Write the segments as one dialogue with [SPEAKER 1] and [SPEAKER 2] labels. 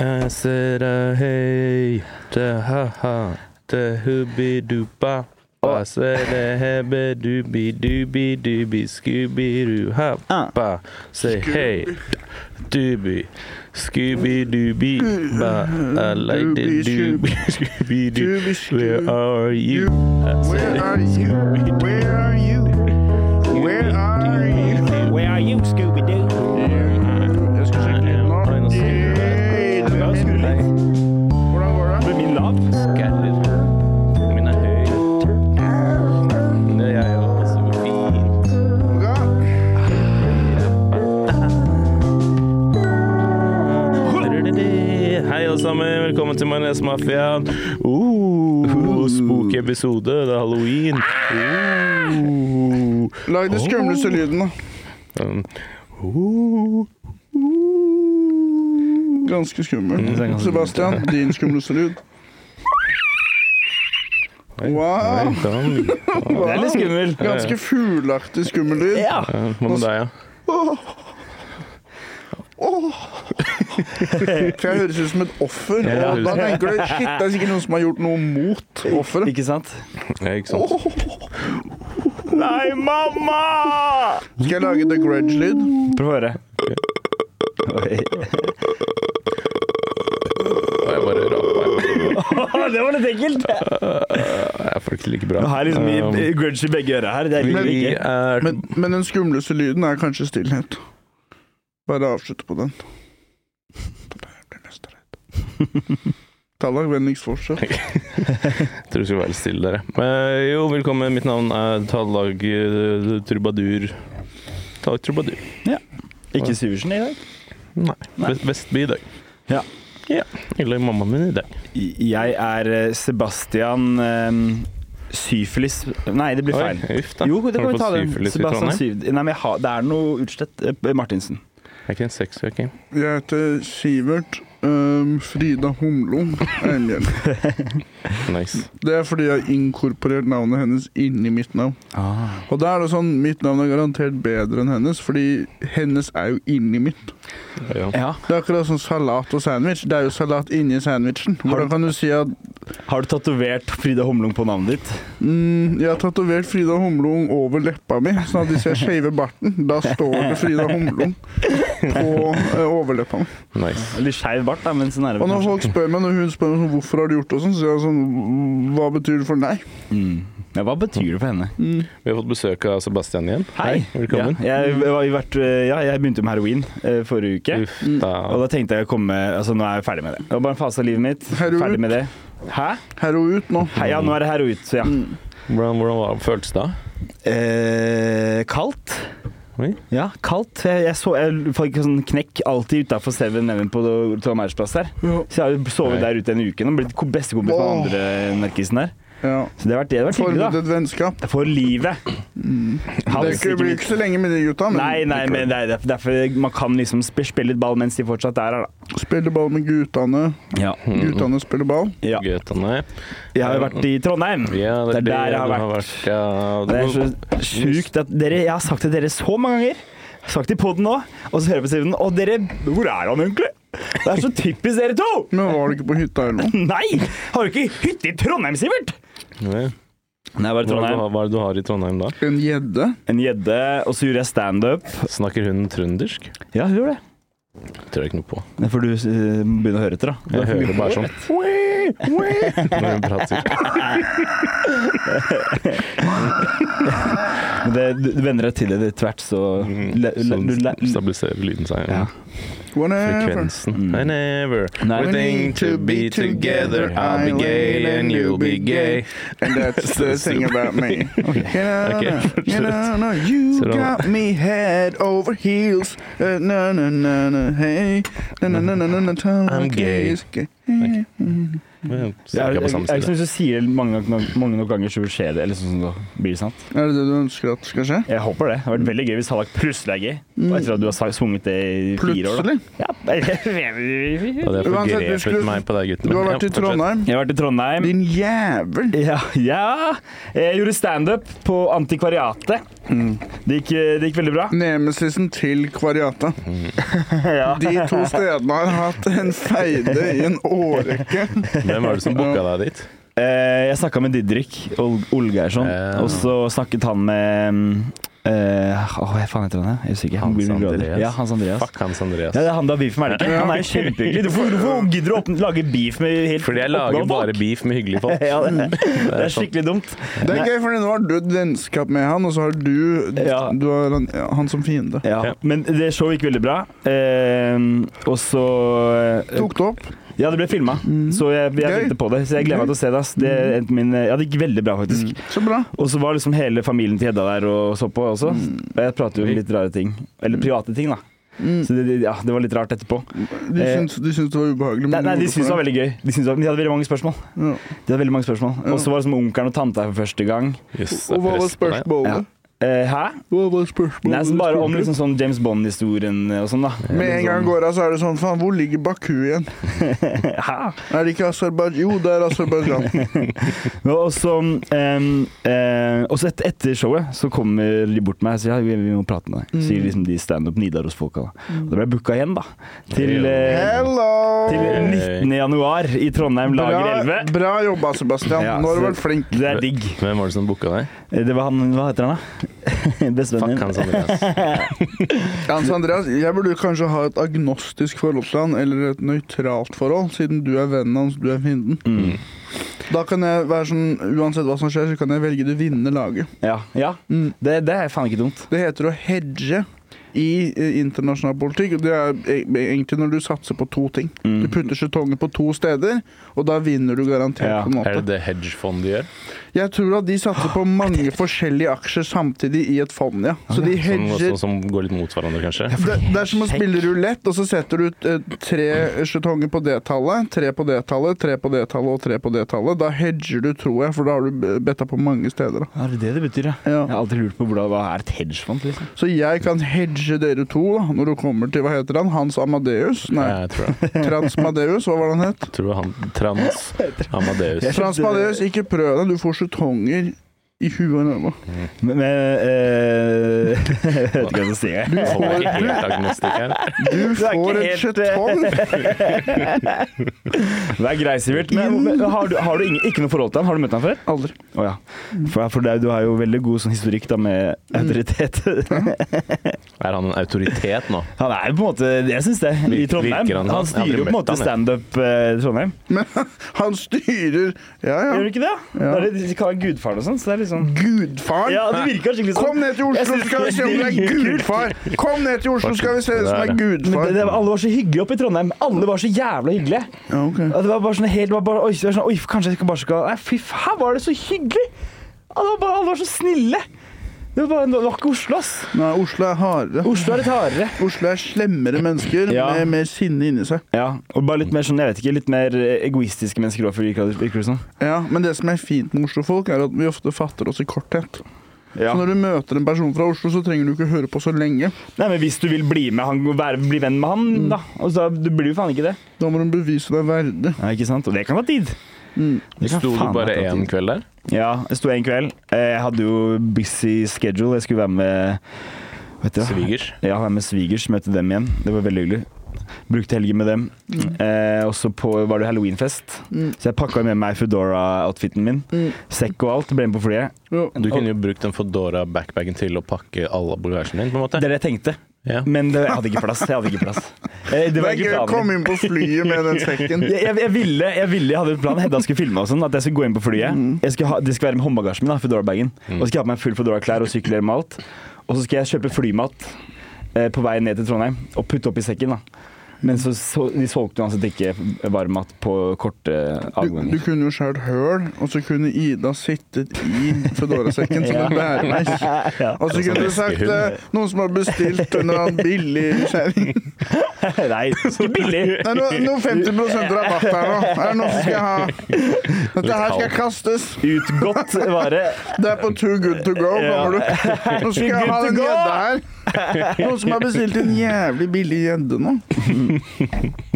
[SPEAKER 1] Jeg ser deg hei, te ha-ha, te hubbi-dupa.
[SPEAKER 2] Oh.
[SPEAKER 1] Og jeg ser deg hebbe dubi dubi dubi
[SPEAKER 3] Ah.
[SPEAKER 1] scooby-doo-ha-ba. Say hey, dubi, scooby-dooby, ba. I like the dubi, scooby-doo. Where are you? Jeg ser
[SPEAKER 2] Where
[SPEAKER 1] deg,
[SPEAKER 2] are you?
[SPEAKER 1] Scooby-Doo.
[SPEAKER 2] Where are you? Where are you?
[SPEAKER 4] Where are you, Scooby-Doo?
[SPEAKER 2] Jeg skal sjekke litt nå. Hey, du er min. Hvordan går det?
[SPEAKER 4] Med min lav?
[SPEAKER 1] Skaller. Min er høy. Det er jeg òg. Så fint.
[SPEAKER 2] Bra.
[SPEAKER 1] Hei, alle sammen. Velkommen til Majones Mafiaen. Uh, spooky episode. Det er halloween. Uh.
[SPEAKER 2] Lag den skumleste lyden, da.
[SPEAKER 1] Um, uh, uh.
[SPEAKER 2] Ganske skummel. Sebastian, din skumleste lyd. Wow!
[SPEAKER 1] Oi, sann.
[SPEAKER 2] wow.
[SPEAKER 4] Det er litt skummel.
[SPEAKER 2] Ganske fugleaktig skummel lyd.
[SPEAKER 4] Ja.
[SPEAKER 1] Ja, Hva med deg, ja?
[SPEAKER 2] For jeg høres ut som et offer.
[SPEAKER 1] Ja,
[SPEAKER 2] Og
[SPEAKER 1] det
[SPEAKER 2] da
[SPEAKER 1] høres-
[SPEAKER 2] tenker du shit, det er sikkert noen som har gjort noe mot offeret.
[SPEAKER 4] Ikke sant?
[SPEAKER 1] ja? Ikke sant?
[SPEAKER 4] Nei, mamma!
[SPEAKER 2] Skal jeg lage The Grudge-lyd?
[SPEAKER 4] Prøv å høre. Oi.
[SPEAKER 1] Og jeg bare rapa.
[SPEAKER 4] det var litt ekkelt.
[SPEAKER 1] Jeg får det ikke like bra.
[SPEAKER 4] Her er liksom
[SPEAKER 1] Um,
[SPEAKER 4] i- i grudge i begge øra her. Det er
[SPEAKER 1] vi
[SPEAKER 4] ikke.
[SPEAKER 1] er
[SPEAKER 2] Men, men den skumleste lyden er kanskje stillhet. Bare avslutte på den. Da blir jeg mest redd. Tallak, vennligst fortsett.
[SPEAKER 1] Jeg tror du skal være litt stille, dere. Eh, jo, velkommen. Mitt navn er Tallag eh, Trubadur. Tallag Trubadur.
[SPEAKER 4] Ikke Syversen i dag.
[SPEAKER 1] Nei.
[SPEAKER 4] Nei.
[SPEAKER 1] Vest- Vestby i dag.
[SPEAKER 4] Ja.
[SPEAKER 1] ja. I lag med mammaen min i dag.
[SPEAKER 4] Jeg er eh, Sebastian um, Syfilis Nei, det blir
[SPEAKER 1] Oi,
[SPEAKER 4] feil.
[SPEAKER 1] uff da.
[SPEAKER 4] Jo, det
[SPEAKER 1] Har du
[SPEAKER 4] kan vi ta
[SPEAKER 1] fått
[SPEAKER 4] den.
[SPEAKER 1] syfilis i
[SPEAKER 4] Sebastian
[SPEAKER 1] Trondheim?
[SPEAKER 4] Syv... Nei, men jeg har, det er noe Utslett eh, Martinsen.
[SPEAKER 1] Er ikke en sexsøking.
[SPEAKER 2] Jeg heter Sivert øhm, Frida Humlum Eimhjell.
[SPEAKER 1] Nice.
[SPEAKER 2] Det er fordi jeg har inkorporert navnet hennes inni mitt navn.
[SPEAKER 4] Ah.
[SPEAKER 2] Og da er det sånn, mitt navn er garantert bedre enn hennes, fordi hennes er jo inni mitt.
[SPEAKER 1] Ja.
[SPEAKER 4] Ja.
[SPEAKER 2] Det er akkurat sånn salat og sandwich. Det er jo salat inni sandwichen. Hvordan kan du si at
[SPEAKER 4] Har du tatovert Frida Humlung på navnet ditt?
[SPEAKER 2] Mm, jeg har tatovert Frida Humlung over leppa mi, sånn at hvis jeg shaver barten, da står det Frida Humlung på eh, overleppa mi.
[SPEAKER 1] Nice.
[SPEAKER 4] Litt skeiv bart, da, men så nærme.
[SPEAKER 2] Og når folk spør meg, når hun spør meg sånn, hvorfor har du gjort det, og sånn, så sier jeg sånn Hva betyr det for deg?
[SPEAKER 4] Mm. Ja, hva betyr det for henne?
[SPEAKER 2] Mm.
[SPEAKER 1] Vi har fått besøk av Sebastian igjen. Velkommen.
[SPEAKER 4] Ja, jeg, var i hvert- eh, ja, jeg begynte med heroin eh, forrige uke.
[SPEAKER 1] Uff da.
[SPEAKER 4] Og da tenkte jeg å komme Altså, nå er jeg ferdig med det. Det var bare en fase av livet mitt.
[SPEAKER 2] Heroin.
[SPEAKER 4] Ferdig med det. Hæ?
[SPEAKER 2] Her og ut nå.
[SPEAKER 4] Hei, ja, nå er det her og ut, så ja.
[SPEAKER 2] Mm.
[SPEAKER 1] Hvordan, hvordan var, føltes det?
[SPEAKER 4] Eh, kaldt.
[SPEAKER 1] Oi.
[SPEAKER 4] Ja, kaldt. Jeg, jeg, så, jeg fikk sånn knekk alltid utafor 7-Eleven på Tom Eiers plass der.
[SPEAKER 2] Ja.
[SPEAKER 4] Så jeg har jo sovet
[SPEAKER 1] Nei.
[SPEAKER 4] der ute en uke nå. Blitt ko- bestekompis med
[SPEAKER 2] Åh.
[SPEAKER 4] den andre narkisen der.
[SPEAKER 2] ja.
[SPEAKER 4] Så det har vært, det har vært
[SPEAKER 2] Formet
[SPEAKER 4] hyggelig,
[SPEAKER 2] et vennskap.
[SPEAKER 4] da. For livet.
[SPEAKER 2] Mm. Det ikke-
[SPEAKER 4] Hals, ikke
[SPEAKER 2] blir
[SPEAKER 4] minst.
[SPEAKER 2] ikke så lenge med de gutta, men
[SPEAKER 4] Nei, nei, men det er derfor- derfor man kan liksom sp- spille litt ball mens de fortsatt er her, da.
[SPEAKER 2] spiller ball med guttene.
[SPEAKER 4] Ja.
[SPEAKER 2] Guttene spiller ball.
[SPEAKER 4] ja.
[SPEAKER 1] Guttene.
[SPEAKER 4] Jeg har jo vært i Trondheim.
[SPEAKER 1] Ja, det er der jeg har vært. Ja,
[SPEAKER 4] Det er så sjukt at dere Jeg har sagt til dere så mange ganger. Jeg har Sagt i poden nå, og så hører jeg på siden Og dere Hvor er han egentlig? Det er så typisk dere to!
[SPEAKER 2] Men var du ikke på hytta eller noe?
[SPEAKER 4] Nei! Har du ikke hytte i Trondheim, Sivert?
[SPEAKER 1] Nei.
[SPEAKER 4] Nei,
[SPEAKER 1] Hva er
[SPEAKER 4] bare
[SPEAKER 1] det du har- hva er det du har i Trondheim da?
[SPEAKER 2] En gjedde?
[SPEAKER 4] En gjedde, og så gjorde jeg standup.
[SPEAKER 1] Snakker hun trøndersk?
[SPEAKER 4] Ja, hun gjorde det.
[SPEAKER 1] Tror jeg ikke noe på.
[SPEAKER 4] Det får du eh, begynne å høre etter, da.
[SPEAKER 1] Jeg hører bare sånn når hun prater.
[SPEAKER 4] Men det, du, du venner deg til det etter hvert, så le, le,
[SPEAKER 1] Sånn
[SPEAKER 4] du, le,
[SPEAKER 1] stabiliserer lyden seg.
[SPEAKER 4] Ja.
[SPEAKER 2] Whatever.
[SPEAKER 1] Frekvensen.
[SPEAKER 4] Mm.
[SPEAKER 1] I never
[SPEAKER 4] Nei.
[SPEAKER 1] would think to be together. I'll be gay and you'll be gay. Oh,
[SPEAKER 2] And that's the thing about me. You know,
[SPEAKER 1] Ok,
[SPEAKER 2] no,
[SPEAKER 1] fortsett.
[SPEAKER 2] you know, no, you
[SPEAKER 1] Så da-
[SPEAKER 2] got me head over heels. Uh, no, no, no, no, hey. No, no, no, no, no, no, tell
[SPEAKER 1] I'm
[SPEAKER 2] me
[SPEAKER 1] gay.
[SPEAKER 2] is gay.
[SPEAKER 1] Men
[SPEAKER 4] Jeg,
[SPEAKER 1] snakker
[SPEAKER 4] jeg,
[SPEAKER 1] på
[SPEAKER 4] jeg,
[SPEAKER 1] samme
[SPEAKER 4] jeg
[SPEAKER 1] side.
[SPEAKER 4] syns du sier det mange, nok- mange nok ganger, så skjer det. Eller sånn som det blir sant.
[SPEAKER 2] Er det det du ønsker at skal skje?
[SPEAKER 4] Jeg håper det. Det hadde vært veldig gøy hvis Hallak plutselig er gay. Etter at du har sa- sunget det i fire år. da.
[SPEAKER 2] Plutselig?
[SPEAKER 4] Ja, jeg
[SPEAKER 1] Og det
[SPEAKER 2] Uansett, vi
[SPEAKER 1] forgrepet
[SPEAKER 2] skulle-
[SPEAKER 1] meg på deg, gutten.
[SPEAKER 2] Du har vært i Trondheim.
[SPEAKER 4] har vært i Trondheim.
[SPEAKER 2] Din jævel.
[SPEAKER 4] Ja, ja. Jeg gjorde standup på Antikvariatet. Det, gikk, det gikk veldig bra.
[SPEAKER 2] Mm. Nemesisen til Kvariata.
[SPEAKER 4] Ja.
[SPEAKER 2] De to stedene har hatt en feide i en årrekke.
[SPEAKER 1] Hvem var det som booka deg dit?
[SPEAKER 4] Eh, Jeg snakka med Didrik Ol- Olgeirsson,
[SPEAKER 1] Ja.
[SPEAKER 4] og så snakket han med mm, eh, Åh, hva faen heter han? Jeg husker ikke. Han
[SPEAKER 1] Hans
[SPEAKER 4] blir glad.
[SPEAKER 1] Andreas.
[SPEAKER 4] Ja, Hans Andreas.
[SPEAKER 1] Fuck Hans Andreas.
[SPEAKER 4] Ja, det er han du har beef med, er det ikke? Han er jo kjempehyggelig. Hvorfor, hvorfor gidder du å åpne- lage beef med helt
[SPEAKER 1] Fordi jeg lager
[SPEAKER 4] oppegående
[SPEAKER 1] bare
[SPEAKER 4] folk?
[SPEAKER 1] beef med hyggelige folk.
[SPEAKER 4] ja, det, Mm. det er
[SPEAKER 1] sånn.
[SPEAKER 4] skikkelig dumt.
[SPEAKER 2] Det er gøy, for nå har du et vennskap med han, og så har du,
[SPEAKER 4] Ja.
[SPEAKER 2] du har han, ja, han som fiende.
[SPEAKER 4] Ja.
[SPEAKER 1] Ja.
[SPEAKER 4] Men det showet gikk veldig bra. Eh, og så eh,
[SPEAKER 2] Tok det opp.
[SPEAKER 4] Ja, det ble filma, så jeg, jeg
[SPEAKER 2] Gøy.
[SPEAKER 4] ventet på det. Så jeg gleder meg til å se det. ass. Det, endte min, ja, det gikk veldig bra, faktisk.
[SPEAKER 2] Så bra.
[SPEAKER 4] Og så var liksom hele familien til Hedda der og så på også. Og jeg prater jo om litt rare ting. Eller private ting, da. Så det, det- ja, det var litt rart etterpå.
[SPEAKER 2] Mm. De
[SPEAKER 4] Eh,
[SPEAKER 2] syns, de syns det var ubehagelig. men
[SPEAKER 4] Nei, nei
[SPEAKER 2] gjorde
[SPEAKER 4] De syntes det var
[SPEAKER 2] for
[SPEAKER 4] veldig gøy. De, syntes det var, de hadde veldig mange spørsmål.
[SPEAKER 2] Ja.
[SPEAKER 4] De hadde veldig mange spørsmål Og så var det som onkelen og tanta her for første gang.
[SPEAKER 1] Jøss, det er
[SPEAKER 2] Og hva var
[SPEAKER 1] press på deg.
[SPEAKER 2] spørsmålet?
[SPEAKER 4] Eh, hæ?
[SPEAKER 2] Hva var spørsmålet?
[SPEAKER 4] Nei, som bare om
[SPEAKER 2] Spurte.
[SPEAKER 4] liksom sånn James Bond-historien og sånn, da.
[SPEAKER 2] Med en gang går av, så er det sånn Faen, hvor ligger Baku igjen?
[SPEAKER 4] Sånn- Hæ?
[SPEAKER 2] Er det ikke Aserbajdsjan? Jo, det er Aserbajdsjan.
[SPEAKER 4] Ja, Og så, ehm, eh, og så et, etter showet så kommer de bort til meg og sier ja, vi, vi må prate med deg. Sier liksom de standup Nidaros-folka. da. Og da ble jeg booka igjen, da. Til, eh, til
[SPEAKER 2] Hello!
[SPEAKER 4] 19. januar i Trondheim Lager
[SPEAKER 2] Bra,
[SPEAKER 4] 11.
[SPEAKER 2] bra jobba, Sebastian.
[SPEAKER 4] Ja,
[SPEAKER 2] Nå har du
[SPEAKER 4] så-
[SPEAKER 2] vært flink.
[SPEAKER 4] Det er digg. Eh,
[SPEAKER 1] Hvem var det som booka deg?
[SPEAKER 4] Det var han Hva heter han, da? Bestevennen
[SPEAKER 1] Fuck
[SPEAKER 4] min.
[SPEAKER 1] Hans Andreas.
[SPEAKER 2] Hans Andreas, jeg burde kanskje ha et agnostisk forhold til han, eller et nøytralt forhold, siden du er vennen hans, du er fienden.
[SPEAKER 4] Mm.
[SPEAKER 2] Da kan jeg være sånn, uansett hva som skjer, så kan jeg velge det vinnende laget.
[SPEAKER 4] Ja. ja.
[SPEAKER 2] Mm.
[SPEAKER 4] Det, det er faen ikke dumt.
[SPEAKER 2] Det heter å hedge i eh, internasjonal politikk, og det er e- egentlig når du satser på to ting. Du putter skjetonger på to steder, og da vinner du garantert
[SPEAKER 4] Ja,
[SPEAKER 2] på en
[SPEAKER 1] Er
[SPEAKER 2] måte.
[SPEAKER 1] det det hedgefondet gjør?
[SPEAKER 2] Jeg tror at de satser på mange forskjellige aksjer samtidig i et fond, Ah, ja. Så de
[SPEAKER 1] Som,
[SPEAKER 2] hedger
[SPEAKER 1] som, som går litt mot hverandre, kanskje?
[SPEAKER 2] Det, det er som å spille rulett, og så setter du ut eh, tre skjetonger på det tallet, tre på det tallet, tre på det tallet og tre på det tallet. Da hedger du, tror jeg, for da har du b- betta på mange steder. Da.
[SPEAKER 4] Ja, det er det det betyr, ja.
[SPEAKER 2] Ja.
[SPEAKER 4] Jeg har alltid lurt på hvordan, hva er et hedgefond, liksom.
[SPEAKER 2] Så jeg kan hedge dere to da, når du kommer til hva heter han? Hans Amadeus? Nei,
[SPEAKER 1] Ja, jeg tror det.
[SPEAKER 2] Transmadeus, hva var det han het?
[SPEAKER 1] Jeg tror han Trans Amadeus.
[SPEAKER 4] Jeg skjønte-
[SPEAKER 2] Transmadeus, ikke prøv deg, du får skjetonger i huet og ræva.
[SPEAKER 4] Men, men eh, Jeg vet ikke hva jeg skal si. jeg.
[SPEAKER 1] Jeg holder ikke helt agnostikk her.
[SPEAKER 2] Du får
[SPEAKER 4] ikke
[SPEAKER 2] en
[SPEAKER 4] helt, eh,
[SPEAKER 2] skjetong!
[SPEAKER 4] Vær grei, Sivert. Men, men har du, har du ingen, ikke noe forhold til han? Har du møtt han før?
[SPEAKER 2] Aldri.
[SPEAKER 4] Å ja. For, for det, er- du har jo veldig god sånn historikk da med
[SPEAKER 2] Mm.
[SPEAKER 4] autoritet.
[SPEAKER 1] Er han en autoritet nå?
[SPEAKER 4] Han er jo på en måte Jeg syns det. I
[SPEAKER 1] Virker
[SPEAKER 4] Trondheim.
[SPEAKER 1] han sånn? Jeg har
[SPEAKER 4] Han
[SPEAKER 1] aldri
[SPEAKER 4] styrer jo på en
[SPEAKER 1] møtt
[SPEAKER 4] måte
[SPEAKER 1] han, jeg.
[SPEAKER 4] standup eh, i Trondheim.
[SPEAKER 2] Men han styrer Ja,
[SPEAKER 4] Gjør du
[SPEAKER 2] ja.
[SPEAKER 4] ikke det?
[SPEAKER 2] Ja.
[SPEAKER 4] Det er litt- De kaller han gudfaren og sånn, så det er litt sånn
[SPEAKER 2] Gudfaren!
[SPEAKER 4] Ja, det virka skikkelig sånn.
[SPEAKER 2] Kom ned til Oslo,
[SPEAKER 4] Jeg
[SPEAKER 2] så
[SPEAKER 4] synes
[SPEAKER 2] skal vi se om
[SPEAKER 4] det
[SPEAKER 2] du
[SPEAKER 4] er
[SPEAKER 2] er gudfar! Kom ned til Oslo, så skal vi se om du
[SPEAKER 1] Det er det.
[SPEAKER 2] er
[SPEAKER 4] Men det,
[SPEAKER 2] gudfar.
[SPEAKER 4] det, var- alle var så hyggelige oppe i Trondheim. Alle var så jævla hyggelige.
[SPEAKER 2] Ja, ok.
[SPEAKER 4] Og det var bare sånn helt det var bare, oi, det var sånn, oi, kanskje jeg skal bare skal Nei, fy faen, var det så hyggelig! Alle var, bare, alle var så snille! Det var, bare, det var ikke Oslo, ass.
[SPEAKER 2] Nei, Oslo er hardere.
[SPEAKER 4] Oslo er litt hardere.
[SPEAKER 2] Oslo er slemmere mennesker
[SPEAKER 4] Ja.
[SPEAKER 2] med mer sinne inni seg.
[SPEAKER 4] Ja, og bare litt mer sånn, jeg vet ikke, litt mer eh, egoistiske mennesker også, virker det- virker det som.
[SPEAKER 2] Ja, Men det som er fint med Oslo-folk, er at vi ofte fatter oss i korthet.
[SPEAKER 4] Ja.
[SPEAKER 2] Så når du møter en person fra Oslo, så trenger du ikke høre på så lenge.
[SPEAKER 4] Nei, men hvis du vil bli med han, være, bli venn med han, da, og så du blir jo faen ikke det.
[SPEAKER 2] Da må du bevise deg verdig.
[SPEAKER 4] Ja, ikke sant? Og det kan ta tid. Det kan
[SPEAKER 1] Sto du
[SPEAKER 4] faen
[SPEAKER 1] bare
[SPEAKER 4] meg ta
[SPEAKER 1] én
[SPEAKER 4] tid.
[SPEAKER 1] kveld der?
[SPEAKER 4] Ja, jeg sto en kveld. Eh, Jeg hadde jo busy schedule, jeg skulle være med, vet du hva?
[SPEAKER 1] Svigers?
[SPEAKER 4] Ja, være med svigers, møte dem igjen. Det var veldig hyggelig. Brukte helgen med dem. Eh, og så på- var det halloweenfest,
[SPEAKER 2] Mm.
[SPEAKER 4] så jeg pakka med meg Foodora-outfiten min.
[SPEAKER 2] Mm.
[SPEAKER 4] Sekk og alt, ble med på flyet.
[SPEAKER 2] Ja.
[SPEAKER 1] Du kunne jo brukt den Foodora-backpagen til å pakke alle bagasjen din, på en måte.
[SPEAKER 4] Det er det jeg tenkte.
[SPEAKER 1] Ja.
[SPEAKER 4] Men det, jeg hadde ikke plass. Jeg hadde ikke plass. Eh, Det
[SPEAKER 2] Det
[SPEAKER 4] var
[SPEAKER 2] er gøy å
[SPEAKER 4] ikke
[SPEAKER 2] komme
[SPEAKER 4] planen. min.
[SPEAKER 2] inn på flyet med den sekken.
[SPEAKER 4] Jeg, jeg, jeg, ville, jeg ville, jeg hadde en plan. Hedda skulle filme og sånn. At jeg skulle gå inn på flyet.
[SPEAKER 2] Mm.
[SPEAKER 4] Jeg skulle ha, det skulle være med håndbagasjen min, da, Foodora-bagen. Og så skal jeg ha på meg full Foodora-klær og sykkelhjelm og alt. Og så skal jeg kjøpe flymat eh, på vei ned til Trondheim og putte opp i sekken, da. Men så, så de solgte uansett ikke varmmat på korte
[SPEAKER 2] Du, du
[SPEAKER 4] avganger.
[SPEAKER 2] kunne jo skjært høl, og så kunne Ida sittet i Foodora-sekken som en bæremeis.
[SPEAKER 4] Ja.
[SPEAKER 2] Og så
[SPEAKER 1] En sånn
[SPEAKER 2] kunne du sagt
[SPEAKER 1] veskehund.
[SPEAKER 2] eh, noen som har bestilt en eller annen billig skjæring.
[SPEAKER 4] Nei, ikke billig!
[SPEAKER 2] Det er noe, noe 50 rabatt her nå. Er det noe som skal jeg ha? Dette her skal kastes.
[SPEAKER 4] Utgått vare.
[SPEAKER 2] Det er på Too Good To Go, kommer du. Nå skal jeg ha den gjedda her. Noen som har bestilt en jævlig billig gjedde nå.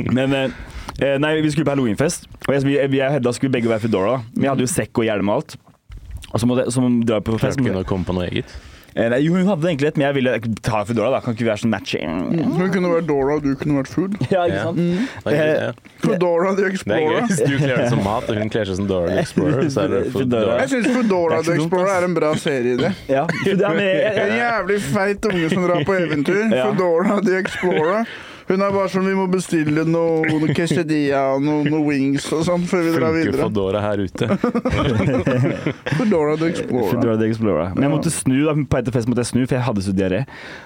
[SPEAKER 4] Men eh, eh, Nei, vi skulle på halloweenfest, og jeg, vi, vi og Hedda skulle begge være Foodora. Vi hadde jo sekk og hjelm og alt. Og så må, det, så må vi dra på fest.
[SPEAKER 1] Klarte ikke
[SPEAKER 4] men-
[SPEAKER 1] å komme på noe eget.
[SPEAKER 4] Eh, Nei, jo, hun hadde egentlig et, men jeg ville ta Foodora, da. Kan ikke vi være sånn matching?
[SPEAKER 2] Hun kunne vært Dora, og du kunne vært Food.
[SPEAKER 4] Ja, ikke
[SPEAKER 1] Ja.
[SPEAKER 4] sant?
[SPEAKER 1] Det er gøy, det.
[SPEAKER 2] Foodora the
[SPEAKER 1] Det er gøy
[SPEAKER 2] Explorer.
[SPEAKER 1] hvis du kler deg som mat, og hun kler seg som Dora the Explorer. Så er det
[SPEAKER 4] Dora.
[SPEAKER 1] Foodora.
[SPEAKER 2] Jeg syns Foodora the
[SPEAKER 4] Det er ikke dumt,
[SPEAKER 2] Explorer
[SPEAKER 4] ass.
[SPEAKER 2] er en bra serieidé.
[SPEAKER 4] Ja, for det er med, jeg,
[SPEAKER 2] En
[SPEAKER 4] jeg,
[SPEAKER 2] jævlig feit unge som drar på eventyr.
[SPEAKER 4] Ja.
[SPEAKER 2] Foodora the Explorer. Hun er bare sånn Vi må bestille noe, noe quesadilla og noe, noe wings og sånn før vi drar
[SPEAKER 1] Funker
[SPEAKER 2] videre.
[SPEAKER 1] Foodora her ute?
[SPEAKER 2] Foodora the Explorer.
[SPEAKER 4] Foodora the Explorer. Men jeg måtte snu, da, på etter fest måtte jeg snu, for jeg hadde så diaré.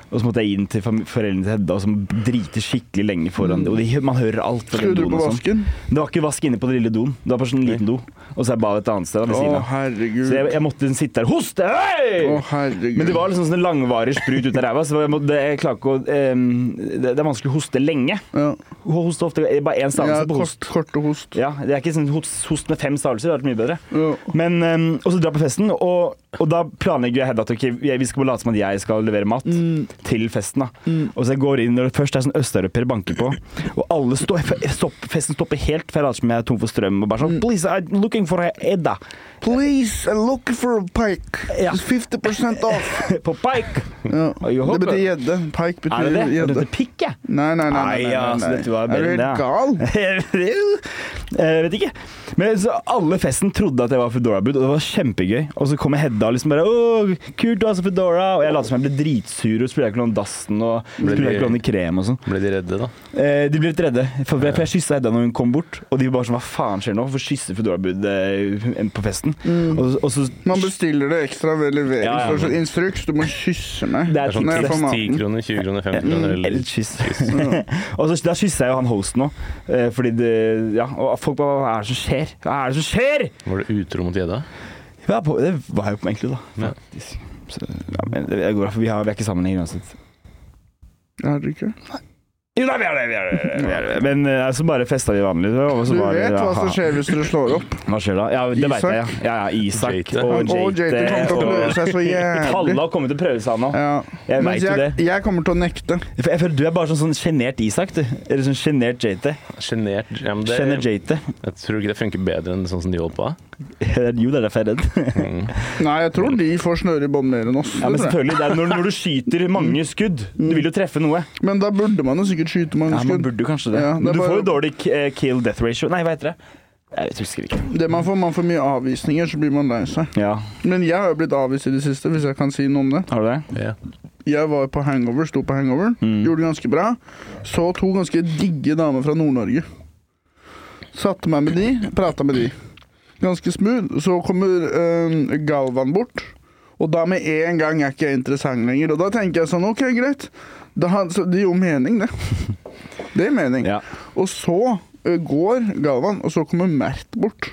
[SPEAKER 4] Og så måtte jeg inn til fam- foreldrene til Hedda, som driter skikkelig lenge foran. Og de, man hører alt fra
[SPEAKER 2] Skulle
[SPEAKER 4] den
[SPEAKER 2] du
[SPEAKER 4] doen.
[SPEAKER 2] på
[SPEAKER 4] og sånn.
[SPEAKER 2] vasken?
[SPEAKER 4] Det var ikke vask inne på den lille doen. Det var bare sånn en liten do. Og så er badet et annet sted da, ved
[SPEAKER 2] Å,
[SPEAKER 4] siden av. Så
[SPEAKER 2] herregud.
[SPEAKER 4] jeg, jeg måtte sitte der Hoste! Hei!
[SPEAKER 2] Å, herregud.
[SPEAKER 4] Men det var liksom sånn langvarig sprut ut av ræva, så jeg, må, det, jeg klarer ikke å ehm, det, det er vanskelig å hoste lenge.
[SPEAKER 2] ja.
[SPEAKER 4] Hoste ofte det er bare én
[SPEAKER 2] Ja,
[SPEAKER 4] stavelse på
[SPEAKER 2] kort,
[SPEAKER 4] host.
[SPEAKER 2] korte host.
[SPEAKER 4] Ja, det er ikke sånn host, host med fem stavelser. Det hadde vært mye bedre.
[SPEAKER 2] Ja.
[SPEAKER 4] Men, ehm, og så dra på festen, og, og da planlegger jeg Hedda at ok, jeg- vi skal bare late som at jeg skal levere mat
[SPEAKER 2] Mm.
[SPEAKER 4] til festen. da. Og så jeg går inn, og først er det sånn østeuropeer banker på, og alle står, f- stopp, festen stopper helt, for jeg later som jeg er tom for strøm, og bare
[SPEAKER 2] Mm.
[SPEAKER 4] sånn Please, I'm looking for Edda
[SPEAKER 2] Please, I look for a pike.
[SPEAKER 4] Ja.
[SPEAKER 2] It's 50 off.
[SPEAKER 4] på Pike!
[SPEAKER 2] Ja.
[SPEAKER 4] Og jeg
[SPEAKER 2] Det
[SPEAKER 4] håper-
[SPEAKER 2] betyr gjedde. Pike
[SPEAKER 4] Er det det?
[SPEAKER 2] betyr
[SPEAKER 4] Er
[SPEAKER 2] gjedde.
[SPEAKER 4] dette pikk, jeg?
[SPEAKER 2] Nei, nei, nei. nei,
[SPEAKER 4] Nei,
[SPEAKER 2] nei,
[SPEAKER 4] ja, altså, så
[SPEAKER 2] nei.
[SPEAKER 4] dette var
[SPEAKER 2] Er du
[SPEAKER 4] bedre enn
[SPEAKER 2] helt
[SPEAKER 4] det, ja.
[SPEAKER 2] gal?
[SPEAKER 4] jeg vet ikke. Men så alle festen trodde at jeg var Foodora-bud, og det var kjempegøy. Og så kommer Hedda og liksom bare Åh, kult, du er så Foodora! Og jeg lot som jeg ble dritsur og spurte ikke noe om dassen og
[SPEAKER 1] Ble
[SPEAKER 4] spurte
[SPEAKER 1] de-
[SPEAKER 4] ikke noe om krem og sånn.
[SPEAKER 1] Ble de redde, da?
[SPEAKER 4] Eh, de ble litt redde, for, for jeg kyssa Hedda når hun kom bort. Og de var bare sånn Hva faen skjer nå? Hvorfor kysser Foodora-bud eh, på festen? Og, og så
[SPEAKER 2] Man bestiller det ekstra ved levering.
[SPEAKER 4] Ja, ja,
[SPEAKER 2] så det er sånn
[SPEAKER 1] men-
[SPEAKER 2] instruks. Du må kysse meg.
[SPEAKER 4] Det er
[SPEAKER 1] Det er sånn
[SPEAKER 2] Når jeg får
[SPEAKER 1] 10
[SPEAKER 2] maten.
[SPEAKER 1] kroner, 20 kroner, 50 kroner eller
[SPEAKER 4] Eller kyss. og så da kyssa jeg jo han hosten òg, fordi det Ja, og folk bare Hva er det som skjer? Hva er det som skjer?
[SPEAKER 1] Var det utro mot gjedda?
[SPEAKER 4] Ja, på, det var jo på egentlig, da.
[SPEAKER 1] Ja.
[SPEAKER 4] Faktisk. Så, ja, men det, det går bra, for vi, har, vi er ikke sammen lenger uansett.
[SPEAKER 2] Er det ikke?
[SPEAKER 4] Jo, nei, vi er det! vi er det, vi er det. Men eh, så bare festa vi vanlig. Og
[SPEAKER 2] Du
[SPEAKER 4] så var det-
[SPEAKER 2] vet hva
[SPEAKER 4] ja,
[SPEAKER 2] som skjer hvis dere slår opp.
[SPEAKER 4] Hva skjer da? Ja, det veit
[SPEAKER 2] Isak?
[SPEAKER 4] jeg. Ja, ja, ja Isak
[SPEAKER 1] Jate.
[SPEAKER 4] og
[SPEAKER 2] Og Jate kommer til å prøve
[SPEAKER 4] Jate.
[SPEAKER 2] seg så
[SPEAKER 4] og-
[SPEAKER 2] jævlig.
[SPEAKER 4] Kalle har kommet til å prøve seg nå.
[SPEAKER 2] Ja.
[SPEAKER 4] Jeg
[SPEAKER 2] Mens
[SPEAKER 4] vet jo
[SPEAKER 2] jeg,
[SPEAKER 4] det.
[SPEAKER 2] jeg kommer til å nekte.
[SPEAKER 4] For jeg føler Du er bare sånn sånn sjenert Isak, du. Eller sånn sjenert Jate.
[SPEAKER 1] Sjenert? Ja, men det,
[SPEAKER 4] Sjenert
[SPEAKER 1] jeg
[SPEAKER 4] Jate.
[SPEAKER 1] tror ikke det funker bedre enn sånn som de holdt på.
[SPEAKER 4] Jo, det er derfor jeg er redd.
[SPEAKER 2] Nei, jeg tror de får snøre i bånd mer enn oss.
[SPEAKER 4] Ja, men
[SPEAKER 2] det tror jeg.
[SPEAKER 4] selvfølgelig, det er når, når du skyter mange skudd, du vil jo treffe noe.
[SPEAKER 2] men da burde man jo sikkert skyte mange
[SPEAKER 4] Ja, man
[SPEAKER 2] skudd.
[SPEAKER 4] burde jo kanskje det.
[SPEAKER 2] Ja, det er
[SPEAKER 4] Men du
[SPEAKER 2] bare-
[SPEAKER 4] får jo dårlig k- eh, kill death ratio. Nei, hva heter det? Jeg husker ikke.
[SPEAKER 2] Det man får, man får mye avvisninger, så blir man lei seg.
[SPEAKER 4] Ja,
[SPEAKER 2] Men jeg har jo blitt avvist i det siste, hvis jeg kan si noe om det.
[SPEAKER 4] har du det?
[SPEAKER 1] Ja.
[SPEAKER 2] Jeg var på hangover, sto på hangover, gjorde det ganske bra. Så to ganske digge damer fra Nord-Norge. Satte meg med de, prata med de. Ganske smooth. Så kommer eh, Galvan bort, og da med en gang er ikke jeg interessant lenger. Og da tenker jeg sånn, OK, greit. Da, har- så det gir jo mening, det. Det gir mening.
[SPEAKER 4] Ja.
[SPEAKER 2] Og så eh, går Galvan, og så kommer Mert bort.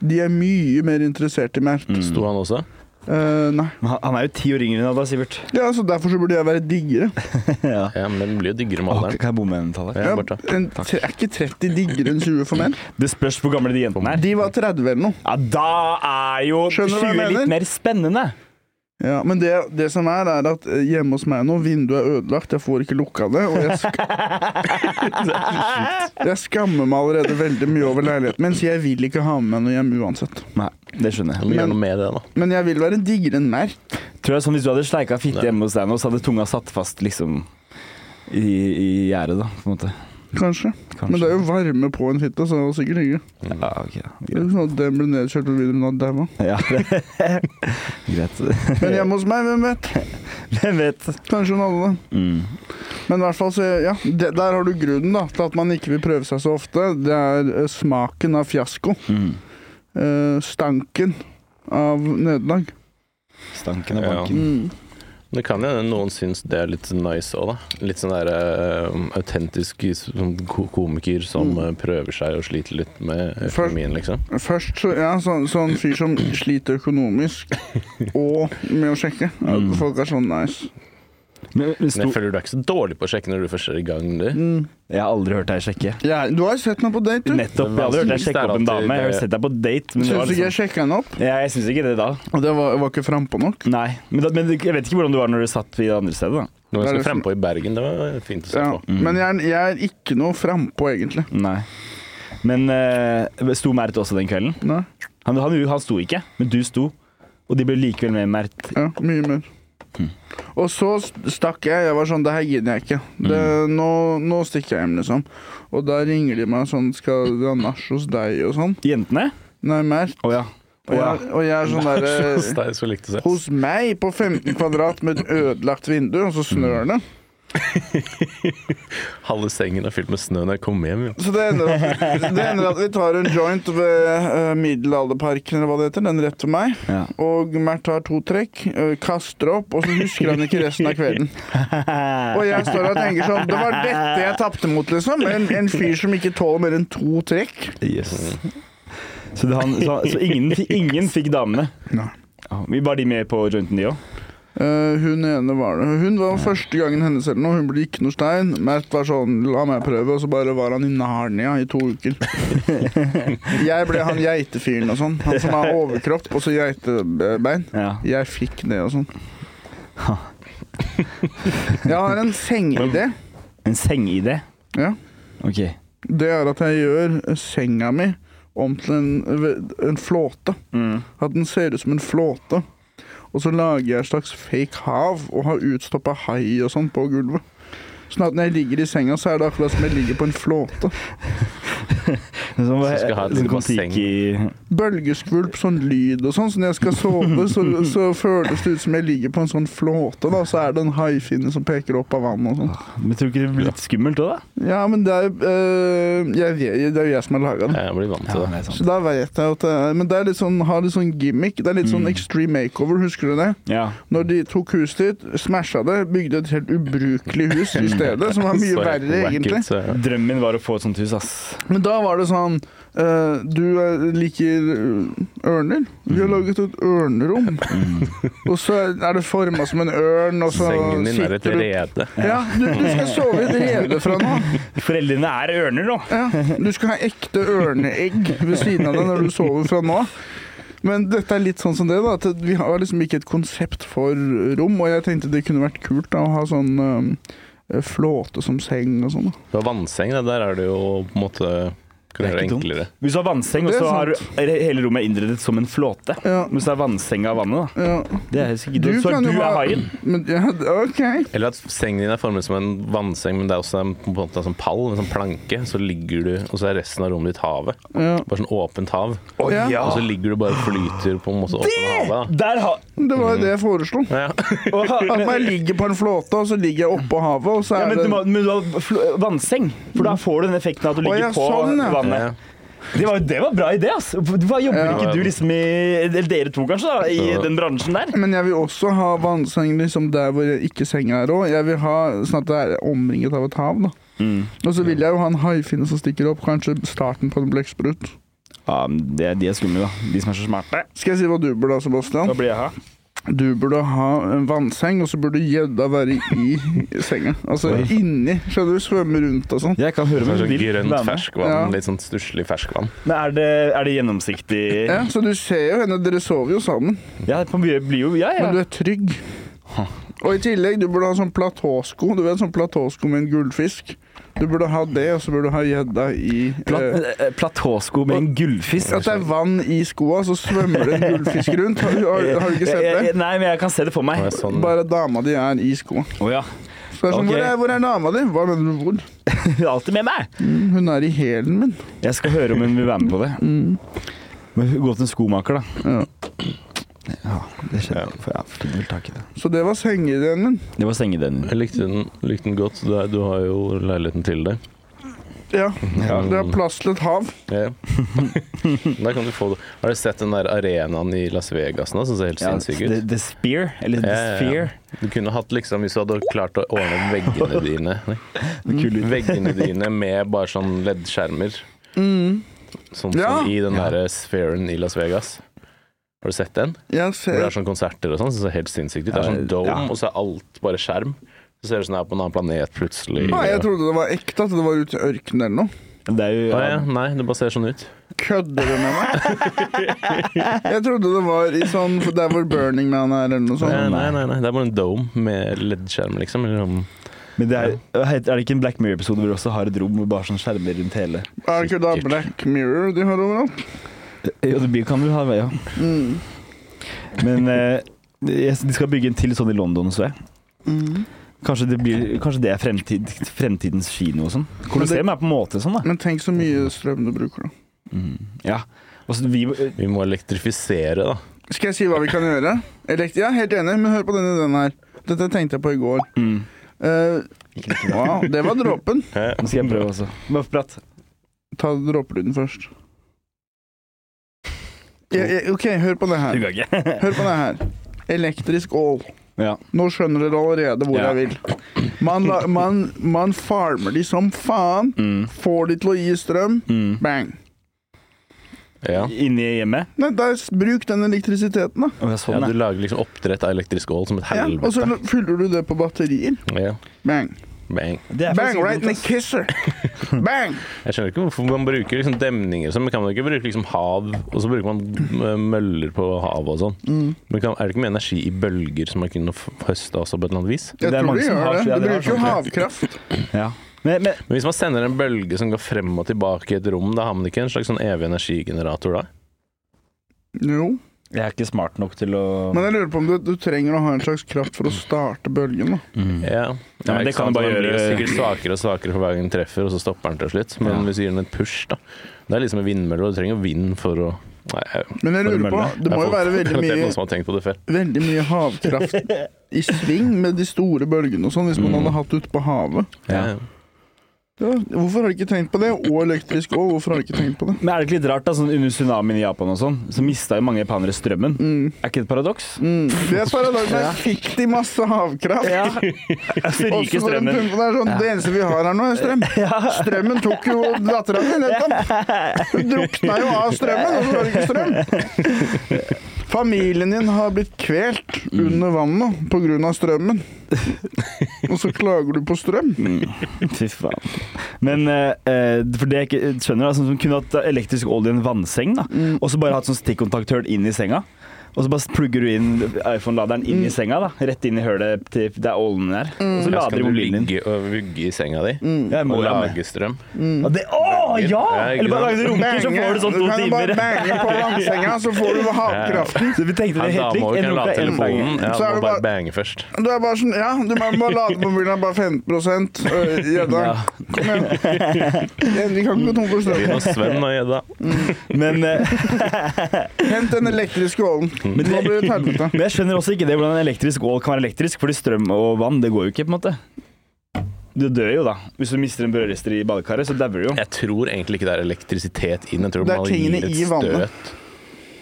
[SPEAKER 2] De er mye mer interessert i Mert.
[SPEAKER 1] Sto han også?
[SPEAKER 2] Eh, nei.
[SPEAKER 4] Men han, han er jo ti år yngre enn deg, Sivert.
[SPEAKER 2] Ja, så Derfor så burde jeg være diggere.
[SPEAKER 4] ja.
[SPEAKER 1] Ja, men den blir jo diggere med
[SPEAKER 4] Å,
[SPEAKER 1] alderen.
[SPEAKER 4] kan jeg bomme en tallet?
[SPEAKER 1] Ja,
[SPEAKER 2] Ja,
[SPEAKER 1] Bartha.
[SPEAKER 2] en, tre, er ikke 30 diggere enn 20 for menn?
[SPEAKER 4] Det spørs hvor gamle de jentene er.
[SPEAKER 2] De var 30 eller noe.
[SPEAKER 4] Ja, da er jo
[SPEAKER 2] Skjønner du hva jeg
[SPEAKER 4] 20 litt
[SPEAKER 2] mener?
[SPEAKER 4] mer spennende.
[SPEAKER 2] Ja, men det, det som er, er at eh, hjemme hos meg nå, vinduet er ødelagt, jeg får ikke lukka det, og jeg, sk jeg skammer meg allerede veldig mye over leiligheten min, så jeg vil ikke ha med meg noe hjem uansett.
[SPEAKER 4] Nei, det skjønner
[SPEAKER 1] Du
[SPEAKER 4] jeg.
[SPEAKER 1] må gjøre
[SPEAKER 2] Men-
[SPEAKER 1] noe med det, da.
[SPEAKER 2] Men jeg vil være diggere enn Mert.
[SPEAKER 4] Tror jeg sånn Hvis du hadde sleika fitte
[SPEAKER 1] Nei.
[SPEAKER 4] hjemme hos deg nå, så hadde tunga satt fast liksom i, i gjerdet, da, på en måte.
[SPEAKER 2] Kanskje.
[SPEAKER 4] Kanskje.
[SPEAKER 2] Men det er jo varme på en hytte, så det var sikkert ikke.
[SPEAKER 4] Ja, ok. da.
[SPEAKER 2] Det er jo sånn at den ble nedkjørt og videre natt daua.
[SPEAKER 4] Ja. Greit.
[SPEAKER 2] Men hjemme hos meg, hvem vet?
[SPEAKER 4] Hvem vet?
[SPEAKER 2] Kanskje hun hadde det.
[SPEAKER 4] Mm.
[SPEAKER 2] Men i hvert fall, så, ja, det, der har du grunnen da, til at man ikke vil prøve seg så ofte. Det er eh, smaken av fiasko.
[SPEAKER 4] Mm.
[SPEAKER 2] Eh, stanken av nederlag.
[SPEAKER 4] Stanken av
[SPEAKER 1] Ja.
[SPEAKER 4] banken.
[SPEAKER 2] Mm.
[SPEAKER 1] Det kan jo hende noen syns det er litt nice òg, da. Litt sånn der eh, autentisk sånn ko- komiker som eh, prøver seg og sliter litt med
[SPEAKER 2] Mm. Først-
[SPEAKER 1] økonomien, liksom.
[SPEAKER 2] Først så, ja, sånn sånn fyr som sliter økonomisk og med å sjekke. At
[SPEAKER 4] Mm.
[SPEAKER 2] folk er sånn nice.
[SPEAKER 4] Men, men
[SPEAKER 1] Men jeg
[SPEAKER 4] sto,
[SPEAKER 1] føler du er ikke så dårlig på å sjekke når du først er i gang. Du.
[SPEAKER 2] Mm.
[SPEAKER 4] jeg har aldri hørt deg sjekke.
[SPEAKER 2] Jeg, du har jo sett meg på date, du.
[SPEAKER 4] Nettopp. Jeg har aldri hørt deg sjekke opp en dame. Jeg har sett deg på date. Men det
[SPEAKER 2] Syns
[SPEAKER 4] var
[SPEAKER 2] du ikke jeg
[SPEAKER 4] liksom,
[SPEAKER 2] sjekka henne opp?
[SPEAKER 4] ja, jeg syns ikke det da.
[SPEAKER 2] Og det var, var ikke frampå nok.
[SPEAKER 4] Nei. Men, da, men jeg vet ikke hvordan du var når du satt i det andre stedet. da.
[SPEAKER 1] Noe
[SPEAKER 2] Det er
[SPEAKER 1] jeg
[SPEAKER 2] det
[SPEAKER 1] skal frempå i Bergen, det var fint å se
[SPEAKER 2] Ja.
[SPEAKER 1] på.
[SPEAKER 2] Men jeg er, jeg er ikke noe frampå, egentlig.
[SPEAKER 4] Nei. Men eh, sto Mert også den kvelden?
[SPEAKER 2] Nei.
[SPEAKER 4] Han, han, han sto ikke, men du sto. Og de ble likevel med Mert.
[SPEAKER 2] Ja, mye mer. Og så st- stakk jeg. Jeg var sånn Det her gidder jeg ikke. Det, nå, nå stikker jeg hjem, liksom. Og da ringer de meg sånn Skal vi ha nach hos deg, og sånn.
[SPEAKER 4] Jentene?
[SPEAKER 2] Nei, mer.
[SPEAKER 4] Å ja.
[SPEAKER 2] Og jeg, og jeg er sånn
[SPEAKER 1] Hos
[SPEAKER 2] derre
[SPEAKER 1] deg, så likte jeg
[SPEAKER 2] Hos meg på 15 kvadrat med et ødelagt vindu, og så snør det.
[SPEAKER 1] Halve sengen er fylt med snø når jeg kommer hjem. jo.
[SPEAKER 2] Så det ender, at, det ender at vi tar en joint ved eh, Middelalderparken, eller hva det heter. Den rett ved meg.
[SPEAKER 4] Ja.
[SPEAKER 2] Og Mert tar to trekk, eh, kaster opp, og så husker han ikke resten av kvelden. Og jeg står her og tenker sånn Det var dette jeg tapte mot, liksom. En, en fyr som ikke tåler mer enn to trekk.
[SPEAKER 4] Yes. Så, det, han, så, så ingen, fi- ingen fikk damene?
[SPEAKER 2] Nei.
[SPEAKER 4] Ja, vi Var de med på jointen, de òg?
[SPEAKER 2] Eh, hun ene var det. Hun var første gangen hennes eller noe. Hun ble ikke noe stein. Mert var sånn La meg prøve, og så bare var han i Narnia i to uker. jeg ble han geitefyren og sånn. Han som har overkropp og så geitebein.
[SPEAKER 4] Ja.
[SPEAKER 2] Jeg fikk det og sånn. Jeg har en sengeidé.
[SPEAKER 4] En seng-ID?
[SPEAKER 2] Ja.
[SPEAKER 4] OK.
[SPEAKER 2] Det er at jeg gjør senga mi om til en, en flåte.
[SPEAKER 1] Mm.
[SPEAKER 2] At den ser ut som en flåte. Og så lager jeg et slags fake hav og har utstoppa hai og sånn på gulvet. Sånn at når jeg ligger i senga, så er det akkurat som jeg ligger på en flåte.
[SPEAKER 4] Som,
[SPEAKER 1] Så skal jeg ha et lite basseng.
[SPEAKER 2] Bølgeskvulp, sånn lyd og sånn. Så når jeg skal sove, så, så føles det ut som jeg ligger på en sånn flåte. da, Så er det en haifinne som peker opp av vannet og sånn.
[SPEAKER 4] Men tror du ikke det blir litt skummelt òg, da?
[SPEAKER 2] Ja, men det er jo øh, jeg vet- Det er jo jeg som har laga den.
[SPEAKER 1] Jeg blir vant til det.
[SPEAKER 4] er
[SPEAKER 2] Så da vet jeg at det er Men det er litt sånn, har litt sånn gimmick. Det er litt
[SPEAKER 1] Mm.
[SPEAKER 2] sånn extreme makeover, husker du det?
[SPEAKER 4] Ja.
[SPEAKER 2] Når de tok huset ditt, smasha det, bygde et helt ubrukelig hus i stedet, som var mye
[SPEAKER 1] Mm. Så helt
[SPEAKER 2] verre,
[SPEAKER 1] wack ut,
[SPEAKER 2] egentlig.
[SPEAKER 1] så-
[SPEAKER 4] Drømmen min var å få et sånt hus, ass.
[SPEAKER 2] Men da var det sånn eh, Du eh, liker eh, ørner? Vi
[SPEAKER 1] Mm.
[SPEAKER 2] har laget et ørnerom. Og så er det forma som en ørn, og så
[SPEAKER 1] Sengen din er et
[SPEAKER 2] Altså, sitter du
[SPEAKER 1] rede.
[SPEAKER 2] Ja, du, du skal sove i et rede fra nå.
[SPEAKER 4] Foreldrene er ørner nå!
[SPEAKER 2] Ja, du skal ha ekte ørneegg ved siden av deg når du sover fra nå. Men dette er litt sånn som det, da. At vi har liksom ikke et konsept for rom. Og jeg tenkte det kunne vært kult da, å ha sånn øhm, flåte som seng og sånn. da.
[SPEAKER 1] Du har vannseng, da. der er det jo på en måte Kan
[SPEAKER 4] Det er
[SPEAKER 1] gjøre det
[SPEAKER 4] ikke dumt.
[SPEAKER 1] enklere.
[SPEAKER 4] Hvis du har vannseng, og
[SPEAKER 2] Det er
[SPEAKER 4] så har er hele rommet innredet som en flåte.
[SPEAKER 2] Ja,
[SPEAKER 4] Mens det er vannseng av vannet, da.
[SPEAKER 2] ja.
[SPEAKER 4] Det er sikkert,
[SPEAKER 2] Du
[SPEAKER 4] så
[SPEAKER 2] kan
[SPEAKER 4] du
[SPEAKER 2] jo
[SPEAKER 4] er
[SPEAKER 2] ha-
[SPEAKER 4] haien.
[SPEAKER 2] Men ja, OK.
[SPEAKER 1] Eller at sengen din er formet som en vannseng, men det er også en, på en måte en sånn pall, en sånn planke. Så ligger du, og så er resten av rommet ditt havet.
[SPEAKER 2] Ja.
[SPEAKER 1] Bare sånn åpent hav.
[SPEAKER 2] Å, ja.
[SPEAKER 1] Og så ligger du bare og flyter på en måte åpent havet.
[SPEAKER 4] Der har
[SPEAKER 2] Det var jo det jeg foreslo.
[SPEAKER 1] Da. Ja.
[SPEAKER 2] At man ligger på en flåte, og så ligger jeg oppå havet, og så
[SPEAKER 4] Ja,
[SPEAKER 2] er
[SPEAKER 4] men, du må,
[SPEAKER 2] det
[SPEAKER 4] men du har fl- vannseng, for da får du den effekten at du
[SPEAKER 2] Å,
[SPEAKER 4] ligger
[SPEAKER 2] ja,
[SPEAKER 4] på
[SPEAKER 2] sånn, ja.
[SPEAKER 1] Ja.
[SPEAKER 4] vannet. Det var, det var bra idé, ass. Hva jobber
[SPEAKER 2] Ja.
[SPEAKER 4] ikke du liksom i Eller dere to, kanskje, da, i
[SPEAKER 1] Ja.
[SPEAKER 4] den bransjen der?
[SPEAKER 2] men jeg vil også ha vannseng liksom der hvor jeg ikke senga er òg. Jeg vil ha sånn at det er omringet av et hav, da. Og så vil jeg jo ha en haifinne som stikker opp. Kanskje starten på en blekksprut.
[SPEAKER 4] Ja, men det, De er skumle, da. De som er så smarte.
[SPEAKER 2] Skal jeg si hva du burde ha, Sebastian?
[SPEAKER 4] Hva blir jeg ha?
[SPEAKER 2] Du burde ha en vannseng, og så burde gjedda være i senga. Altså inni. Skjønner du? Svømme rundt og sånn.
[SPEAKER 4] Jeg kan høre
[SPEAKER 1] Sånn grønt
[SPEAKER 4] Være med.
[SPEAKER 1] ferskvann.
[SPEAKER 2] Ja.
[SPEAKER 1] Litt sånn stusslig ferskvann.
[SPEAKER 4] Men er det, er det gjennomsiktig
[SPEAKER 2] Ja,
[SPEAKER 4] Ja,
[SPEAKER 2] så du ser jo henne. Dere sover jo sammen,
[SPEAKER 4] det kan bli- blir jo Ja, ja.
[SPEAKER 2] men du er trygg. Og i tillegg, du burde ha sånn platåsko. Du vet, sånn platåsko med en gullfisk. Du burde ha det, og så burde du ha gjedda i eh,
[SPEAKER 4] Plat, eh, platåsko med en gullfisk.
[SPEAKER 2] At det er vann i skoa, så svømmer det en gullfisk rundt. Har, har, har du ikke
[SPEAKER 4] Jeg- jeg-
[SPEAKER 2] sett det?
[SPEAKER 4] Nei, men jeg kan se det for meg.
[SPEAKER 1] Og jeg er sånn,
[SPEAKER 2] Bare dama di er i skoa.
[SPEAKER 4] Å ja.
[SPEAKER 2] Så det er sånn,
[SPEAKER 4] Ok.
[SPEAKER 2] hvor, er, hvor er dama di? Hva mener du? Hvor?
[SPEAKER 4] Hun er alltid med meg.
[SPEAKER 2] Hun er i hælen min.
[SPEAKER 4] Jeg skal høre om hun vil være med på det. Men hun- gå til en skomaker, da.
[SPEAKER 2] Ja.
[SPEAKER 4] Ja, det skjedde. For jeg fikk vel tak i det.
[SPEAKER 2] Så det var sengeideen min.
[SPEAKER 4] Det var sengedøden.
[SPEAKER 1] jeg likte den, likte den godt. Du, er, du har jo leiligheten til det.
[SPEAKER 2] Ja. Det er plass til et hav.
[SPEAKER 1] Ja. Der kan du få det. Har du sett den der arenaen i Las Vegas nå, som ser helt
[SPEAKER 4] Ja,
[SPEAKER 1] sinnssyk ut?
[SPEAKER 4] the, the Spear, eller
[SPEAKER 1] Ja,
[SPEAKER 4] The
[SPEAKER 1] ja, ja.
[SPEAKER 4] Sphere.
[SPEAKER 1] Du kunne hatt liksom, hvis du hadde klart å ordne veggene dine
[SPEAKER 4] Kul ut.
[SPEAKER 1] Veggene dine med bare sånn
[SPEAKER 2] Mm.
[SPEAKER 1] leddskjermer. Sånn som
[SPEAKER 2] Ja.
[SPEAKER 1] i den derre sfæren i Las Vegas. Har du sett den?
[SPEAKER 2] Jeg
[SPEAKER 1] Hvor det
[SPEAKER 2] ser
[SPEAKER 1] er sånn konserter og sånn. Så det er helt sinnssykt ut. Det er sånn dome, og så er alt bare skjerm. Så ser det ut som det er på en annen planet plutselig.
[SPEAKER 2] Nei, jeg trodde det var ekte, at det var ute i ørkenen eller noe.
[SPEAKER 4] Det er jo
[SPEAKER 1] Å ja, nei, det bare ser sånn ut.
[SPEAKER 2] Kødder du med meg? Jeg trodde det var i sånn for Der hvor Burning Man er, eller noe
[SPEAKER 1] Nei,
[SPEAKER 2] sånt.
[SPEAKER 1] nei, nei, nei. Det er bare en dome med leddskjerm, liksom. Eller sånn.
[SPEAKER 4] Men det er, er det ikke en Black Mirror-episode hvor du også har et rom med bare sånn skjermer rundt hele
[SPEAKER 2] Er det ikke da Black Mirror de har overalt?
[SPEAKER 4] Jo, det blir- kan du ha, ja.
[SPEAKER 2] Mm.
[SPEAKER 4] Men eh, jeg- de skal bygge en til sånn i London, så jeg.
[SPEAKER 2] Mm.
[SPEAKER 4] Kanskje det, blir, kanskje det er fremtid, fremtidens kino og sånn. Kolosseum er på en måte sånn, da.
[SPEAKER 2] Men tenk så mye strøm du bruker, da.
[SPEAKER 4] Ja. Og så vi,
[SPEAKER 1] Vi må elektrifisere, da.
[SPEAKER 2] Skal jeg si hva vi kan gjøre? Elekt ja, helt enig, men hør på denne, denne her. Dette tenkte jeg på i går.
[SPEAKER 4] mm,
[SPEAKER 2] Eh, wow, det var dråpen.
[SPEAKER 4] nå skal jeg prøve også. Bare prat.
[SPEAKER 2] Ta dråpelyden først. Ja, ja, OK, hør på det her.
[SPEAKER 4] Du kan ikke.
[SPEAKER 2] Hør på det her. Elektrisk ål.
[SPEAKER 4] Ja.
[SPEAKER 2] Nå skjønner dere allerede hvor
[SPEAKER 4] Ja.
[SPEAKER 2] jeg vil. Man, la- man, man farmer de som faen.
[SPEAKER 4] Mm,
[SPEAKER 2] Får de til å gi strøm.
[SPEAKER 4] mm.
[SPEAKER 2] Bang.
[SPEAKER 1] Ja.
[SPEAKER 4] Inni hjemmet?
[SPEAKER 2] Nei, da, s- bruk den elektrisiteten, da.
[SPEAKER 4] Å, ja,
[SPEAKER 1] ja,
[SPEAKER 4] sånn,
[SPEAKER 1] du
[SPEAKER 4] ja.
[SPEAKER 1] lager liksom oppdrett av elektrisk ål som et
[SPEAKER 2] Ja, og så
[SPEAKER 1] helvete.
[SPEAKER 2] l- fyller du det på batterier.
[SPEAKER 1] Ja.
[SPEAKER 2] Bang.
[SPEAKER 1] Bang.
[SPEAKER 4] Det er
[SPEAKER 2] Bang
[SPEAKER 4] faktisk
[SPEAKER 2] right in the
[SPEAKER 4] godt, ass.
[SPEAKER 2] kisser. Bang.
[SPEAKER 1] Jeg skjønner ikke hvorfor man bruker liksom demninger og sånn. Men kan man ikke bruke liksom hav, og så bruker man eh, møller på havet og sånn?
[SPEAKER 4] Mm.
[SPEAKER 1] Men kan, er det ikke mye energi i bølger som man kunne f- høste også på et eller annet vis?
[SPEAKER 2] Jeg
[SPEAKER 4] Det er
[SPEAKER 2] tror
[SPEAKER 4] mange
[SPEAKER 2] de
[SPEAKER 4] som
[SPEAKER 2] gjør
[SPEAKER 4] har-
[SPEAKER 2] det.
[SPEAKER 4] ja,
[SPEAKER 2] De
[SPEAKER 4] det har
[SPEAKER 2] bruker jo
[SPEAKER 4] sånn.
[SPEAKER 2] havkraft.
[SPEAKER 4] Ja. Men, men
[SPEAKER 1] Men hvis man sender en bølge som går frem og tilbake i et rom, da har man ikke en slags sånn evig energigenerator da?
[SPEAKER 2] Jo.
[SPEAKER 4] jeg er ikke smart nok til å
[SPEAKER 2] Men jeg lurer på om du, du trenger å ha en slags kraft for å starte bølgen. da.
[SPEAKER 4] Mm.
[SPEAKER 1] Ja,
[SPEAKER 4] Ja,
[SPEAKER 1] ikke
[SPEAKER 4] men det
[SPEAKER 1] sant?
[SPEAKER 4] kan man bare
[SPEAKER 1] Den blir
[SPEAKER 4] gjøre-
[SPEAKER 1] Sikkert svakere og svakere for hver gang den treffer, og så stopper den til slutt. Men
[SPEAKER 4] Ja.
[SPEAKER 1] hvis du gir den et push, da Det er liksom en vindmølle, og du trenger vind for å Nei, jeg,
[SPEAKER 2] Men jeg lurer på, det må jo være veldig
[SPEAKER 1] Det er
[SPEAKER 2] mye,
[SPEAKER 1] noen som har tenkt på det før.
[SPEAKER 2] veldig mye havkraft i sving med de store bølgene og sånn, hvis man
[SPEAKER 1] Mm.
[SPEAKER 2] hadde hatt ute på havet.
[SPEAKER 4] Ja.
[SPEAKER 1] Ja.
[SPEAKER 2] Ja, hvorfor har de ikke tenkt på det? Og elektrisk òg, hvorfor har de ikke tenkt på det?
[SPEAKER 4] Men er det ikke litt rart, da, sånn under tsunamien i Japan og sånn, så mista jo mange japanere strømmen.
[SPEAKER 2] Mm.
[SPEAKER 4] Er ikke det et paradoks?
[SPEAKER 2] Mm. Det er paradokset. Der fikk de masse havkraft.
[SPEAKER 4] Ja.
[SPEAKER 2] Og så
[SPEAKER 4] Ryker
[SPEAKER 2] var det en
[SPEAKER 4] strømmen.
[SPEAKER 2] pumpe der sånn, det eneste vi har her nå, er strøm. Strømmen tok jo dattera mi nettopp. Hun drukna jo av strømmen, og så var det ikke strøm. Familien din har blitt kvelt under vannet pga. strømmen. Og så klager du på strøm.
[SPEAKER 4] Fy faen. Men eh, eh, for det jeg ikke skjønner, da, sånn som kunne hatt elektrisk ål i en vannseng, da, og så bare hatt sånn stikkontakthull inn i senga. Og så bare plugger du inn iPhone-laderen inn i senga, da. Rett inn i hølet til der ålen er.
[SPEAKER 1] Ja,
[SPEAKER 4] Og så
[SPEAKER 1] så
[SPEAKER 4] lader
[SPEAKER 1] kan
[SPEAKER 4] du
[SPEAKER 1] du
[SPEAKER 4] mobilen din.
[SPEAKER 1] ligge og vugge i senga di.
[SPEAKER 4] Jeg må
[SPEAKER 1] Og
[SPEAKER 4] la med.
[SPEAKER 1] lage strøm.
[SPEAKER 4] Ja, det, å, ja!
[SPEAKER 1] Ja, ikke
[SPEAKER 4] Eller
[SPEAKER 1] sant?
[SPEAKER 4] bare lage runker, så får du sånn to
[SPEAKER 2] kan jo bare
[SPEAKER 4] timer.
[SPEAKER 2] bange på vannsenga, så får du havkraften.
[SPEAKER 4] Så vi tenkte det
[SPEAKER 1] Ja, da
[SPEAKER 4] helt
[SPEAKER 1] må vi
[SPEAKER 4] likt. En
[SPEAKER 1] kunne
[SPEAKER 4] runke
[SPEAKER 1] lade
[SPEAKER 4] er en
[SPEAKER 1] telefonen.
[SPEAKER 4] banger.
[SPEAKER 1] Ja,
[SPEAKER 2] Så er
[SPEAKER 1] må
[SPEAKER 2] det
[SPEAKER 1] bare
[SPEAKER 2] bare-
[SPEAKER 1] bange først.
[SPEAKER 2] Du er bare sånn Ja, du må bare lade mobilen er bare 15 øh, Gjedda. Kom igjen. Vi kan ikke gå tom for strøm.
[SPEAKER 1] Begynn å svømme nå, gjedda.
[SPEAKER 4] Men, eh,
[SPEAKER 2] Hent den elektriske ålen. Nå
[SPEAKER 4] det-
[SPEAKER 2] blir det et helvete.
[SPEAKER 4] men jeg skjønner også ikke det hvordan en elektrisk ål kan være elektrisk, fordi strøm og vann, det går jo ikke, på en måte. Du dør jo, da. Hvis du mister en brødrester i badekaret, så dauer du jo.
[SPEAKER 1] Jeg tror egentlig ikke det er elektrisitet inn. Jeg tror
[SPEAKER 2] Det er
[SPEAKER 1] man gir
[SPEAKER 2] tingene
[SPEAKER 1] et
[SPEAKER 2] i vannet.
[SPEAKER 1] støt.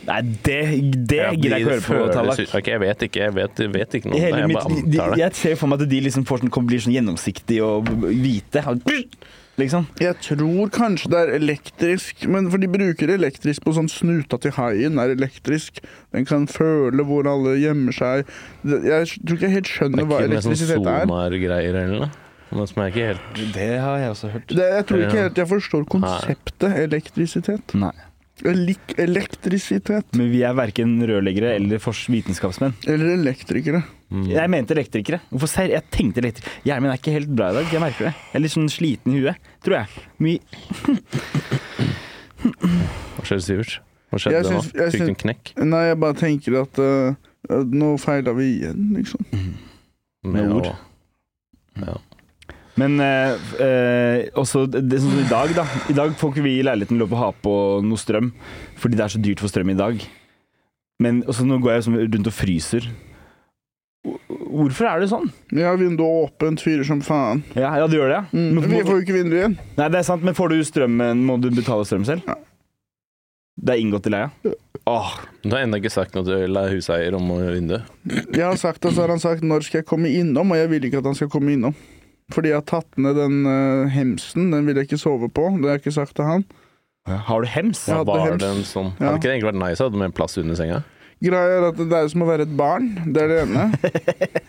[SPEAKER 4] Nei, det, det
[SPEAKER 1] Ja,
[SPEAKER 4] gidder jeg ikke
[SPEAKER 1] de
[SPEAKER 4] høre på,
[SPEAKER 1] føles
[SPEAKER 4] Tallak.
[SPEAKER 1] ut- Ok, jeg vet ikke. Jeg vet, jeg vet ikke
[SPEAKER 4] I
[SPEAKER 1] noe om det.
[SPEAKER 4] hele
[SPEAKER 1] Jeg
[SPEAKER 4] mitt,
[SPEAKER 1] bare
[SPEAKER 4] de,
[SPEAKER 1] antar det.
[SPEAKER 4] jeg ser for meg at de liksom får sånn, kommer- blir sånn gjennomsiktige og hvite. Liksom.
[SPEAKER 2] Jeg tror kanskje det er elektrisk, men for de bruker elektrisk på sånn snuta til haien er elektrisk. Den kan føle hvor alle gjemmer seg. Det- Jeg tror ikke jeg helt
[SPEAKER 1] Det
[SPEAKER 2] skjønner
[SPEAKER 1] er
[SPEAKER 2] hva
[SPEAKER 1] ikke med sånn
[SPEAKER 2] elektrisitet er.
[SPEAKER 1] sonar-greier eller noe. Noe som jeg ikke helt
[SPEAKER 4] Det har jeg også hørt.
[SPEAKER 2] Det, jeg tror ikke
[SPEAKER 1] Ja.
[SPEAKER 2] helt jeg forstår konseptet elektrisitet.
[SPEAKER 4] Nei.
[SPEAKER 2] Elik elektrisitet.
[SPEAKER 4] Men vi er verken rørleggere eller fors- vitenskapsmenn.
[SPEAKER 2] Eller elektrikere.
[SPEAKER 1] mm.
[SPEAKER 4] Jeg mente elektrikere. Hvorfor ser jeg tenkte elektriker? Hjernen min er ikke helt bra i dag, jeg merker det. Jeg er litt sånn sliten i huet, tror jeg. Mye
[SPEAKER 1] Hva skjedde, Sivert? Hva
[SPEAKER 2] Jeg
[SPEAKER 1] skjedde nå?
[SPEAKER 2] syns-
[SPEAKER 1] Fikk
[SPEAKER 2] jeg
[SPEAKER 1] du en
[SPEAKER 2] syns-
[SPEAKER 1] knekk?
[SPEAKER 2] Nei, jeg bare tenker at eh, at nå feila vi igjen, liksom.
[SPEAKER 4] Med ord.
[SPEAKER 1] å- Ja.
[SPEAKER 4] Men eh, f- eh, også det, det, sånn som i dag, da. I dag får ikke vi i leiligheten lov å ha på noe strøm, fordi det er så dyrt for strøm i dag. Men også nå går jeg liksom rundt og fryser. Hvor- Hvorfor er det sånn?
[SPEAKER 2] Vi har vinduet åpent, fyrer som faen.
[SPEAKER 4] Ja, ja du gjør det, ja.
[SPEAKER 2] Mm.
[SPEAKER 4] Men,
[SPEAKER 2] Vi får jo ikke vinduet igjen.
[SPEAKER 4] Nei, det er sant, men får du strømmen, må du betale strøm selv?
[SPEAKER 2] Ja.
[SPEAKER 4] Det er inngått i leia? Åh,
[SPEAKER 1] Du har ennå ikke sagt noe til la huseier om vinduet.
[SPEAKER 2] Jeg har sagt det, så har han sagt 'når skal jeg komme innom', og jeg vil ikke at han skal komme innom. Fordi jeg har tatt ned den eh, hemsen, den vil jeg ikke sove på. Det har jeg ikke sagt til han.
[SPEAKER 4] har du hems?
[SPEAKER 2] Ja.
[SPEAKER 1] Ja,
[SPEAKER 2] hadde
[SPEAKER 1] var
[SPEAKER 2] hems.
[SPEAKER 1] det en sånn
[SPEAKER 2] Ja.
[SPEAKER 1] Hadde ikke det egentlig vært nice å ha det med en plass under senga?
[SPEAKER 2] Greia er at det er som å være et barn. Det er det ene.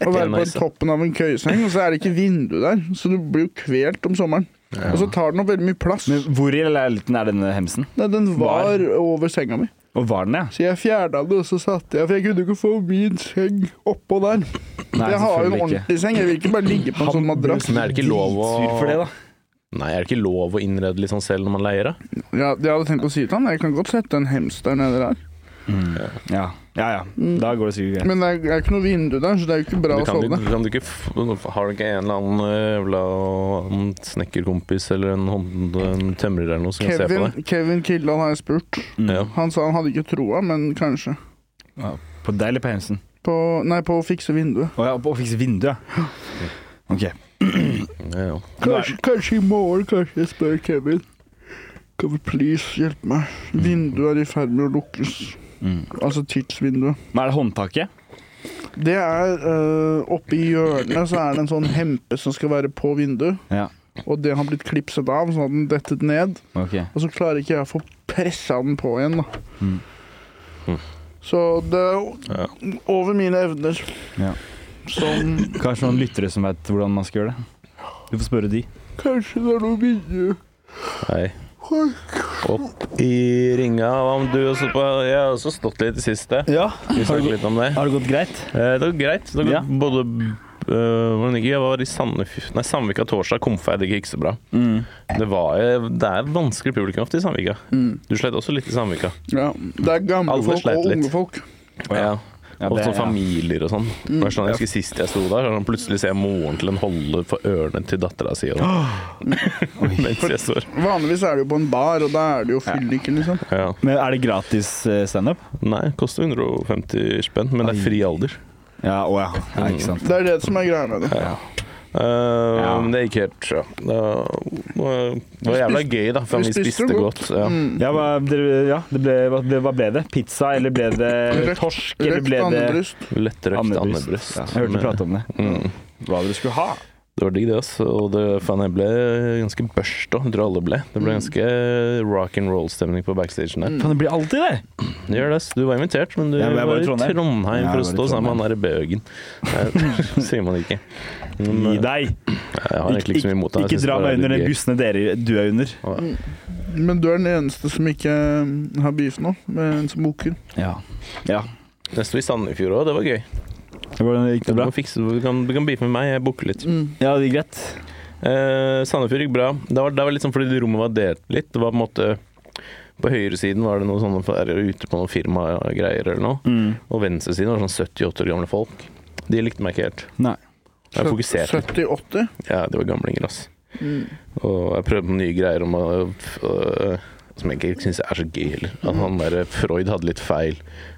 [SPEAKER 2] Å være på
[SPEAKER 1] nice.
[SPEAKER 2] toppen av en køyeseng, og så er det ikke vindu der. Så du blir jo kvelt om sommeren. Og så tar den opp veldig mye plass.
[SPEAKER 4] Men hvor i leiligheten er denne hemsen?
[SPEAKER 2] Nei, den var over senga mi.
[SPEAKER 4] Og var den, ja?
[SPEAKER 2] Så jeg fjerna den, og så satte jeg For jeg kunne ikke få min seng oppå der.
[SPEAKER 4] Nei,
[SPEAKER 2] jeg har jo en
[SPEAKER 4] selvfølgelig ikke.
[SPEAKER 2] ordentlig seng. Jeg vil ikke bare ligge på en sånn madrass.
[SPEAKER 1] Men er det ikke lov å
[SPEAKER 4] Sur for det, da.
[SPEAKER 1] Nei, er det ikke lov å innrede litt sånn selv når man leier det?
[SPEAKER 2] Ja, jeg hadde tenkt å si til han Jeg kan godt sette en hamster nede der.
[SPEAKER 1] Mm.
[SPEAKER 4] Ja, ja. ja. Da går det sikkert greit.
[SPEAKER 2] Men det er, det er ikke noe vindu der, så det er jo ikke bra
[SPEAKER 1] Du
[SPEAKER 2] å
[SPEAKER 1] kan,
[SPEAKER 2] sovne.
[SPEAKER 1] du, kan du ikke f- Har du ikke en eller annen eh, jævla snekkerkompis eller en, hånd, en tømrer eller noe som kan se på
[SPEAKER 2] Kevin,
[SPEAKER 1] deg?
[SPEAKER 2] Kevin Kildahl har jeg spurt.
[SPEAKER 1] Ja.
[SPEAKER 2] Han sa han hadde ikke troa, men kanskje.
[SPEAKER 4] Ja. På deg eller på hemsen?
[SPEAKER 2] På, nei, på å fikse vinduet.
[SPEAKER 4] Å ja, på å fikse vinduet, ja. OK.
[SPEAKER 1] Ja, ja.
[SPEAKER 2] Kanskje, kanskje i morgen kanskje jeg spør Kevin. Kan du please hjelpe meg? Vinduet er i ferd med å lukkes.
[SPEAKER 4] Mm.
[SPEAKER 2] Altså tidsvinduet.
[SPEAKER 4] Men er det håndtaket?
[SPEAKER 2] Det er øh, Oppe i hjørnet så er det en sånn hempe som skal være på vinduet.
[SPEAKER 4] Ja.
[SPEAKER 2] Og det har blitt klipset av, sånn at den dettet ned.
[SPEAKER 4] OK.
[SPEAKER 2] Og så klarer ikke jeg å få pressa den på igjen, da.
[SPEAKER 4] Mm.
[SPEAKER 1] Mm.
[SPEAKER 2] Så det er
[SPEAKER 1] Ja.
[SPEAKER 2] over mine evner.
[SPEAKER 4] Ja.
[SPEAKER 2] Som
[SPEAKER 4] Kanskje noen lyttere som vet hvordan man skal gjøre det. Du får spørre de.
[SPEAKER 2] Kanskje det er noe vindu.
[SPEAKER 1] Hei. Opp i ringa. Hva om du også på Jeg har også stått litt i siste.
[SPEAKER 4] Ja.
[SPEAKER 1] Vi
[SPEAKER 4] Har
[SPEAKER 1] snakket
[SPEAKER 4] det,
[SPEAKER 1] litt om det.
[SPEAKER 4] har det gått greit?
[SPEAKER 1] Eh, Det går greit. Det går
[SPEAKER 4] Ja.
[SPEAKER 1] både øh, hvordan gikk det? Jeg var i Sandefjord Nei, Sandvika torsdag. Komfeid det gikk ikke så bra.
[SPEAKER 4] Mm.
[SPEAKER 1] Det, var, jo- det er vanskelig publikum ofte i Sandvika. Du slet også litt i Sandvika.
[SPEAKER 2] Ja, det er gamle
[SPEAKER 1] Alle
[SPEAKER 2] folk
[SPEAKER 1] sleit
[SPEAKER 2] og
[SPEAKER 1] litt.
[SPEAKER 2] unge folk.
[SPEAKER 1] Ja.
[SPEAKER 4] Ja, Mm.
[SPEAKER 1] og
[SPEAKER 4] det-
[SPEAKER 1] sånn familier og sånn. Det var sånn jeg husker Sist jeg sto der, sånn, plutselig ser jeg moren til en holde for ørene til dattera si. og- Mens jeg står.
[SPEAKER 2] Vanligvis er det jo på en bar, og da er det jo fyllik, liksom.
[SPEAKER 1] Ja.
[SPEAKER 4] Men er det gratis eh, standup?
[SPEAKER 1] Nei, koster 150 spenn, men det er fri alder.
[SPEAKER 4] Ja, å ja. ja. Ikke sant.
[SPEAKER 2] Det er det som er greia med det.
[SPEAKER 1] Eh, Men det gikk helt ja. Det var, det var jævla gøy, da, for
[SPEAKER 2] Vi
[SPEAKER 1] vi
[SPEAKER 2] spiste
[SPEAKER 1] spiste
[SPEAKER 2] godt.
[SPEAKER 1] godt. Ja.
[SPEAKER 2] Mm.
[SPEAKER 4] Ja, hva, dere, ja det ble, hva, ble, hva ble det? Pizza, eller ble det
[SPEAKER 2] Røkt-
[SPEAKER 4] torsk, eller
[SPEAKER 2] Røkt
[SPEAKER 4] ble det
[SPEAKER 2] andebryst.
[SPEAKER 1] Lettrøkt
[SPEAKER 4] andebryst?
[SPEAKER 1] andebryst.
[SPEAKER 4] Ja, jeg hørte prate om det.
[SPEAKER 1] Mm.
[SPEAKER 4] Hva dere skulle ha.
[SPEAKER 1] Det var digg, det. ass. Og det, faen, jeg ble ganske børsta. Jeg tror alle ble. Det
[SPEAKER 4] Mm.
[SPEAKER 1] ble ganske rock and roll-stemning på backstagen der.
[SPEAKER 4] Faen, det blir alltid det!
[SPEAKER 1] Det gjør det, ass. Du var invitert, men du
[SPEAKER 4] Ja, men jeg
[SPEAKER 1] var, i Trondheim,
[SPEAKER 4] Ja,
[SPEAKER 1] for å
[SPEAKER 4] jeg var i
[SPEAKER 1] stå sammen med
[SPEAKER 4] Trondheim.
[SPEAKER 1] han derre Bøgen. Nei, sier man ikke. Men, eh,
[SPEAKER 4] Gi
[SPEAKER 1] jeg
[SPEAKER 4] deg!
[SPEAKER 1] har egentlig ikke så mye imot
[SPEAKER 4] Ikke dra meg under den bussene dere du er under.
[SPEAKER 2] Mm. Men du er den eneste som ikke eh, har beef nå, med en som booker.
[SPEAKER 4] Ja. ja.
[SPEAKER 1] Jeg sto i Sandefjord òg, det var gøy.
[SPEAKER 4] Hvordan gikk
[SPEAKER 1] Du,
[SPEAKER 4] det bra?
[SPEAKER 1] må fikse, du kan, du kan beefe med meg, jeg booker litt.
[SPEAKER 2] Mm.
[SPEAKER 4] Ja, det gikk greit.
[SPEAKER 1] Eh, Sandefjord gikk bra. Det var, det var litt sånn fordi rommet var delt litt. Det var på en måte På høyresiden var det noe sånne der ute på noen firmagreier eller noe.
[SPEAKER 4] Mm.
[SPEAKER 1] Og venstresiden var sånn 70-80 år gamle folk. De likte meg ikke helt.
[SPEAKER 4] Nei.
[SPEAKER 1] Jeg fokuserte.
[SPEAKER 2] 70-80.
[SPEAKER 1] Ja, de var gamlinger, ass.
[SPEAKER 2] Mm.
[SPEAKER 1] Og jeg prøvde noen nye greier om å øh, Som jeg ikke syns er så gøy heller. At han der eh, Freud hadde litt feil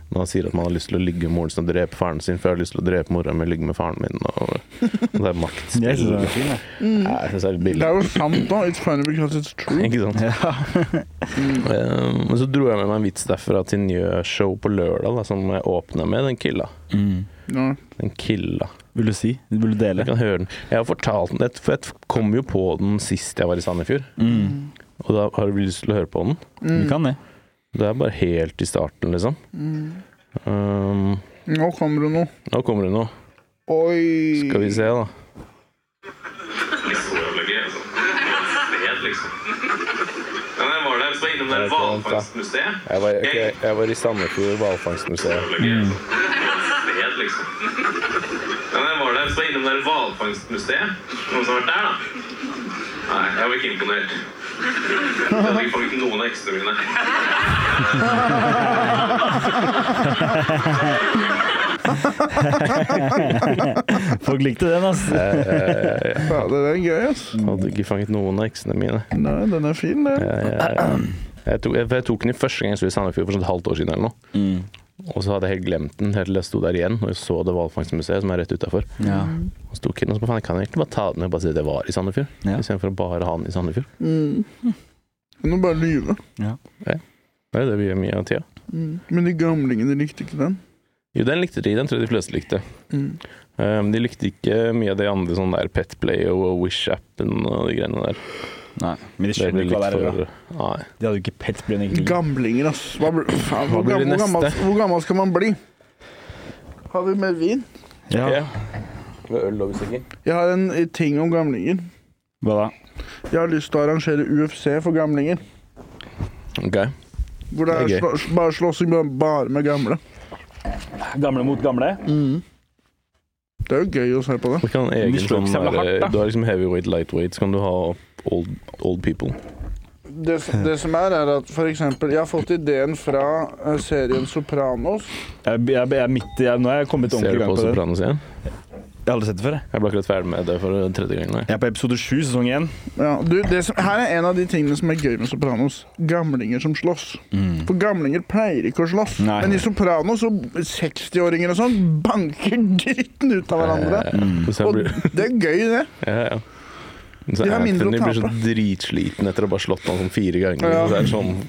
[SPEAKER 1] når han sier at man har lyst til å ligge med moren sin og drepe faren sin, for jeg har lyst til å drepe mora mi og ligge med faren min, og, og det er
[SPEAKER 4] Jeg
[SPEAKER 1] maktspill.
[SPEAKER 4] synes det var fint, jeg.
[SPEAKER 1] Nei, Jeg syns det er litt
[SPEAKER 2] Mm. Det
[SPEAKER 1] billig.
[SPEAKER 2] er jo sant, da. It's funny because it's true.
[SPEAKER 1] Ikke sant?
[SPEAKER 4] Ja.
[SPEAKER 2] Mm.
[SPEAKER 1] Eh, Men så dro jeg med meg en vits derfra til Njø-show på lørdag, da, som jeg åpna med. Den killa.
[SPEAKER 4] Mm.
[SPEAKER 2] Ja.
[SPEAKER 1] Den killa.
[SPEAKER 4] Vil du si? Vil du
[SPEAKER 1] Jeg
[SPEAKER 4] dele?
[SPEAKER 1] kan høre den. Jeg har fortalt den, for jeg kom jo på den sist jeg var i Sandefjord.
[SPEAKER 4] Mm.
[SPEAKER 1] Og da har du lyst til å høre på den?
[SPEAKER 2] Mm.
[SPEAKER 4] Vi kan det.
[SPEAKER 1] Det er bare helt i starten, liksom. Um,
[SPEAKER 2] Mm. Nå kommer det noe.
[SPEAKER 1] nå kommer det noe.
[SPEAKER 2] Oi.
[SPEAKER 1] Skal vi se, da.
[SPEAKER 5] altså. Fred, liksom. Ja, men jeg var der, så var jeg innom det
[SPEAKER 1] Jeg vet ikke,
[SPEAKER 5] der
[SPEAKER 1] vent, da.
[SPEAKER 5] hvalfangstmuseet.
[SPEAKER 1] Jeg var, ok, jeg var i Sandefjord hvalfangstmuseum.
[SPEAKER 5] Fred, liksom. Ja, men jeg var der, så var jeg innom det der hvalfangstmuseet. Noen som har vært der, da? Nei, jeg var ikke imponert. Jeg hadde ikke fanget noen av heksene mine.
[SPEAKER 4] Folk likte den, ass. Mm.
[SPEAKER 2] Ja, den er gøy, ass.
[SPEAKER 1] Hadde ikke fanget noen av eksene mine.
[SPEAKER 2] Nei, den er fin, den.
[SPEAKER 1] Jeg, jeg, jeg, tok, jeg, for jeg tok den i første gang jeg sto i Sandefjord for sånn et halvt år siden eller noe.
[SPEAKER 4] Mm.
[SPEAKER 1] Og så hadde jeg helt glemt den helt til jeg sto der igjen og jeg så det hvalfangstmuseet som er rett utafor.
[SPEAKER 4] Ja.
[SPEAKER 1] Og så tok jeg den, og så faen, jeg kan egentlig bare ta den med og bare si at jeg var i Sandefjord,
[SPEAKER 4] Ja.
[SPEAKER 1] istedenfor å bare ha den i Sandefjord.
[SPEAKER 2] Du må Mm. bare lyve.
[SPEAKER 1] Det er jo det vi gjør mye av tida.
[SPEAKER 2] Men de gamlingene likte ikke den.
[SPEAKER 1] Jo, den likte de. Den tror jeg de fleste likte. Ehm,
[SPEAKER 2] Mm.
[SPEAKER 1] Um, de likte ikke mye av de andre sånn der Petplay og Wish-appen og de greiene der.
[SPEAKER 4] Nei, men de
[SPEAKER 1] Det er
[SPEAKER 4] skjønner ikke hva
[SPEAKER 1] litt
[SPEAKER 4] det er.
[SPEAKER 1] for
[SPEAKER 4] da.
[SPEAKER 1] Nei.
[SPEAKER 4] De hadde jo ikke pett på den egentlig.
[SPEAKER 2] Gamlinger, ass. Hva, bl- faen, hvor,
[SPEAKER 1] Hva blir det
[SPEAKER 2] gammel, hvor, gammel,
[SPEAKER 1] neste?
[SPEAKER 2] hvor gammel skal man bli? Har vi mer vin?
[SPEAKER 1] Ja.
[SPEAKER 4] Ja,
[SPEAKER 1] Med øl og musikken.
[SPEAKER 2] Jeg har en eh, ting om gamlinger.
[SPEAKER 4] hva da?
[SPEAKER 2] Jeg har lyst til å arrangere UFC for gamlinger.
[SPEAKER 1] Ok.
[SPEAKER 2] Hvor det er,
[SPEAKER 1] Det er gøy.
[SPEAKER 2] slå, bare slåssing bare- bare med gamle.
[SPEAKER 4] Gamle mot gamle?
[SPEAKER 2] Mm. Det er jo gøy å se på det.
[SPEAKER 1] Du kan ha
[SPEAKER 4] Men
[SPEAKER 1] egen
[SPEAKER 4] de slår
[SPEAKER 1] sånn
[SPEAKER 4] ikke så jævla
[SPEAKER 1] der,
[SPEAKER 4] hardt, da.
[SPEAKER 1] Du har liksom heavyweight, lightweight, så kan du ha old, old people.
[SPEAKER 2] Det, s- det som er, er at for eksempel Jeg har fått ideen fra eh, serien Sopranos.
[SPEAKER 4] Jeg, jeg, jeg, er midt, i- jeg, nå har jeg kommet
[SPEAKER 1] Ser
[SPEAKER 4] ordentlig i
[SPEAKER 1] du
[SPEAKER 4] gang
[SPEAKER 1] på
[SPEAKER 4] på det.
[SPEAKER 1] Sopranos igjen?
[SPEAKER 4] Jeg har aldri sett det før. jeg.
[SPEAKER 1] Jeg ble akkurat ferdig med det for tredje gangen. her.
[SPEAKER 4] Jeg er på episode sju, sesong én.
[SPEAKER 2] Ja, du, det som, her er en av de tingene som er gøy med Sopranos. Gamlinger som slåss. For gamlinger pleier ikke å slåss.
[SPEAKER 4] Nei.
[SPEAKER 2] Men i Sopranos og 60-åringer og sånn banker dritten ut av hverandre.
[SPEAKER 4] Mm.
[SPEAKER 1] Eh, Så jeg
[SPEAKER 2] Og
[SPEAKER 1] blir,
[SPEAKER 2] det er gøy, det.
[SPEAKER 1] ja, ja. Så
[SPEAKER 2] De har mindre å
[SPEAKER 1] Anthony blir så
[SPEAKER 2] tape.
[SPEAKER 1] dritsliten etter å ha bare slått han sånn fire ganger.
[SPEAKER 2] Ja.
[SPEAKER 1] Så det er sånn,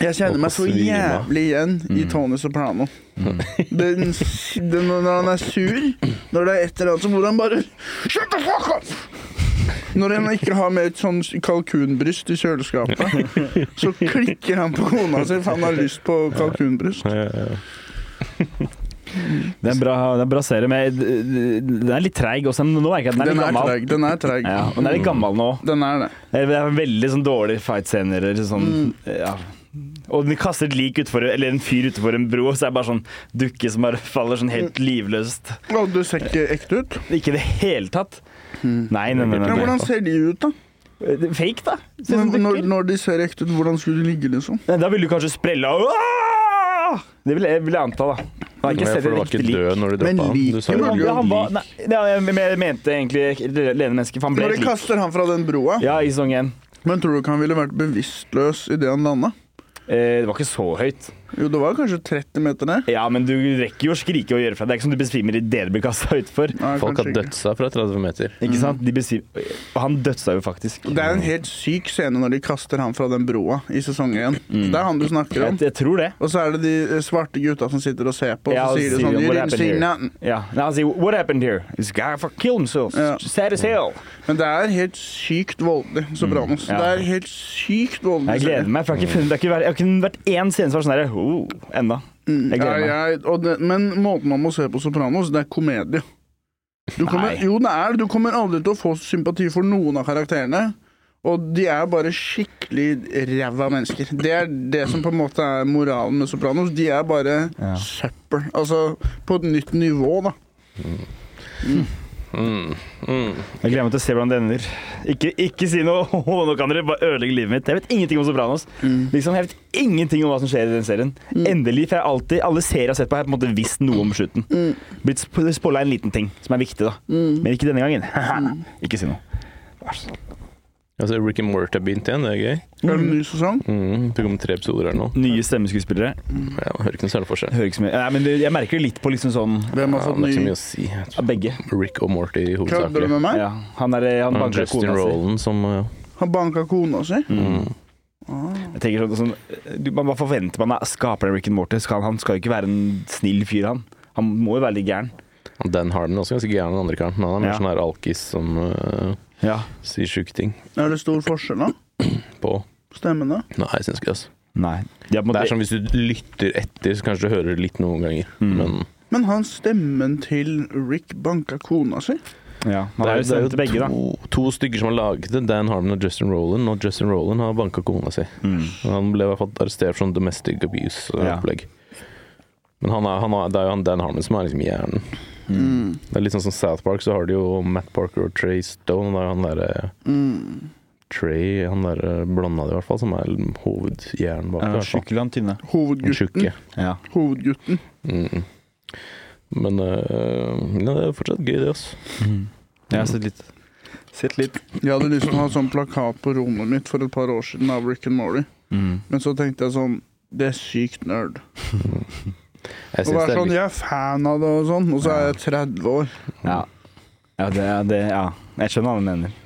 [SPEAKER 2] Jeg kjenner meg så
[SPEAKER 1] Og svime.
[SPEAKER 2] jævlig igjen
[SPEAKER 4] Mm.
[SPEAKER 2] i Tony Soprano. Den, s- den, når han er sur, når det er et eller annet, så må han bare Shut the fuck up! Når han ikke har mer et sånn kalkunbryst i kjøleskapet, så klikker han på kona si for han har lyst på kalkunbryst.
[SPEAKER 1] eh,
[SPEAKER 4] Det er en bra, det er en bra serie, men jeg- den er litt treig også. Men nå merker jeg at den er
[SPEAKER 2] Den
[SPEAKER 4] litt
[SPEAKER 2] er
[SPEAKER 4] gammel.
[SPEAKER 2] treig. Den er treig.
[SPEAKER 4] Ja, og den er litt gammel nå.
[SPEAKER 2] Den er det.
[SPEAKER 4] Det er veldig sånn dårlig fight-scener. eller Sånn,
[SPEAKER 2] Mm.
[SPEAKER 4] ja. Og de kaster et lik utfor, eller en fyr utenfor en bro, og så er det bare sånn dukke som bare faller sånn helt
[SPEAKER 2] Mm.
[SPEAKER 4] livløst.
[SPEAKER 2] Å, du ser ikke ekte ut.
[SPEAKER 4] Ikke i det hele tatt.
[SPEAKER 2] Mm.
[SPEAKER 4] Nei, nei, nei.
[SPEAKER 2] Men
[SPEAKER 4] nei,
[SPEAKER 2] hvordan ser de ut, da?
[SPEAKER 4] nei. Fake, da. Ser ut som
[SPEAKER 2] Men når,
[SPEAKER 4] dukker.
[SPEAKER 2] når de ser ekte ut, hvordan skulle de ligge, liksom?
[SPEAKER 4] Nei, Da ville du kanskje sprella Åh! Det vil jeg, vil jeg anta, da. Jeg har ikke
[SPEAKER 1] ja,
[SPEAKER 4] sett
[SPEAKER 1] For du var
[SPEAKER 4] riktig
[SPEAKER 1] ikke
[SPEAKER 4] lik.
[SPEAKER 1] død når du
[SPEAKER 2] Men
[SPEAKER 1] droppa han.
[SPEAKER 2] lik-
[SPEAKER 1] Du sa
[SPEAKER 2] Jo,
[SPEAKER 1] jo
[SPEAKER 2] men
[SPEAKER 1] lik.
[SPEAKER 4] Ja, han var, nei, nei, jeg jeg mente egentlig levende menneske, for han ble
[SPEAKER 2] Når
[SPEAKER 4] et
[SPEAKER 2] de
[SPEAKER 4] lik.
[SPEAKER 2] kaster han fra den broa,
[SPEAKER 4] Ja, i sesong én.
[SPEAKER 2] men tror du ikke han ville vært bevisstløs idet han landa?
[SPEAKER 4] Eh, Det var ikke så høyt.
[SPEAKER 2] Jo, det var kanskje 30 meter ned.
[SPEAKER 4] Ja, men du rekker jo å skrike og gjøre fra deg. Det er ikke som du besvimer idet du blir kasta utfor.
[SPEAKER 2] Nei,
[SPEAKER 1] Folk
[SPEAKER 2] kanskje
[SPEAKER 1] har
[SPEAKER 2] ikke.
[SPEAKER 1] dødsa fra 30 meter.
[SPEAKER 4] Ikke sant? De besiv... Og han dødsa jo faktisk.
[SPEAKER 2] Mm. Det er en helt syk scene når de kaster han fra den broa i sesong én.
[SPEAKER 4] Mm.
[SPEAKER 2] Det er han du snakker
[SPEAKER 4] Jeg,
[SPEAKER 2] om.
[SPEAKER 4] jeg tror det.
[SPEAKER 2] Og så er det de eh, svarte gutta som sitter og ser på, og
[SPEAKER 4] Ja,
[SPEAKER 2] så
[SPEAKER 4] og
[SPEAKER 2] sier de
[SPEAKER 4] sier
[SPEAKER 2] sånn
[SPEAKER 4] de,
[SPEAKER 2] You
[SPEAKER 4] "What
[SPEAKER 2] didn't
[SPEAKER 4] happened
[SPEAKER 2] see
[SPEAKER 4] here?"
[SPEAKER 2] nothing.
[SPEAKER 4] Ja. Now I say, what happened here? This guy fuck killed himself.
[SPEAKER 2] Ja. Mm.
[SPEAKER 4] Sad as hell.
[SPEAKER 2] Men det er helt sykt voldelig. Så bra, Mons.
[SPEAKER 4] Mm, ja.
[SPEAKER 2] Det er helt sykt voldelig.
[SPEAKER 4] Jeg gleder meg, for jeg har ikke funnet det har ikke vært, jeg har ikke vært én scene som var sånn der oh, enda.
[SPEAKER 1] Mm.
[SPEAKER 4] Jeg
[SPEAKER 2] Ja,
[SPEAKER 4] gleder meg.
[SPEAKER 2] jeg, og det, men måten man må se på Sopranos, det er komedie. Du kommer,
[SPEAKER 4] Nei.
[SPEAKER 2] jo, det er det. Du kommer aldri til å få sympati for noen av karakterene. Og de er bare skikkelig ræva mennesker. Det er det som på en måte er moralen med Sopranos. De er bare
[SPEAKER 4] Ja.
[SPEAKER 2] søppel. Altså på et nytt nivå, da.
[SPEAKER 1] Mm. Mm.
[SPEAKER 4] Jeg gleder meg til å se hvordan det ender. Ikke, ikke si noe «Åh, nå kan dere bare ødelegge livet mitt. Jeg vet ingenting om Sopranos. Liksom, jeg vet ingenting om hva som skjer i den serien. Endelig, for jeg har alltid, alle serier jeg har sett på, har jeg på en måte visst noe om slutten. Blitt sp- spoila en liten ting som er viktig, da. Men ikke denne gangen. ikke si noe.
[SPEAKER 1] Altså, Rick and Morty har begynt igjen, det er gøy.
[SPEAKER 2] Er det en ny sesong?
[SPEAKER 1] Mm. Det kom tre episoder her nå.
[SPEAKER 4] Nye stemmeskuespillere.
[SPEAKER 1] Ja, jeg hører ikke noe særlig forskjell.
[SPEAKER 4] Hører ikke så mye. Nei, men det- jeg merker det litt på liksom sånn
[SPEAKER 2] Hvem
[SPEAKER 1] Ja,
[SPEAKER 2] har
[SPEAKER 1] det
[SPEAKER 2] fått
[SPEAKER 1] er ikke så
[SPEAKER 2] ny
[SPEAKER 1] mye å si. Jeg tror
[SPEAKER 4] av begge.
[SPEAKER 1] Rick og Morty
[SPEAKER 2] Kødder du
[SPEAKER 1] hovedsakelig.
[SPEAKER 2] med meg?
[SPEAKER 4] Ja, han er eh, han
[SPEAKER 1] Og
[SPEAKER 4] banker
[SPEAKER 1] Justin
[SPEAKER 4] kona si.
[SPEAKER 1] Roland som eh,
[SPEAKER 2] Han banka kona si?
[SPEAKER 1] mm.
[SPEAKER 4] Jeg tenker sånn, sånn du, man, Hva forventer man av skaperen Rick and Morty? Skal, han skal jo ikke være en snill fyr, han. Han må jo være litt gæren.
[SPEAKER 1] Og Dan Harmon er også ganske gæren, den andre karen. Men han er mer
[SPEAKER 4] Ja.
[SPEAKER 1] sånn her alkis som eh,
[SPEAKER 4] Ja.
[SPEAKER 1] sier sjuke ting
[SPEAKER 2] Er det stor forskjell, da?
[SPEAKER 1] på
[SPEAKER 2] Stemmene?
[SPEAKER 1] Nei, jeg syns ikke det. Altså.
[SPEAKER 4] Nei. De er
[SPEAKER 1] Det
[SPEAKER 4] på en
[SPEAKER 1] Mm.
[SPEAKER 4] måte,
[SPEAKER 1] er som hvis du lytter etter, så kanskje du hører litt noen ganger. Men
[SPEAKER 2] Men han stemmen til Rick banka kona si?
[SPEAKER 4] ja, han er jo sønnen til begge, da.
[SPEAKER 1] to, to stykker som har laget det. Dan Harmon og Justin Roland. Og Justin Roland har banka kona si.
[SPEAKER 4] Mm.
[SPEAKER 1] Han ble i hvert fall arrestert for sånn domestic
[SPEAKER 4] Ja.
[SPEAKER 1] abuse-opplegg. Men han er, han er, det er jo han Dan Harmon som er liksom hjernen.
[SPEAKER 4] Mm.
[SPEAKER 1] Det er litt sånn som South Park, så har de jo Matt Parker og Trey Stone. Og det er jo han uh, derre
[SPEAKER 4] Mm.
[SPEAKER 1] Trey, han der eh, blonda i hvert fall, som er hovedhjernen bak. i hvert fall.
[SPEAKER 4] Sykkel han tynne.
[SPEAKER 1] Den
[SPEAKER 2] Hovedgutten.
[SPEAKER 1] tjukke.
[SPEAKER 4] Ja.
[SPEAKER 2] Hovedgutten.
[SPEAKER 1] Mm. Men øh, ja, det er fortsatt gøy, det. Ass.
[SPEAKER 4] Mm. Jeg har sett litt. Sett litt.
[SPEAKER 2] Jeg hadde lyst til å ha sånn plakat på rommet mitt for et par år siden av Rick and Morty.
[SPEAKER 4] Mm.
[SPEAKER 2] Men så tenkte jeg sånn Det er sykt nerd.
[SPEAKER 1] Jeg
[SPEAKER 2] Og
[SPEAKER 1] syns
[SPEAKER 2] være
[SPEAKER 1] det er
[SPEAKER 2] sånn,
[SPEAKER 1] litt
[SPEAKER 2] jeg er fan av det og sånn, og så er jeg 30 år.
[SPEAKER 4] Ja. Ja, det, er- det, ja. Jeg skjønner hva du mener.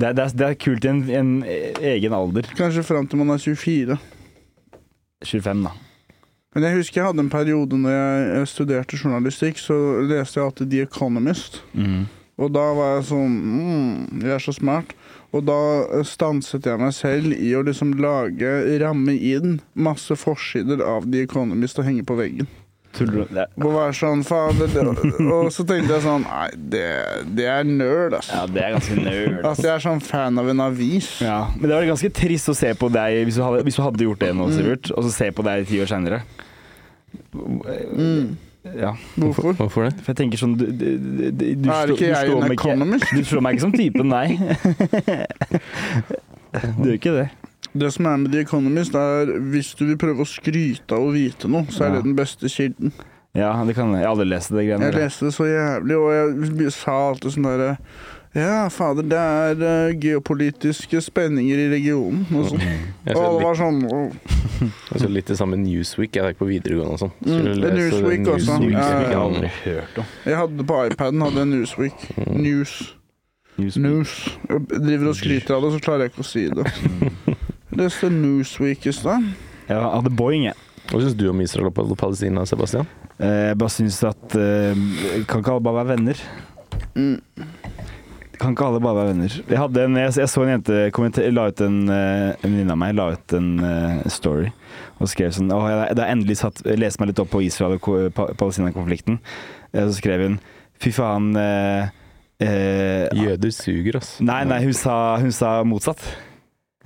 [SPEAKER 4] Det, er- det, er- det er kult i en, en egen alder.
[SPEAKER 2] Kanskje fram til man er 24.
[SPEAKER 4] 25, da.
[SPEAKER 2] Men jeg husker jeg hadde en periode når jeg studerte journalistikk, så
[SPEAKER 1] Mhm.
[SPEAKER 2] leste jeg alltid The Economist. Og da var jeg sånn mm, Jeg er så smart. Og da eh, stanset jeg meg selv i å liksom lage, ramme inn masse forsider av The Economist og henge på veggen.
[SPEAKER 4] Tuller du? Det-
[SPEAKER 2] Og være sånn, faen det, det. Og så tenkte jeg sånn Nei, det, det er nerd, ass.
[SPEAKER 4] Ja, det er ganske nerd.
[SPEAKER 2] Altså, jeg er sånn fan av en avis.
[SPEAKER 4] Ja, men det var ganske trist å se på deg hvis du hadde, hvis du hadde gjort det nå, Sivert, og så se på deg ti år seinere. Mm. Ja.
[SPEAKER 2] Hvorfor?
[SPEAKER 1] Hvorfor det?
[SPEAKER 4] For jeg tenker sånn Du, du, du, du, du,
[SPEAKER 2] Er ikke
[SPEAKER 4] du
[SPEAKER 2] jeg
[SPEAKER 4] slår
[SPEAKER 2] en
[SPEAKER 4] meg ikke-
[SPEAKER 2] economist?
[SPEAKER 4] Du slår meg ikke som typen, nei. Du gjør ikke det.
[SPEAKER 2] Det som er med The Economist, er hvis du vil prøve å skryte av å vite noe, så er
[SPEAKER 4] Ja.
[SPEAKER 2] det den beste kilden.
[SPEAKER 4] Ja, det kan jeg. Jeg har aldri lest det greiene
[SPEAKER 2] Jeg
[SPEAKER 4] der.
[SPEAKER 2] leste det så jævlig, og jeg sa alltid sånn derre Ja, fader, det er eh, geopolitiske spenninger i regionen og sånn.
[SPEAKER 1] Jeg
[SPEAKER 2] Og
[SPEAKER 1] ser
[SPEAKER 2] det
[SPEAKER 1] litt,
[SPEAKER 2] var sånn «Åh,
[SPEAKER 1] jeg ser litt det samme Newsweek. Jeg er ikke på videregående og sånn.
[SPEAKER 2] Mm, Newsweek også.
[SPEAKER 1] Newsweek,
[SPEAKER 2] Ja, ja,
[SPEAKER 1] jeg
[SPEAKER 2] ja.
[SPEAKER 1] har aldri.
[SPEAKER 4] hørt om.
[SPEAKER 2] Jeg hadde på iPaden hadde jeg Newsweek.
[SPEAKER 4] Mm.
[SPEAKER 2] News. News. Jeg driver og skryter av det, så klarer jeg ikke å si det. Jeg leste Newsweek i stad.
[SPEAKER 4] Jeg hadde Boeing, jeg.
[SPEAKER 1] Hva syns du om Israel og Pal- Palestina, Sebastian?
[SPEAKER 4] Eh, Jeg bare syns at eh, Kan ikke alle bare være venner?
[SPEAKER 2] Mm.
[SPEAKER 4] Kan ikke alle bare være venner? Jeg, hadde en, jeg, jeg så en jente kommenter- la ut en, eh, en venninne av meg la ut en eh, story og skrev sånn Åh, jeg, jeg har endelig satt, lest meg litt opp på Israel og ko- pa, Palestina-konflikten. Eh, Så skrev hun Fy faen eh, eh,
[SPEAKER 1] Jøder suger, ass.
[SPEAKER 4] Nei, nei, hun sa, hun sa motsatt.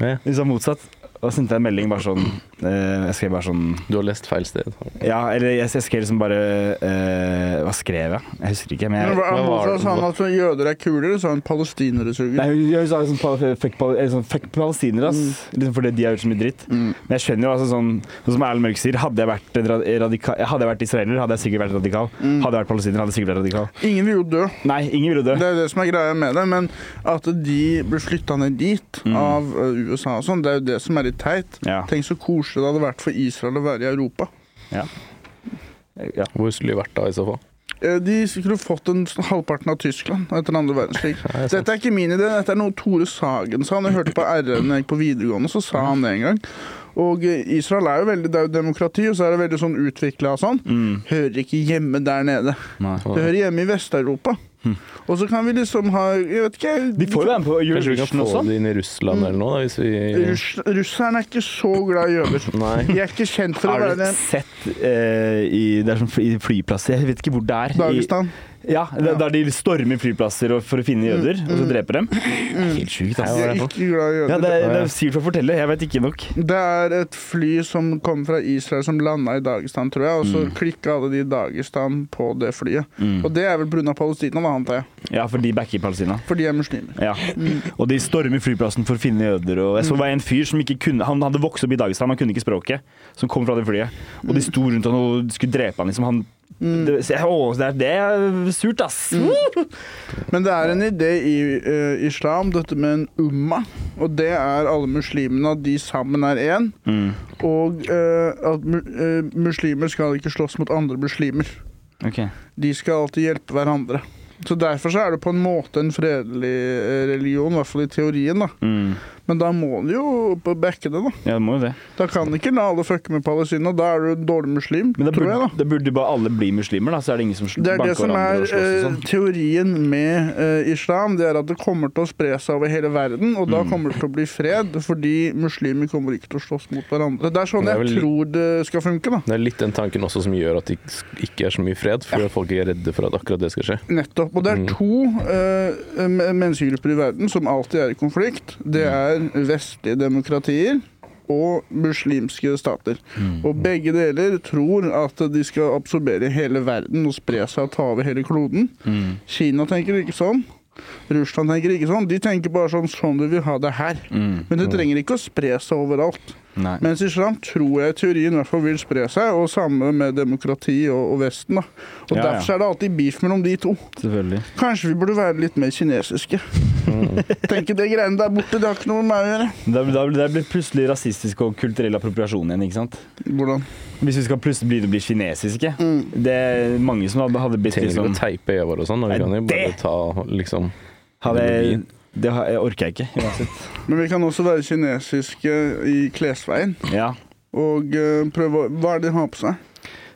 [SPEAKER 1] Ja.
[SPEAKER 4] Hun sa motsatt. Og så sendte jeg en melding bare sånn eh, Jeg skrev bare sånn
[SPEAKER 1] Du har lest feil sted.
[SPEAKER 4] Ja, eller jeg, jeg skrev liksom bare eh, Hva skrev jeg? Jeg husker ikke. Men
[SPEAKER 2] Men
[SPEAKER 4] jeg,
[SPEAKER 2] hva-
[SPEAKER 1] hva var
[SPEAKER 2] Hvorfor
[SPEAKER 1] det-
[SPEAKER 2] sa han at jøder er kulere? Sa han palestinere
[SPEAKER 4] Nei,
[SPEAKER 2] suger?
[SPEAKER 4] hun, hun sa liksom pal- fuck, pal- eller sånn, fuck palestinere, ass. Liksom fordi de har gjort så mye dritt.
[SPEAKER 2] Mm.
[SPEAKER 4] Men jeg skjønner jo altså sånn Sånn som Erlend Mørk sier, hadde jeg vært, en ra- radika hadde jeg vært israeler, hadde jeg sikkert vært radikal.
[SPEAKER 2] Mm.
[SPEAKER 4] Hadde jeg vært palestiner, hadde jeg sikkert vært radikal.
[SPEAKER 2] Ingen vil jo dø.
[SPEAKER 4] Nei, ingen ville dø.
[SPEAKER 2] Det er jo det som er greia med det, men at de blir flytta ned dit av ø, USA og sånn, det er jo det som er litt teit.
[SPEAKER 4] Ja.
[SPEAKER 2] Tenk så koselig det hadde vært for Israel å være i Europa.
[SPEAKER 4] ja.
[SPEAKER 1] Hvor skulle de vært da, i så fall?
[SPEAKER 2] Eh, De skulle fått en sånn halvparten av Tyskland etter andre verdenskrig.
[SPEAKER 1] Nei, sant.
[SPEAKER 2] Dette er ikke min idé, dette er noe Tore Sagen sa. Jeg hørte på RN da jeg gikk på videregående, så sa han det en gang. Og eh, Israel er jo veldig, det er jo demokrati, og så er det veldig sånn utvikla og sånn.
[SPEAKER 4] Mm.
[SPEAKER 2] Hører ikke hjemme der nede.
[SPEAKER 4] Nei. Hm.
[SPEAKER 2] Det hører hjemme i Vest-Europa. Og så kan vi liksom ha Jeg vet ikke
[SPEAKER 4] De får jo være med på
[SPEAKER 1] Kanskje vi kan
[SPEAKER 4] Eurovision
[SPEAKER 1] få
[SPEAKER 4] også.
[SPEAKER 1] det inn i Russland
[SPEAKER 2] Mm.
[SPEAKER 1] eller noe, da, hvis vi
[SPEAKER 2] Russ, Russerne er ikke så glad i jøder.
[SPEAKER 1] Nei.
[SPEAKER 2] De er ikke kjent for å
[SPEAKER 4] Har du
[SPEAKER 2] være
[SPEAKER 4] sett eh, i, Det er sånn fly, flyplasser Jeg vet ikke hvor det er. I,
[SPEAKER 2] Dagestan.
[SPEAKER 4] Ja, der, der de stormer flyplasser og- for å finne
[SPEAKER 2] Mm.
[SPEAKER 4] jøder, og så dreper dem. Det er Helt sjukt,
[SPEAKER 2] De
[SPEAKER 4] altså.
[SPEAKER 2] Mm. er ikke glad i
[SPEAKER 4] Ja, det
[SPEAKER 2] jøder.
[SPEAKER 4] er, det er sikkert for å fortelle, jeg vet ikke nok.
[SPEAKER 2] Det er et fly som kom fra Israel som landa i Dagestan, tror jeg, og så klikka alle de i Dagestan på det flyet. Og det er vel pga. Palestina, da, antar jeg.
[SPEAKER 4] Ja, for de backer Palestina.
[SPEAKER 2] For de er muslimer.
[SPEAKER 4] Ja.
[SPEAKER 2] Mm.
[SPEAKER 4] Og de stormer flyplassen for å finne jøder. Og jeg så det var en fyr som ikke kunne Han hadde vokst opp i Dagestan, han kunne ikke språket, som kom fra det flyet. Og
[SPEAKER 2] Mm.
[SPEAKER 4] de sto rundt han og skulle drepe han, liksom. Han det, så jeg- å, det, er, det er surt, ass.
[SPEAKER 2] Mm. Men det er en idé i eh, islam, dette med en umma. Og det er alle muslimene, at de sammen er én. Og eh, at mu eh, muslimer skal ikke slåss mot andre muslimer.
[SPEAKER 4] Ok.
[SPEAKER 2] De skal alltid hjelpe hverandre. Så derfor så er det på en måte en fredelig eh, religion, i hvert fall i teorien. da.
[SPEAKER 4] Mm.
[SPEAKER 2] Men da må de jo backe det, da.
[SPEAKER 4] Ja, det må jo det.
[SPEAKER 2] Da kan ikke la alle fucke med Palestina. Da er du en dårlig muslim,
[SPEAKER 4] Men da
[SPEAKER 2] tror
[SPEAKER 4] burde,
[SPEAKER 2] jeg, da.
[SPEAKER 4] da burde bare alle bli muslimer, da. Så er det ingen som sl-
[SPEAKER 2] Det er det
[SPEAKER 4] banker
[SPEAKER 2] som er
[SPEAKER 4] hverandre og
[SPEAKER 2] eh,
[SPEAKER 4] slåss og sånn.
[SPEAKER 2] teorien med eh, islam. Det er at det kommer til å spre seg over hele verden, og
[SPEAKER 4] Mm.
[SPEAKER 2] da kommer det til å bli fred. Fordi muslimer kommer ikke til å slåss mot hverandre. Det er sånn
[SPEAKER 1] Det er vel-
[SPEAKER 2] jeg tror det skal funke, da.
[SPEAKER 1] Det er litt den tanken også som gjør at det ikke er så mye fred, fordi folk er redde for at akkurat det skal skje.
[SPEAKER 2] Nettopp. Og det er
[SPEAKER 4] Mm.
[SPEAKER 2] to eh, men- menneskegrupper i verden som alltid er i konflikt. Det er
[SPEAKER 4] Mm.
[SPEAKER 2] vestlige demokratier og muslimske stater.
[SPEAKER 4] Mm.
[SPEAKER 2] Og begge deler tror at de skal absorbere hele verden og spre seg og ta over hele kloden.
[SPEAKER 4] Mm.
[SPEAKER 2] Kina tenker ikke sånn. Russland tenker ikke sånn. De tenker bare sånn sånn du vil ha det her.
[SPEAKER 4] Mm.
[SPEAKER 2] Men det trenger ikke å spre seg overalt.
[SPEAKER 4] Nei.
[SPEAKER 2] Mens islam tror jeg i teorien i hvert fall vil spre seg, og samme med demokrati og, og Vesten. da. Og
[SPEAKER 4] Ja, ja.
[SPEAKER 2] derfor er det alltid beef mellom de to.
[SPEAKER 4] Selvfølgelig.
[SPEAKER 2] Kanskje vi burde være litt mer kinesiske.
[SPEAKER 1] Mm.
[SPEAKER 2] Tenke det greiene der borte, det har ikke noe med meg å gjøre.
[SPEAKER 4] Da, da, da blir det plutselig rasistisk og kulturell appropriasjon igjen, ikke sant?
[SPEAKER 2] Hvordan?
[SPEAKER 4] Hvis vi skal plutselig begynne å bli kinesiske.
[SPEAKER 2] Mm.
[SPEAKER 4] Det er mange som hadde, hadde blitt
[SPEAKER 1] Trenger ikke
[SPEAKER 4] liksom
[SPEAKER 1] å teipe øya våre og sånn, da. vi kan jo
[SPEAKER 4] Nei,
[SPEAKER 1] bare
[SPEAKER 4] det-
[SPEAKER 1] ta liksom
[SPEAKER 4] hadde,
[SPEAKER 1] ideologien.
[SPEAKER 4] Det har- jeg orker jeg ikke, uansett.
[SPEAKER 2] Men vi kan også være kinesiske i klesveien.
[SPEAKER 4] Ja.
[SPEAKER 2] Og eh, prøve å Hva er det de har på seg?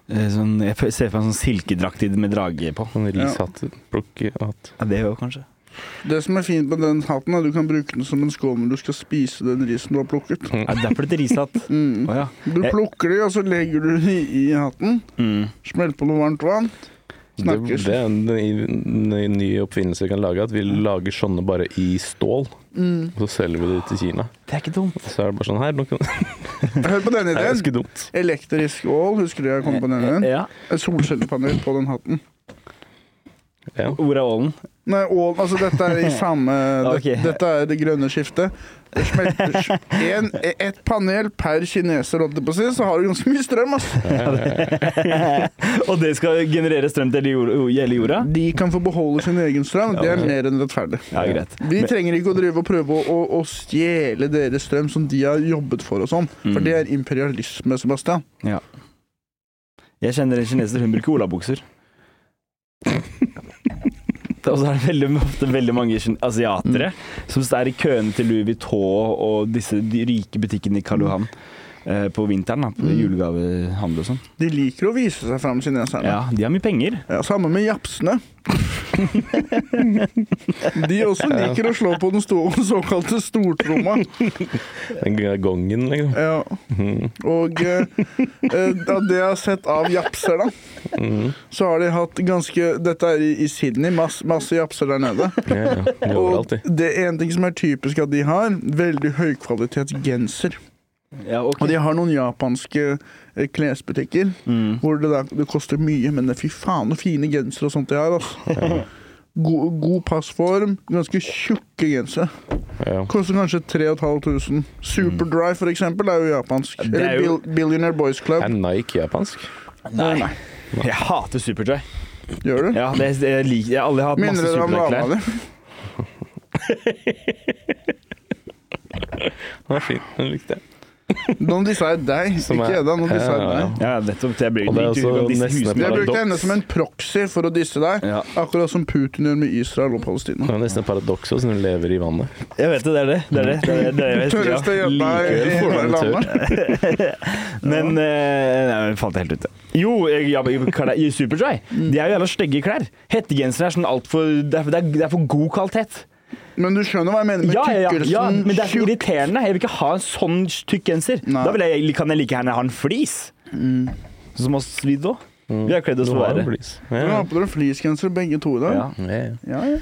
[SPEAKER 4] Eh, Sånn, jeg ser for meg en sånn silkedrakt i- med drage på.
[SPEAKER 1] Sånn rishatt, plukkehatt
[SPEAKER 4] Ja, det òg, kanskje.
[SPEAKER 2] Det som er fint med den hatten, er at du kan bruke den som en skål når du skal spise den risen du har plukket.
[SPEAKER 4] Er det derfor det er rishatt?
[SPEAKER 2] Mm.
[SPEAKER 4] Å ja.
[SPEAKER 2] Du
[SPEAKER 1] Eh.
[SPEAKER 4] Jeg-
[SPEAKER 2] plukker de, og så legger du de i hatten. Smelt på noe varmt
[SPEAKER 1] Mm.
[SPEAKER 2] vann.
[SPEAKER 1] Det,
[SPEAKER 2] Snakkes.
[SPEAKER 1] det er en ny- ny- ny oppfinnelse vi kan lage, at vi lager sånne bare i stål. Og så selger vi de til Kina.
[SPEAKER 4] Det er ikke dumt.
[SPEAKER 1] Så er det bare sånn her. Nå kan, det
[SPEAKER 2] Hør på denne
[SPEAKER 1] er
[SPEAKER 2] ideen.
[SPEAKER 1] ganske dumt.
[SPEAKER 2] Elektrisk ål, husker du jeg kom på den ideen?
[SPEAKER 4] Ja.
[SPEAKER 2] Et solcellepanel på den hatten.
[SPEAKER 1] Ja.
[SPEAKER 4] Hvor er ålen?
[SPEAKER 2] Nei, ål, altså dette er i samme
[SPEAKER 4] Ok.
[SPEAKER 2] det, Dette er det grønne skiftet. Det smelter en, Ett panel per kineser, holdt jeg på å si, så har du ganske mye strøm. ass.
[SPEAKER 4] Og det skal generere strøm til hele jord- hele jorda?
[SPEAKER 2] De kan få beholde sin egen strøm. Det er mer enn rettferdig.
[SPEAKER 4] Ja, greit.
[SPEAKER 2] Vi trenger ikke å drive og prøve å, å, å stjele deres strøm som de har jobbet for og sånn. For
[SPEAKER 4] Mm.
[SPEAKER 2] det er imperialisme, Sebastian.
[SPEAKER 4] Jeg kjenner en kineser, hun bruker olabukser. Og så er det veldig, ofte veldig mange kin- asiatere som står i køene til Louis Vuitton og disse de rike butikkene i Karl Johan eh, på vinteren. Da, på
[SPEAKER 2] Mm.
[SPEAKER 4] Julegavehandel og sånn.
[SPEAKER 2] De liker å vise seg fram, kineserne.
[SPEAKER 4] Ja, de har mye penger.
[SPEAKER 2] Ja, Samme med japsene. de også liker å slå på den sto- såkalte stortromma.
[SPEAKER 1] Den gongen, liksom.
[SPEAKER 2] Ja. Og eh, eh, av det jeg har sett av japser, da,
[SPEAKER 1] Mhm.
[SPEAKER 2] så har de hatt ganske Dette er i, i Sydney, masse, masse japser der nede.
[SPEAKER 1] Ja, ja. Det er
[SPEAKER 2] Og
[SPEAKER 1] Overalt, de.
[SPEAKER 2] det er en ting som er typisk at de har, veldig høykvalitetsgenser.
[SPEAKER 4] Ja, ok.
[SPEAKER 2] Og de har noen japanske eh, klesbutikker
[SPEAKER 4] Mm.
[SPEAKER 2] hvor det, der, det koster mye, men det er fy faen så fine gensere og sånt de har. Altså. God, god passform, ganske tjukke gensere.
[SPEAKER 1] Ja.
[SPEAKER 2] Koster kanskje 3500. Superdry, for eksempel, er jo japansk.
[SPEAKER 4] Det er
[SPEAKER 2] Eller
[SPEAKER 4] jo-
[SPEAKER 2] Bill Billionaire Boys Club.
[SPEAKER 1] Er Nike japansk?
[SPEAKER 4] Nei. Jeg hater Superjoy.
[SPEAKER 2] Gjør du?
[SPEAKER 4] Ja, det, jeg liker, jeg, alle har hatt
[SPEAKER 2] Minner
[SPEAKER 4] masse
[SPEAKER 2] dere om
[SPEAKER 4] Superjoy-klær.
[SPEAKER 2] dama di?
[SPEAKER 1] Den er fin. Den likte jeg.
[SPEAKER 2] Nå disser jeg deg,
[SPEAKER 1] Som
[SPEAKER 2] ikke
[SPEAKER 1] er-
[SPEAKER 2] Edda. Nå disser jeg
[SPEAKER 1] Ja, ja,
[SPEAKER 2] deg.
[SPEAKER 4] Ja, nettopp. Jeg blir
[SPEAKER 1] Og det er
[SPEAKER 4] liker
[SPEAKER 1] også
[SPEAKER 4] jo disse
[SPEAKER 1] nesten
[SPEAKER 4] husene.
[SPEAKER 1] et
[SPEAKER 2] Jeg
[SPEAKER 1] paradoks.
[SPEAKER 2] brukte henne som en proxy for å disse deg,
[SPEAKER 4] Ja.
[SPEAKER 2] akkurat som Putin gjør med Israel og Palestina.
[SPEAKER 1] Det er nesten et paradoks også, siden hun lever i vannet.
[SPEAKER 4] Jeg vet det, det er det. Det er det. det, er det, det, er det
[SPEAKER 2] Tørreste jenta i i
[SPEAKER 1] Likevel får
[SPEAKER 2] hele
[SPEAKER 1] man en
[SPEAKER 2] landet.
[SPEAKER 4] Men eh, Nei, jeg falt helt ute. Jo, jeg, jeg, jeg, klær- i Superdry.
[SPEAKER 2] Mm.
[SPEAKER 4] De er jo jævla stygge klær. Hettegensere er sånn altfor det, er- det, er- det er for god kvalitet.
[SPEAKER 2] Men du skjønner hva jeg mener med
[SPEAKER 4] Ja, ja, ja, ja,
[SPEAKER 2] tykkelsen?
[SPEAKER 4] men det er så
[SPEAKER 2] tjukk-
[SPEAKER 4] irriterende. Jeg vil ikke ha en sånn tykk genser.
[SPEAKER 2] Nei. Mm.
[SPEAKER 4] Da vil jeg, kan jeg like gjerne ha en flis. Som oss svidd òg. Vi Mm. har kledd oss
[SPEAKER 1] Du
[SPEAKER 4] for å
[SPEAKER 1] har en
[SPEAKER 4] være.
[SPEAKER 1] blis. Ja,
[SPEAKER 2] Dere
[SPEAKER 1] ja.
[SPEAKER 2] har på dere fleecegensere begge to i dag.
[SPEAKER 4] Ja.
[SPEAKER 1] Ja, ja.
[SPEAKER 2] Ja, ja.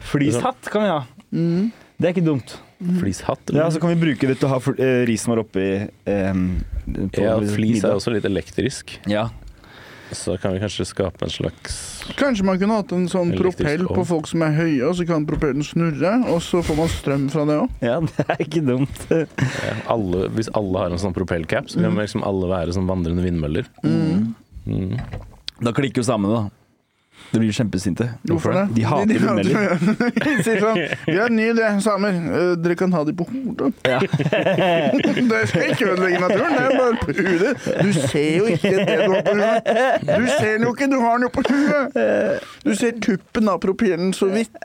[SPEAKER 4] Flishatt kan vi ha.
[SPEAKER 2] Mm.
[SPEAKER 4] Det er ikke dumt.
[SPEAKER 1] Flishatt?
[SPEAKER 4] Ja, Så kan vi bruke det til å ha fl- eh, rismar oppi eh, på
[SPEAKER 1] Ja, flis er
[SPEAKER 4] middag.
[SPEAKER 1] også litt elektrisk,
[SPEAKER 4] Ja.
[SPEAKER 1] så kan vi kanskje skape en slags
[SPEAKER 2] Kanskje man kunne hatt en sånn
[SPEAKER 1] Elektrisk
[SPEAKER 2] propell på
[SPEAKER 1] ovn.
[SPEAKER 2] folk som er høye, og så kan propellen snurre, og så får man strøm fra det òg.
[SPEAKER 4] ja, det er ikke dumt.
[SPEAKER 1] ja, alle, Hvis alle har en sånn propellcap, så kan liksom alle være som vandrende vindmøller. Mm.
[SPEAKER 4] Da klikker jo samene, da. De blir kjempesinte.
[SPEAKER 2] Hvorfor det?
[SPEAKER 4] De hater vindmøller.
[SPEAKER 2] Sier sånn Vi har en ny idé, samer. Eh, Dere kan ha de på hodet.
[SPEAKER 4] Ja.
[SPEAKER 2] Det skal ikke ødelegge naturen, det er bare på hudet. Du ser jo ikke det du har på huet. Du ser den jo ikke, du har den jo på huet. Du ser tuppen av propellen så vidt.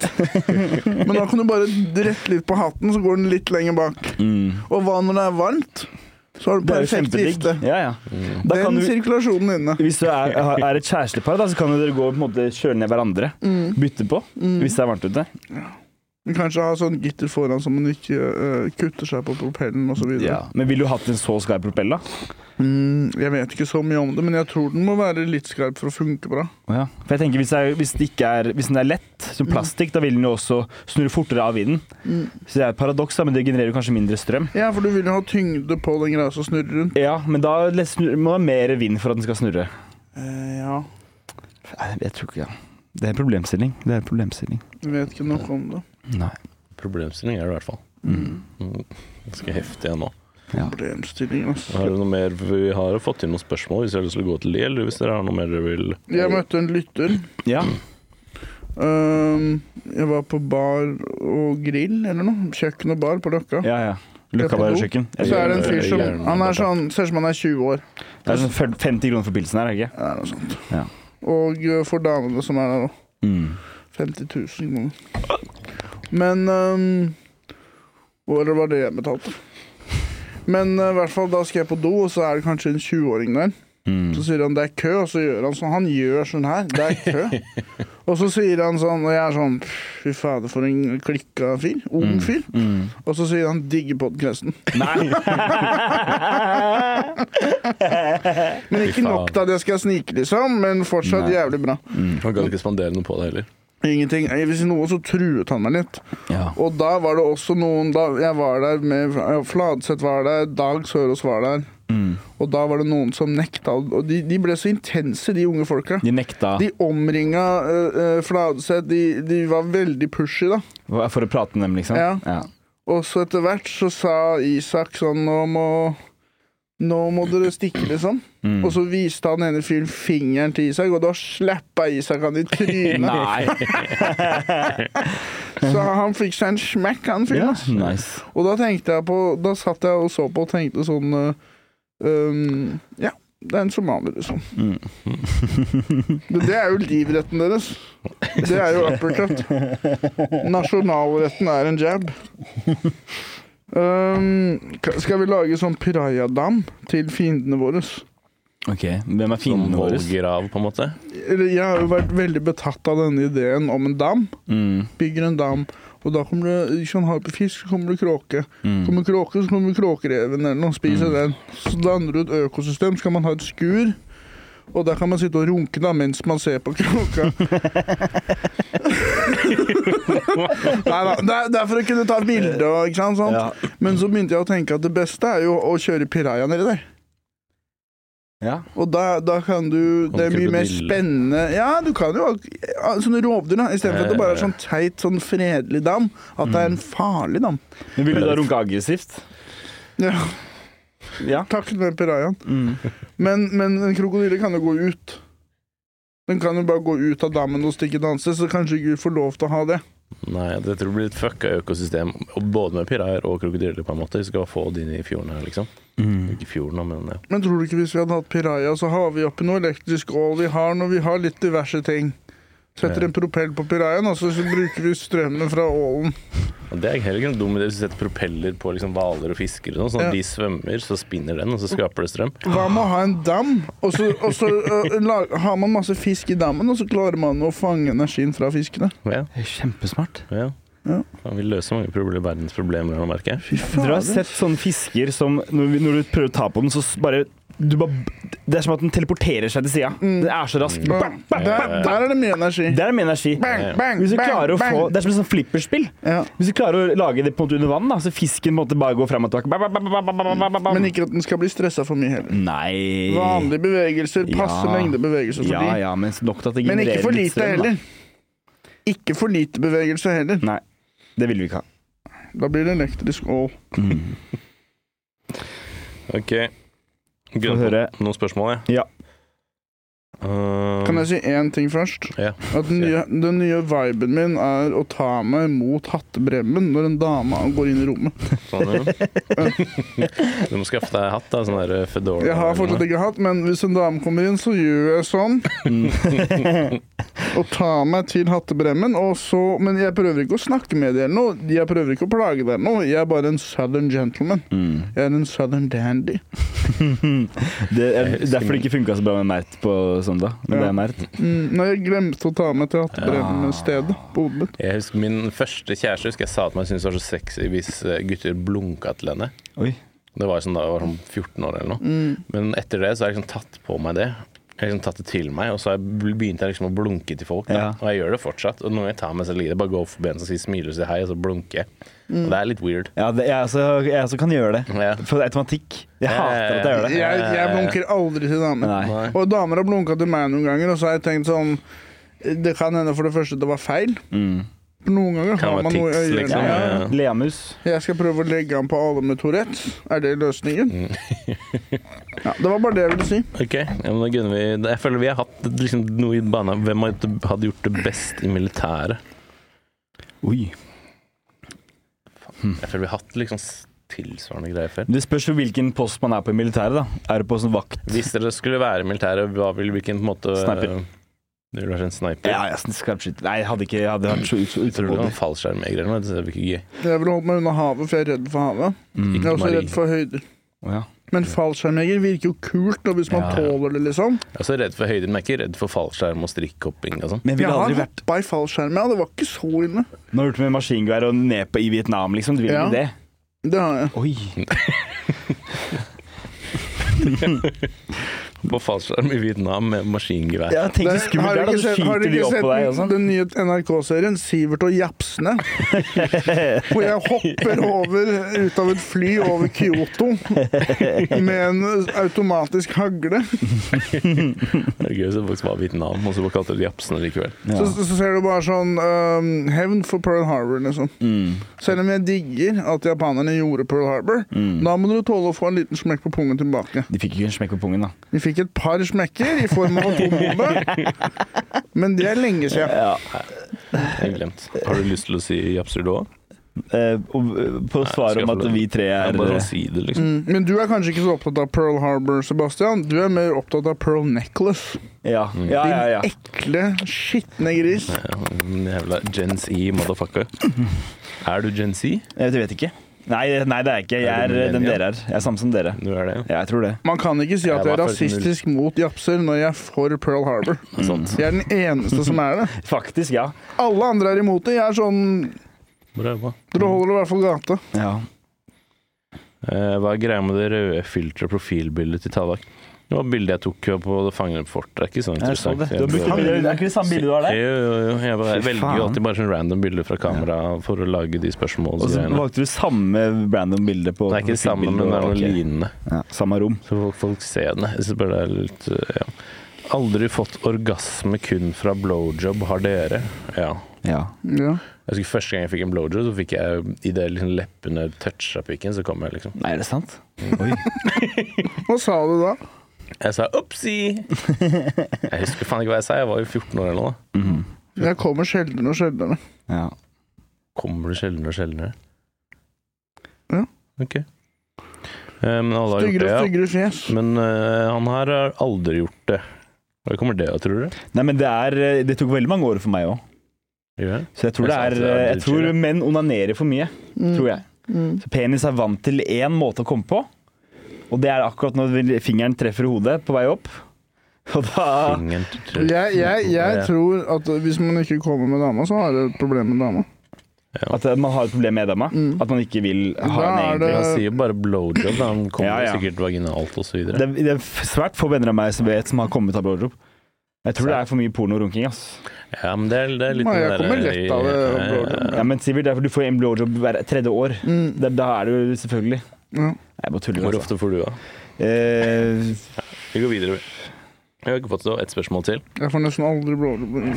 [SPEAKER 2] Men da kan du bare rette litt på hatten, så går den litt lenger bak. Og hva når det er varmt? Så har du
[SPEAKER 4] Mm. Det er jo
[SPEAKER 2] perfekt
[SPEAKER 4] kjempedigg.
[SPEAKER 2] gifte.
[SPEAKER 4] Ja, ja. Da kan
[SPEAKER 2] Den
[SPEAKER 4] du,
[SPEAKER 2] sirkulasjonen inne.
[SPEAKER 4] hvis du er, er et kjærestepar, da, så kan jo dere gå og på en måte kjøle ned hverandre. Bytte på hvis det er varmt ute.
[SPEAKER 2] Men Kanskje ha sånn gitter foran så man ikke eh, kutter seg på propellen osv.
[SPEAKER 4] Ja. Men ville du hatt en så skarp propell, da?
[SPEAKER 2] Mm, jeg vet ikke så mye om det, men jeg tror den må være litt skarp for å funke bra.
[SPEAKER 4] For jeg tenker hvis, det er, hvis, det ikke er, hvis den er lett, som plastikk, da vil den jo også snurre fortere av vinden. Så det er et paradoks, da, men det genererer jo kanskje mindre strøm.
[SPEAKER 2] Ja, for du vil jo ha tyngde på den greia som snurrer rundt.
[SPEAKER 4] Ja, men da les- snur- må det være mer vind for at den skal snurre.
[SPEAKER 2] Eh, ja,
[SPEAKER 4] Nei, Jeg tror ikke ja. Det er en problemstilling. Det er en problemstilling.
[SPEAKER 2] jeg vet ikke noe om det.
[SPEAKER 4] Nei.
[SPEAKER 1] Problemstilling er det i hvert fall. Mm. Ganske heftig ennå.
[SPEAKER 4] Ja.
[SPEAKER 2] Problemstilling, altså.
[SPEAKER 1] Har du noe mer? Vi har jo fått inn noen spørsmål hvis dere har lyst til å gå til de, eller hvis dere har noe mer dere vil
[SPEAKER 2] Jeg møtte en lytter.
[SPEAKER 4] Ja.
[SPEAKER 2] Ehm, jeg var på bar og grill eller noe. Kjøkken og bar på Løkka.
[SPEAKER 4] Ja, ja. Løkka bare kjøkken.
[SPEAKER 2] Og så er det en fyr som
[SPEAKER 1] Gjerne.
[SPEAKER 2] Han er sånn, ser ut som han er 20 år.
[SPEAKER 4] Det er sånn 50 kroner for pilsen her, er det ikke?
[SPEAKER 2] Ja, noe sånt.
[SPEAKER 4] Ja.
[SPEAKER 2] Og eh, for damene som er der òg.
[SPEAKER 4] Mm.
[SPEAKER 2] 50 000 kroner. Men ehm, hvor- Eller var det jeg betalte? Men eh, i hvert fall da skal jeg på do, og så er det kanskje en
[SPEAKER 1] Mm.
[SPEAKER 2] 20-åring der. Så sier han det er kø, og så gjør han sånn. Han gjør sånn her. Det er kø. Og så sier han sånn, og jeg er sånn Fy fader, for en klikka fyr.
[SPEAKER 1] Mm.
[SPEAKER 2] Ung fyr. Og så sier han 'digger podkasten'. Men ikke
[SPEAKER 1] Fy faen.
[SPEAKER 2] nok til at jeg skal snike, liksom, men fortsatt jævlig bra.
[SPEAKER 1] Han kan ikke spandere noe på det heller.
[SPEAKER 2] Ingenting. Eh, Hvis noe, så truet han meg litt. Og da var det også noen da, Jeg var der med ja, Fladseth var der, Dag Sørås var der. Og da var det noen som nekta. Og de, de ble så intense, de unge folka.
[SPEAKER 4] De nekta
[SPEAKER 2] De omringa øh, øh, Fladseth. De, de var veldig pushy, da.
[SPEAKER 4] for å prate med dem, liksom.
[SPEAKER 2] Ja. Og så etter hvert så sa Isak sånn Nå må, nå må dere stikke, liksom. Og så viste han ene fyren fingeren til Isak, og da slappa Isak han i trynet.
[SPEAKER 4] Nei.
[SPEAKER 2] så han fikk seg en smekk, han fyren.
[SPEAKER 4] Ja,
[SPEAKER 2] ass.
[SPEAKER 4] nice.
[SPEAKER 2] Og da tenkte jeg på Da satt jeg og så på og tenkte sånn øh, øhm, Ja, det er en somalier, liksom. Men det er jo livretten deres. Det er jo uppercut. Nasjonalretten er en jab. Øhm, ka- skal vi lage sånn pirayadam til fiendene våre?
[SPEAKER 4] Ok, Hvem er
[SPEAKER 1] Sånn
[SPEAKER 4] fiendene våre?
[SPEAKER 1] vollgrav, på en måte.
[SPEAKER 2] Eller, Jeg har jo vært veldig betatt av denne ideen om en dam.
[SPEAKER 4] Mm.
[SPEAKER 2] Bygger en dam, og da kommer det Hvis han har på fisk, så kommer det kråke.
[SPEAKER 4] Mm.
[SPEAKER 2] Kommer kråke, så kommer kråkereven eller noe, spiser den. Så danner du et økosystem, så kan man ha et skur. Og der kan man sitte og runke da mens man ser på kråka. Nei da, det er- det er for å kunne ta bilde og ikke sant. sånt.
[SPEAKER 4] Ja.
[SPEAKER 2] Men så begynte jeg å tenke at det beste er jo å kjøre piraja nedi der.
[SPEAKER 4] Ja.
[SPEAKER 2] Og da, da kan du
[SPEAKER 1] Kan
[SPEAKER 2] Det er mye mer
[SPEAKER 1] krokodille.
[SPEAKER 2] spennende Ja, du kan jo ha sånne rovdyr, da. Istedenfor at det bare er sånn teit, sånn fredelig dam. At det er en farlig dam.
[SPEAKER 4] Men Ville du da runke aggressivt?
[SPEAKER 2] Ja,
[SPEAKER 4] Ja.
[SPEAKER 2] takket være pirajaen.
[SPEAKER 4] Mm.
[SPEAKER 2] Men, men en krokodille kan jo gå ut. Den kan jo bare gå ut av dammen og stikke et annet sted, så kanskje ikke vi får lov til å ha det.
[SPEAKER 1] Nei, det tror jeg blir et fucka økosystem, og både med pirajaer og krokodiller, på en måte. Vi skal få de inn i fjorden her, liksom. Ikke fjorden, da, men ja.
[SPEAKER 2] Men tror du ikke hvis vi hadde hatt piraja, så har vi oppi noe elektrisk ål vi har når vi har litt diverse ting? Setter en propell på pirajaen, og så så bruker vi strømmen fra ålen.
[SPEAKER 1] Og Det er heller ikke noe dum idé hvis du setter propeller på liksom hvaler og fisker og sånn, sånn at
[SPEAKER 2] Ja.
[SPEAKER 1] de svømmer, så spinner den, og så skaper det strøm.
[SPEAKER 2] Hva med å ha en dam? Og så, og så ø, la- har man masse fisk i dammen, og så klarer man å fange energien fra fiskene.
[SPEAKER 1] Ja,
[SPEAKER 4] Kjempesmart.
[SPEAKER 1] ja.
[SPEAKER 2] Ja.
[SPEAKER 1] Faen, vi løser mange problemer, verdens problemer, nå, merker jeg.
[SPEAKER 2] Fy
[SPEAKER 4] Dere har sett sånne fisker som når, vi- når du prøver å ta på den, så s- bare, du bare Det er som at den teleporterer seg til sida.
[SPEAKER 2] Mm.
[SPEAKER 4] Den er så rask. Bang, bang,
[SPEAKER 2] Der,
[SPEAKER 4] bang, bang.
[SPEAKER 2] der er det mye energi.
[SPEAKER 4] Det er min energi.
[SPEAKER 2] Bang, bang,
[SPEAKER 4] Hvis du
[SPEAKER 2] bang,
[SPEAKER 4] klarer å
[SPEAKER 2] bang.
[SPEAKER 4] få, det er som et sånt flipperspill.
[SPEAKER 2] ja.
[SPEAKER 4] Hvis du klarer å lage det på en måte under vann, da, så fisken på en måte bare går fram og tilbake. Bam, bam, bam, bam, bam, bam, bam, bam.
[SPEAKER 2] Men ikke at den skal bli stressa for mye heller.
[SPEAKER 4] Nei.
[SPEAKER 2] Vanlige bevegelser, passe
[SPEAKER 4] Ja.
[SPEAKER 2] mengde bevegelser for
[SPEAKER 4] Ja,
[SPEAKER 2] de.
[SPEAKER 4] ja, men nok til at det
[SPEAKER 2] Men
[SPEAKER 4] genererer
[SPEAKER 2] ikke for
[SPEAKER 4] litt
[SPEAKER 2] lite
[SPEAKER 4] strøm, da.
[SPEAKER 2] heller. Ikke for lite bevegelse heller.
[SPEAKER 4] Nei. Det ville vi ikke ha.
[SPEAKER 2] Da blir det elektrisk ål. Mm.
[SPEAKER 1] Ok.
[SPEAKER 4] Få
[SPEAKER 1] Gunn på
[SPEAKER 4] høre.
[SPEAKER 1] noen spørsmål, jeg.
[SPEAKER 4] Ja.
[SPEAKER 1] Uh,
[SPEAKER 2] Kan jeg si én ting først?
[SPEAKER 1] Ja.
[SPEAKER 2] At den nye, den nye viben min er å ta meg mot hattebremmen når en dame går inn i rommet.
[SPEAKER 1] Sånn, ja. Du må skaffe deg hatt, da. Sånn der fedora.
[SPEAKER 2] Jeg har
[SPEAKER 1] eller noe.
[SPEAKER 2] fortsatt ikke hatt, men hvis en dame kommer inn, så gjør jeg sånn. Mm. og tar meg til hattebremmen. Og så, men jeg prøver ikke å snakke med deg eller noe. Jeg prøver ikke å plage deg eller noe. Jeg er bare en southern gentleman.
[SPEAKER 4] Mm.
[SPEAKER 2] Jeg er en southern dandy.
[SPEAKER 4] Det er derfor det ikke funka så bra med Mert på søndag. Når
[SPEAKER 2] Ja.
[SPEAKER 4] det er Mert.
[SPEAKER 2] Mm, nei, jeg glemte å ta meg til
[SPEAKER 1] Ah.
[SPEAKER 2] hattebremmen-stedet på hodet mitt.
[SPEAKER 1] Jeg husker Min første kjæreste husker jeg sa at man syntes det var så sexy hvis eh, gutter blunka til henne.
[SPEAKER 4] Oi.
[SPEAKER 1] Det var jo sånn da jeg var sånn 14 år eller noe. Men etter det så har jeg liksom tatt på meg det. Jeg har liksom tatt det til meg, og så har jeg bl- begynte jeg liksom å blunke til folk. Da.
[SPEAKER 4] Ja.
[SPEAKER 1] Og jeg gjør det fortsatt. Og når jeg tar meg selv i det, bare går forbi en som sier smiler og sier hei, og så blunker jeg. Og det er litt weird.
[SPEAKER 4] Ja, det, jeg, også, jeg også kan gjøre det.
[SPEAKER 1] Ja.
[SPEAKER 4] For automatikk. Jeg hater at jeg gjør det.
[SPEAKER 2] Jeg, jeg blunker aldri til damer.
[SPEAKER 4] Nei.
[SPEAKER 2] Og damer har blunka til meg noen ganger, og så har jeg tenkt sånn Det kan hende for det første det var feil.
[SPEAKER 4] Mm.
[SPEAKER 2] For Noen ganger
[SPEAKER 1] Kan
[SPEAKER 2] har
[SPEAKER 1] være
[SPEAKER 2] man noe i
[SPEAKER 1] tics,
[SPEAKER 2] øynene.
[SPEAKER 1] liksom.
[SPEAKER 4] Ja,
[SPEAKER 1] Ja, ja.
[SPEAKER 4] Leamus.
[SPEAKER 2] Jeg skal prøve å legge an på alle med Tourettes. Er det løsningen?
[SPEAKER 1] Mm.
[SPEAKER 2] ja, det var bare det jeg ville si.
[SPEAKER 1] Ok, ja, men da gunner vi. Jeg føler vi har hatt liksom noe i bana. Hvem hadde gjort det best i militæret?
[SPEAKER 4] Oi.
[SPEAKER 1] Jeg føler vi har hatt liksom s- tilsvarende greier før.
[SPEAKER 4] Det spørs jo hvilken post man er på i militæret. da. Er du på sånn vakt?
[SPEAKER 1] Hvis dere skulle være militære, hva ville hvilken på en måte
[SPEAKER 4] Sniper.
[SPEAKER 1] Du ville vært en sniper.
[SPEAKER 4] Ja, jeg synes skarpskytter. Nei, jeg hadde ikke jeg hadde vært så ut,
[SPEAKER 1] Tror du det var
[SPEAKER 4] utrolig.
[SPEAKER 1] en fallskjermjeger eller noe? Det blir ikke gøy.
[SPEAKER 2] Jeg vil holde meg unna havet, for jeg er redd for havet. Jeg er også
[SPEAKER 1] Marie.
[SPEAKER 2] redd for høyder.
[SPEAKER 4] Å Mm. ja.
[SPEAKER 2] Men fallskjermjeger virker jo kult, og hvis man
[SPEAKER 1] Ja.
[SPEAKER 2] tåler det, liksom.
[SPEAKER 1] Jeg er så redd for høyden, men jeg er ikke redd for fallskjerm og strikkhopping og sånn.
[SPEAKER 4] Men
[SPEAKER 2] Jeg
[SPEAKER 4] ville
[SPEAKER 2] har
[SPEAKER 4] aldri vært
[SPEAKER 2] hoppa i fallskjerm, ja. Det var ikke så ille.
[SPEAKER 4] Nå har du gjort det med maskingevær og nepe i Vietnam, liksom. Du vil
[SPEAKER 2] Ja.
[SPEAKER 4] ikke det?
[SPEAKER 2] Det har jeg.
[SPEAKER 4] Oi.
[SPEAKER 1] På fallskjerm i Vietnam med maskingevær.
[SPEAKER 4] Ja, tenk så
[SPEAKER 2] Det-
[SPEAKER 4] skummelt
[SPEAKER 2] har
[SPEAKER 4] det
[SPEAKER 2] du
[SPEAKER 4] er, da.
[SPEAKER 2] ikke
[SPEAKER 4] Så
[SPEAKER 2] sett- har du
[SPEAKER 4] skyter de
[SPEAKER 2] ikke
[SPEAKER 4] opp
[SPEAKER 2] sett
[SPEAKER 4] på deg og
[SPEAKER 2] den-
[SPEAKER 4] sånn.
[SPEAKER 2] Den nye NRK-serien 'Sivert og Japsene'. hvor jeg hopper over ut av et fly over Kyoto med en automatisk hagle.
[SPEAKER 1] Det er gøy hvis det faktisk var Vietnam, og så bare kalte de det Japsene likevel.
[SPEAKER 4] Ja.
[SPEAKER 2] Så, så ser du bare sånn ehm, Hevn for Pearl Harbor, liksom.
[SPEAKER 4] Mm.
[SPEAKER 2] Selv om jeg digger at japanerne gjorde Pearl Harbor,
[SPEAKER 4] Mm.
[SPEAKER 2] da må dere tåle å få en liten smekk på pungen tilbake.
[SPEAKER 4] De fikk ikke en smekk på pungen, da.
[SPEAKER 2] Vi fikk et par smekker i form av atombombe, men det er lenge siden.
[SPEAKER 4] Ja.
[SPEAKER 1] Jeg har glemt. Har du lyst til å si Japser du òg?
[SPEAKER 4] Eh, og, eh, på
[SPEAKER 1] skal
[SPEAKER 4] svaret om
[SPEAKER 1] jeg
[SPEAKER 4] at
[SPEAKER 1] få det?
[SPEAKER 4] vi tre er
[SPEAKER 1] Bare
[SPEAKER 4] eh,
[SPEAKER 1] sånn si det, liksom.
[SPEAKER 2] Mm, Men du er kanskje ikke så opptatt av Pearl Harbor, Sebastian. Du er mer opptatt av Pearl Necklace.
[SPEAKER 4] Ja, ja, ja. ja.
[SPEAKER 2] Ekle, skitne gris.
[SPEAKER 1] Ja, men jævla Gen Z, motherfucker. Er du Gen Z?
[SPEAKER 4] Jeg vet- jeg vet ikke. Nei, nei, det er jeg ikke. Jeg
[SPEAKER 1] Er
[SPEAKER 4] er
[SPEAKER 1] du
[SPEAKER 4] eh, den
[SPEAKER 1] millennial?
[SPEAKER 4] dere er. Jeg er samme som dere.
[SPEAKER 1] Du er det, ja.
[SPEAKER 4] Ja, jeg tror det.
[SPEAKER 2] Man kan ikke si at
[SPEAKER 1] Jeg
[SPEAKER 2] jeg er
[SPEAKER 1] var først null.
[SPEAKER 2] rasistisk mot japser når jeg er for Pearl Harbor.
[SPEAKER 1] Sant.
[SPEAKER 2] Jeg er den eneste som er det.
[SPEAKER 4] Faktisk, ja.
[SPEAKER 2] Alle andre er imot det. Jeg er sånn
[SPEAKER 1] Bra jobba.
[SPEAKER 2] Dere holder i hvert fall gata.
[SPEAKER 4] ja.
[SPEAKER 1] Eh, hva er greia med det røde filteret og profilbildet til Tallak? Det var bildet jeg tok på Fangerfortet. Det er ikke så
[SPEAKER 4] Jeg så
[SPEAKER 1] interessant.
[SPEAKER 4] det. Du har brukt det bildet. Det er ikke det samme bildet du har der.
[SPEAKER 1] Jo, jo, jo. Jeg bare
[SPEAKER 4] Fy
[SPEAKER 1] velger jo
[SPEAKER 4] faen.
[SPEAKER 1] alltid bare sånn random bilder fra kamera for å lage de
[SPEAKER 4] Og så
[SPEAKER 1] spørsmålsgreiene.
[SPEAKER 4] valgte du samme random bilde på
[SPEAKER 1] Det er ikke det samme, men det er noe
[SPEAKER 4] Ok.
[SPEAKER 1] lignende.
[SPEAKER 4] Ja, samme rom.
[SPEAKER 1] Så folk, folk ser det. Så bare det er litt eh, ja. Aldri fått orgasme kun fra blowjob, har dere? Ja.
[SPEAKER 4] Ja.
[SPEAKER 2] Ja.
[SPEAKER 1] Jeg husker Første gang jeg fikk en blowjob, så fikk jeg idet liksom leppene toucha pikken, så kom jeg liksom
[SPEAKER 4] Nei, er det sant?
[SPEAKER 2] Hva sa du da?
[SPEAKER 1] Jeg sa opsi! Jeg husker faen ikke hva jeg sa, jeg var jo 14 år eller noe.
[SPEAKER 2] Jeg kommer sjeldnere og sjeldnere.
[SPEAKER 4] Mhm. Ja.
[SPEAKER 1] Kommer det sjeldnere og sjeldnere?
[SPEAKER 2] Ja.
[SPEAKER 1] Ok. Eh, Men alle har gjort
[SPEAKER 2] Styggere
[SPEAKER 1] det,
[SPEAKER 2] og
[SPEAKER 1] ja.
[SPEAKER 2] styggere fjes.
[SPEAKER 1] Men eh, han her har aldri gjort det. Hva kommer det av, tror du?
[SPEAKER 4] Nei, men det er eh, Det tok veldig mange år for meg òg.
[SPEAKER 1] Gjør det?
[SPEAKER 4] Så jeg tror det
[SPEAKER 1] Jeg sa
[SPEAKER 4] er
[SPEAKER 1] det, det
[SPEAKER 4] eh,
[SPEAKER 1] er
[SPEAKER 4] Jeg tror
[SPEAKER 1] dritkjedelig.
[SPEAKER 4] menn onanerer for mye.
[SPEAKER 2] Mm.
[SPEAKER 4] Tror jeg.
[SPEAKER 2] Mm.
[SPEAKER 4] Så penis er vant til én måte å komme på, og det er akkurat når vil- fingeren treffer hodet på vei opp. Og da
[SPEAKER 1] Ingen
[SPEAKER 2] Jeg, jeg, jeg
[SPEAKER 1] Ja.
[SPEAKER 2] tror at hvis man ikke kommer med dama, så har jeg et problem med dama.
[SPEAKER 4] At man har et problem med dama.
[SPEAKER 2] Mm.
[SPEAKER 4] At man ikke vil ha
[SPEAKER 2] Da
[SPEAKER 4] en
[SPEAKER 2] er
[SPEAKER 4] egen
[SPEAKER 2] det-
[SPEAKER 1] Han sier jo bare blowjob, da. Han kommer
[SPEAKER 4] Ja, ja.
[SPEAKER 1] sikkert vaginalt og så videre.
[SPEAKER 4] det, det er svært få venner av meg som vet som har kommet av blowjob. Jeg tror det er for mye porno og runking. ass.
[SPEAKER 1] Ja, men det er, det er litt
[SPEAKER 2] Nei,
[SPEAKER 1] den
[SPEAKER 2] jeg
[SPEAKER 1] der-
[SPEAKER 2] kommer lett av det,
[SPEAKER 1] Ja, ja,
[SPEAKER 2] blowjob.
[SPEAKER 1] ja.
[SPEAKER 4] Ja, men Sivert, det er fordi du får en blowjob hver tredje år.
[SPEAKER 2] Mm.
[SPEAKER 4] Da, da er det jo selvfølgelig Nei,
[SPEAKER 2] Ja.
[SPEAKER 4] Jeg bare tuller.
[SPEAKER 1] Hvor
[SPEAKER 4] Altså.
[SPEAKER 1] ofte får du av?
[SPEAKER 4] Eh,
[SPEAKER 1] Vi går videre. Jeg har ikke fått så- et spørsmål til.
[SPEAKER 2] Jeg får nesten aldri blålue.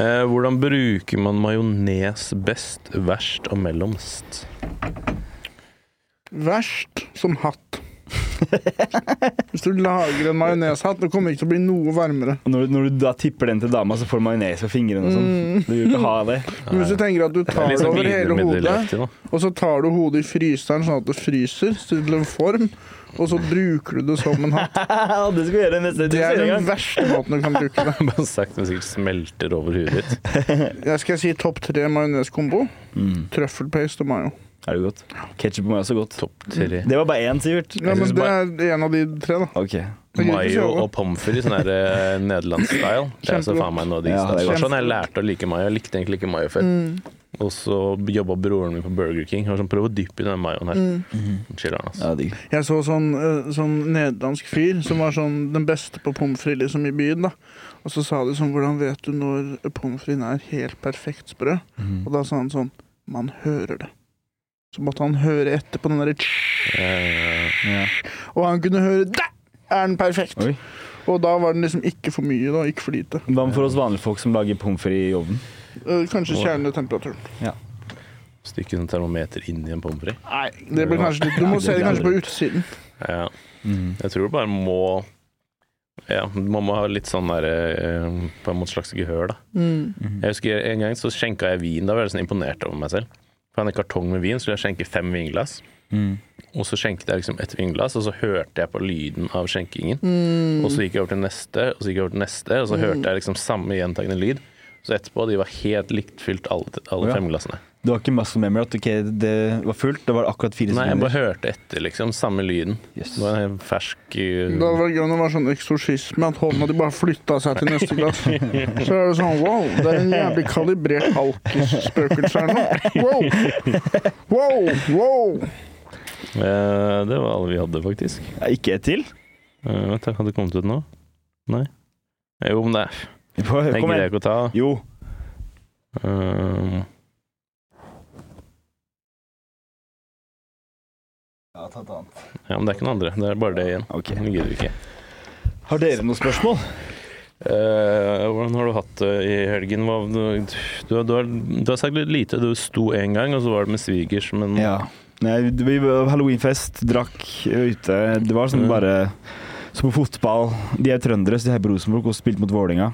[SPEAKER 1] Eh, hvordan bruker man majones best, verst og mellomst?
[SPEAKER 2] Verst som hatt. Hvis du lager en majoneshatt, det kommer ikke til å bli noe varmere.
[SPEAKER 4] når, når du da tipper den til dama, så får du majones på fingrene og sånn.
[SPEAKER 2] Mm.
[SPEAKER 4] Du vil ikke ha det.
[SPEAKER 2] Men hvis du tenker at du
[SPEAKER 1] Det er
[SPEAKER 2] tar
[SPEAKER 1] litt
[SPEAKER 2] det
[SPEAKER 1] sånn
[SPEAKER 2] over hele hodet,
[SPEAKER 1] glidemiddelaktig, da.
[SPEAKER 2] og så tar du hodet i fryseren sånn at det fryser til en form, og så bruker du det som en hatt.
[SPEAKER 4] det skal vi gjøre neste
[SPEAKER 2] Det er
[SPEAKER 4] neste
[SPEAKER 2] den
[SPEAKER 4] gang.
[SPEAKER 2] verste måten du kan bruke det.
[SPEAKER 1] Bare sagt, men sikkert smelter over huet ditt.
[SPEAKER 2] Jeg skal si topp tre majoneskombo.
[SPEAKER 1] Mm.
[SPEAKER 2] Trøffelpaste og mayo.
[SPEAKER 4] Er det godt? Ketsjup må jeg også godt.
[SPEAKER 1] Topp tre.
[SPEAKER 4] Det var bare én, Sivert.
[SPEAKER 2] Ja, men det er en av de tre, da.
[SPEAKER 4] Ok.
[SPEAKER 2] Jeg gidder ikke si
[SPEAKER 1] Mayo
[SPEAKER 2] alle.
[SPEAKER 1] og pommes frites, sånn der eh, nederlandsstyle. Det er så
[SPEAKER 2] Kjempegodt.
[SPEAKER 1] faen meg noe av de
[SPEAKER 4] Ja, det er
[SPEAKER 1] Det var
[SPEAKER 2] godt.
[SPEAKER 1] sånn jeg lærte å like mayo. Jeg likte egentlig ikke mayo før. Og så jobba broren min på Burger King. Han var sånn, prøv å dyppe i den mayoen her. Chiller'n, altså.
[SPEAKER 4] Ja, digg.
[SPEAKER 2] Jeg så sånn, eh, sånn nederlandsk fyr som var sånn den beste på pommes frites liksom, i byen. da. Og så sa de sånn Hvordan vet du når pommes frites er helt perfekt sprø? Og da sa han sånn Man hører det. Så måtte han høre etter på den derre tss,
[SPEAKER 1] Eh,
[SPEAKER 4] Ja.
[SPEAKER 2] Og han kunne høre Der er den perfekt!
[SPEAKER 4] Oi.
[SPEAKER 2] Og da var den liksom ikke for mye, da. Ikke for lite.
[SPEAKER 4] Hva med for oss vanlige folk som lager pommes frites i ovnen?
[SPEAKER 2] Eh, Kanskje kjernetemperaturen.
[SPEAKER 1] Stikke sånn termometer inn i en pommes frites.
[SPEAKER 2] Nei, det blir kanskje litt Du må se det kanskje på utsiden.
[SPEAKER 1] Ja.
[SPEAKER 2] Mm.
[SPEAKER 1] Jeg tror du bare må ja, Man må ha litt sånn der eh, På en måte slags gehør, da.
[SPEAKER 4] Mm.
[SPEAKER 1] Jeg husker en gang så skjenka jeg vin. Da var jeg sånn imponert over meg selv. For jeg hadde en kartong med vin, så skulle jeg skjenke fem vinglass.
[SPEAKER 4] Mm.
[SPEAKER 1] Og så skjenket jeg liksom ett vinglass, og så hørte jeg på lyden av skjenkingen. Og så gikk jeg over til neste, og så gikk jeg over til neste, og så hørte jeg liksom samme gjentagende lyd. Så etterpå, de var helt likt fylt, alle, alle
[SPEAKER 4] Å ja.
[SPEAKER 1] fem glassene.
[SPEAKER 4] Du har ikke muscle memory at ok, det var fullt? Da var det akkurat fire
[SPEAKER 1] Nei, jeg bare
[SPEAKER 4] sekunder?
[SPEAKER 1] hørte etter, liksom. Samme lyden.
[SPEAKER 4] Yes.
[SPEAKER 1] Det var en fersk
[SPEAKER 2] Det hadde
[SPEAKER 1] uh,
[SPEAKER 2] vært gøy om det var sånn eksorsisme, at hånda di bare flytta seg til neste glass. Så er det sånn wow, det er en jævlig kalibrert alkisspøkelse her nå. Wow! Wow! wow.
[SPEAKER 1] eh, Det var alle vi hadde, faktisk.
[SPEAKER 4] Ja, ikke et til?
[SPEAKER 1] Eh, Vent, da, hadde det kommet ut nå? Nei? Eh, Jo, men det
[SPEAKER 4] Kom
[SPEAKER 1] Den gidder jeg
[SPEAKER 4] igjen.
[SPEAKER 1] ikke å ta.
[SPEAKER 4] Jo.
[SPEAKER 1] Eh, Ja, men det er ikke noe andre. Det er bare det igjen.
[SPEAKER 4] Ok.
[SPEAKER 1] Den gidder vi ikke.
[SPEAKER 4] Har dere noen spørsmål?
[SPEAKER 1] Eh, hvordan har du hatt det i helgen? Hva, du, du, du, har, du har sagt litt lite. Du sto én gang, og så var det med svigers, men
[SPEAKER 4] Ja. Nei, vi var halloweenfest, drakk ute. Det var sånn
[SPEAKER 1] Mm.
[SPEAKER 4] bare som på fotball. De er trøndere, så de heier på Rosenborg og spilte mot Vålinga.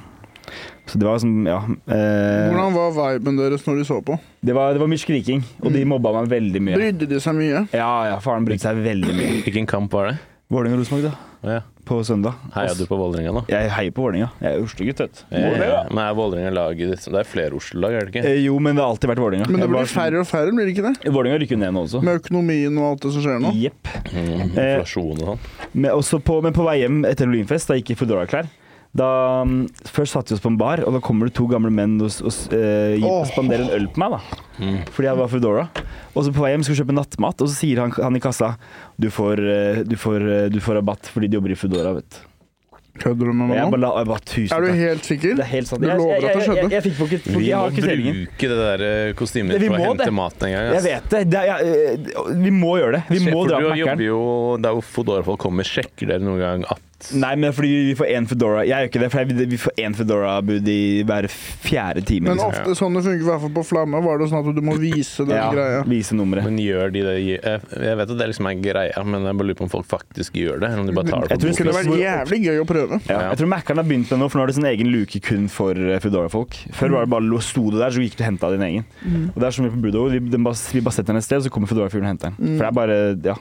[SPEAKER 4] Så det var sånn, ja eh,
[SPEAKER 2] Hvordan var viben deres når de så på?
[SPEAKER 4] det, var, det var mye skriking, og
[SPEAKER 2] Mm.
[SPEAKER 4] de mobba meg veldig mye.
[SPEAKER 2] Brydde de seg mye?
[SPEAKER 4] Ja, ja, faren brydde seg veldig mye.
[SPEAKER 1] hvilken kamp var det?
[SPEAKER 4] Vålinga og Rosenborg, da.
[SPEAKER 1] Å Ja.
[SPEAKER 4] På søndag.
[SPEAKER 1] Heia du på Vålerenga nå?
[SPEAKER 4] Jeg heier på Vålinga. Jeg er Oslo-gutt, vet du.
[SPEAKER 1] Eh, Men er Vålerenga laget ditt? Det er flere Oslo-lag, er det ikke?
[SPEAKER 4] Eh, Jo, men det har alltid vært Vålinga.
[SPEAKER 2] Men det
[SPEAKER 4] Jeg var
[SPEAKER 2] blir
[SPEAKER 4] sånn-
[SPEAKER 2] færre og færre, blir det ikke det?
[SPEAKER 4] Vålinga rykker jo ned nå også.
[SPEAKER 2] Med økonomien og alt det som skjer nå.
[SPEAKER 4] Jepp.
[SPEAKER 1] Mm,
[SPEAKER 4] Eh,
[SPEAKER 1] inflasjon og sånn.
[SPEAKER 4] Men, også på, men på vei hjem etter Halloweenfest, da gikk jeg i Foodora-klær. Da, mm, først satte vi oss på en bar, og da kommer det to gamle menn og, s- og s- eh, gi-
[SPEAKER 2] Åh.
[SPEAKER 4] spanderer en øl på meg. da
[SPEAKER 1] Mm.
[SPEAKER 4] Fordi jeg var Foodora. Og så på vei hjem skal vi kjøpe nattmat, og så sier han, han i kassa du får, eh, du, får, eh, du får rabatt fordi du jobber i Foodora, vet du.
[SPEAKER 2] Kødder du med
[SPEAKER 4] Og
[SPEAKER 2] meg
[SPEAKER 4] jeg bare,
[SPEAKER 2] nå?
[SPEAKER 4] la, jeg bare tusen
[SPEAKER 2] Mm. Er du
[SPEAKER 4] takk.
[SPEAKER 2] helt sikker?
[SPEAKER 4] Det er helt sant.
[SPEAKER 2] Du
[SPEAKER 4] Jeg-
[SPEAKER 2] lover at det
[SPEAKER 4] jeg- jeg-
[SPEAKER 2] skjedde?
[SPEAKER 4] Jeg, jeg, fikk ikke,
[SPEAKER 1] Vi
[SPEAKER 4] jeg
[SPEAKER 1] må
[SPEAKER 4] har ikke sellingen.
[SPEAKER 1] bruke det der eh, kostymet
[SPEAKER 4] Det-
[SPEAKER 1] ditt
[SPEAKER 4] vi
[SPEAKER 1] for å
[SPEAKER 4] må
[SPEAKER 1] hente
[SPEAKER 4] det.
[SPEAKER 1] maten en gang.
[SPEAKER 4] Jeg
[SPEAKER 1] ass.
[SPEAKER 4] vet det. det er, eh, vi må gjøre det. Vi
[SPEAKER 1] Se, for
[SPEAKER 4] må dra
[SPEAKER 1] du
[SPEAKER 4] på
[SPEAKER 1] jobber
[SPEAKER 4] Mækkern.
[SPEAKER 1] jo der hvor Foodora-folk kommer. Sjekker dere noen gang at
[SPEAKER 4] Nei, men fordi vi får én Foodora. Jeg gjør ikke det, for jeg, vi får én Foodora-bud i hver fjerde time.
[SPEAKER 2] Men
[SPEAKER 4] Liksom.
[SPEAKER 2] ofte sånn det funker, i hvert fall på Flamme, var det sånn at du må vise den greia.
[SPEAKER 4] Ja, vise nummeret.
[SPEAKER 1] Men gjør de det Jeg jeg vet at det liksom er greia, men jeg bare lurer på om folk faktisk gjør det. Eller om de bare tar det
[SPEAKER 4] Jeg
[SPEAKER 1] på
[SPEAKER 2] Det
[SPEAKER 4] tror det
[SPEAKER 2] kunne
[SPEAKER 1] boken.
[SPEAKER 4] skulle
[SPEAKER 2] vært jævlig gøy å prøve.
[SPEAKER 4] Ja.
[SPEAKER 1] Ja.
[SPEAKER 4] Jeg tror Mækkern har begynt med det nå, for nå har de sin egen luke kun for eh, Foodora-folk. Før var det bare lo- sto det der, så gikk du og henta din egen. Og det er som vi på Budover, vi, den bare, vi bare setter den et sted, så kommer Foodora-fyren og henter den. For det er bare ja,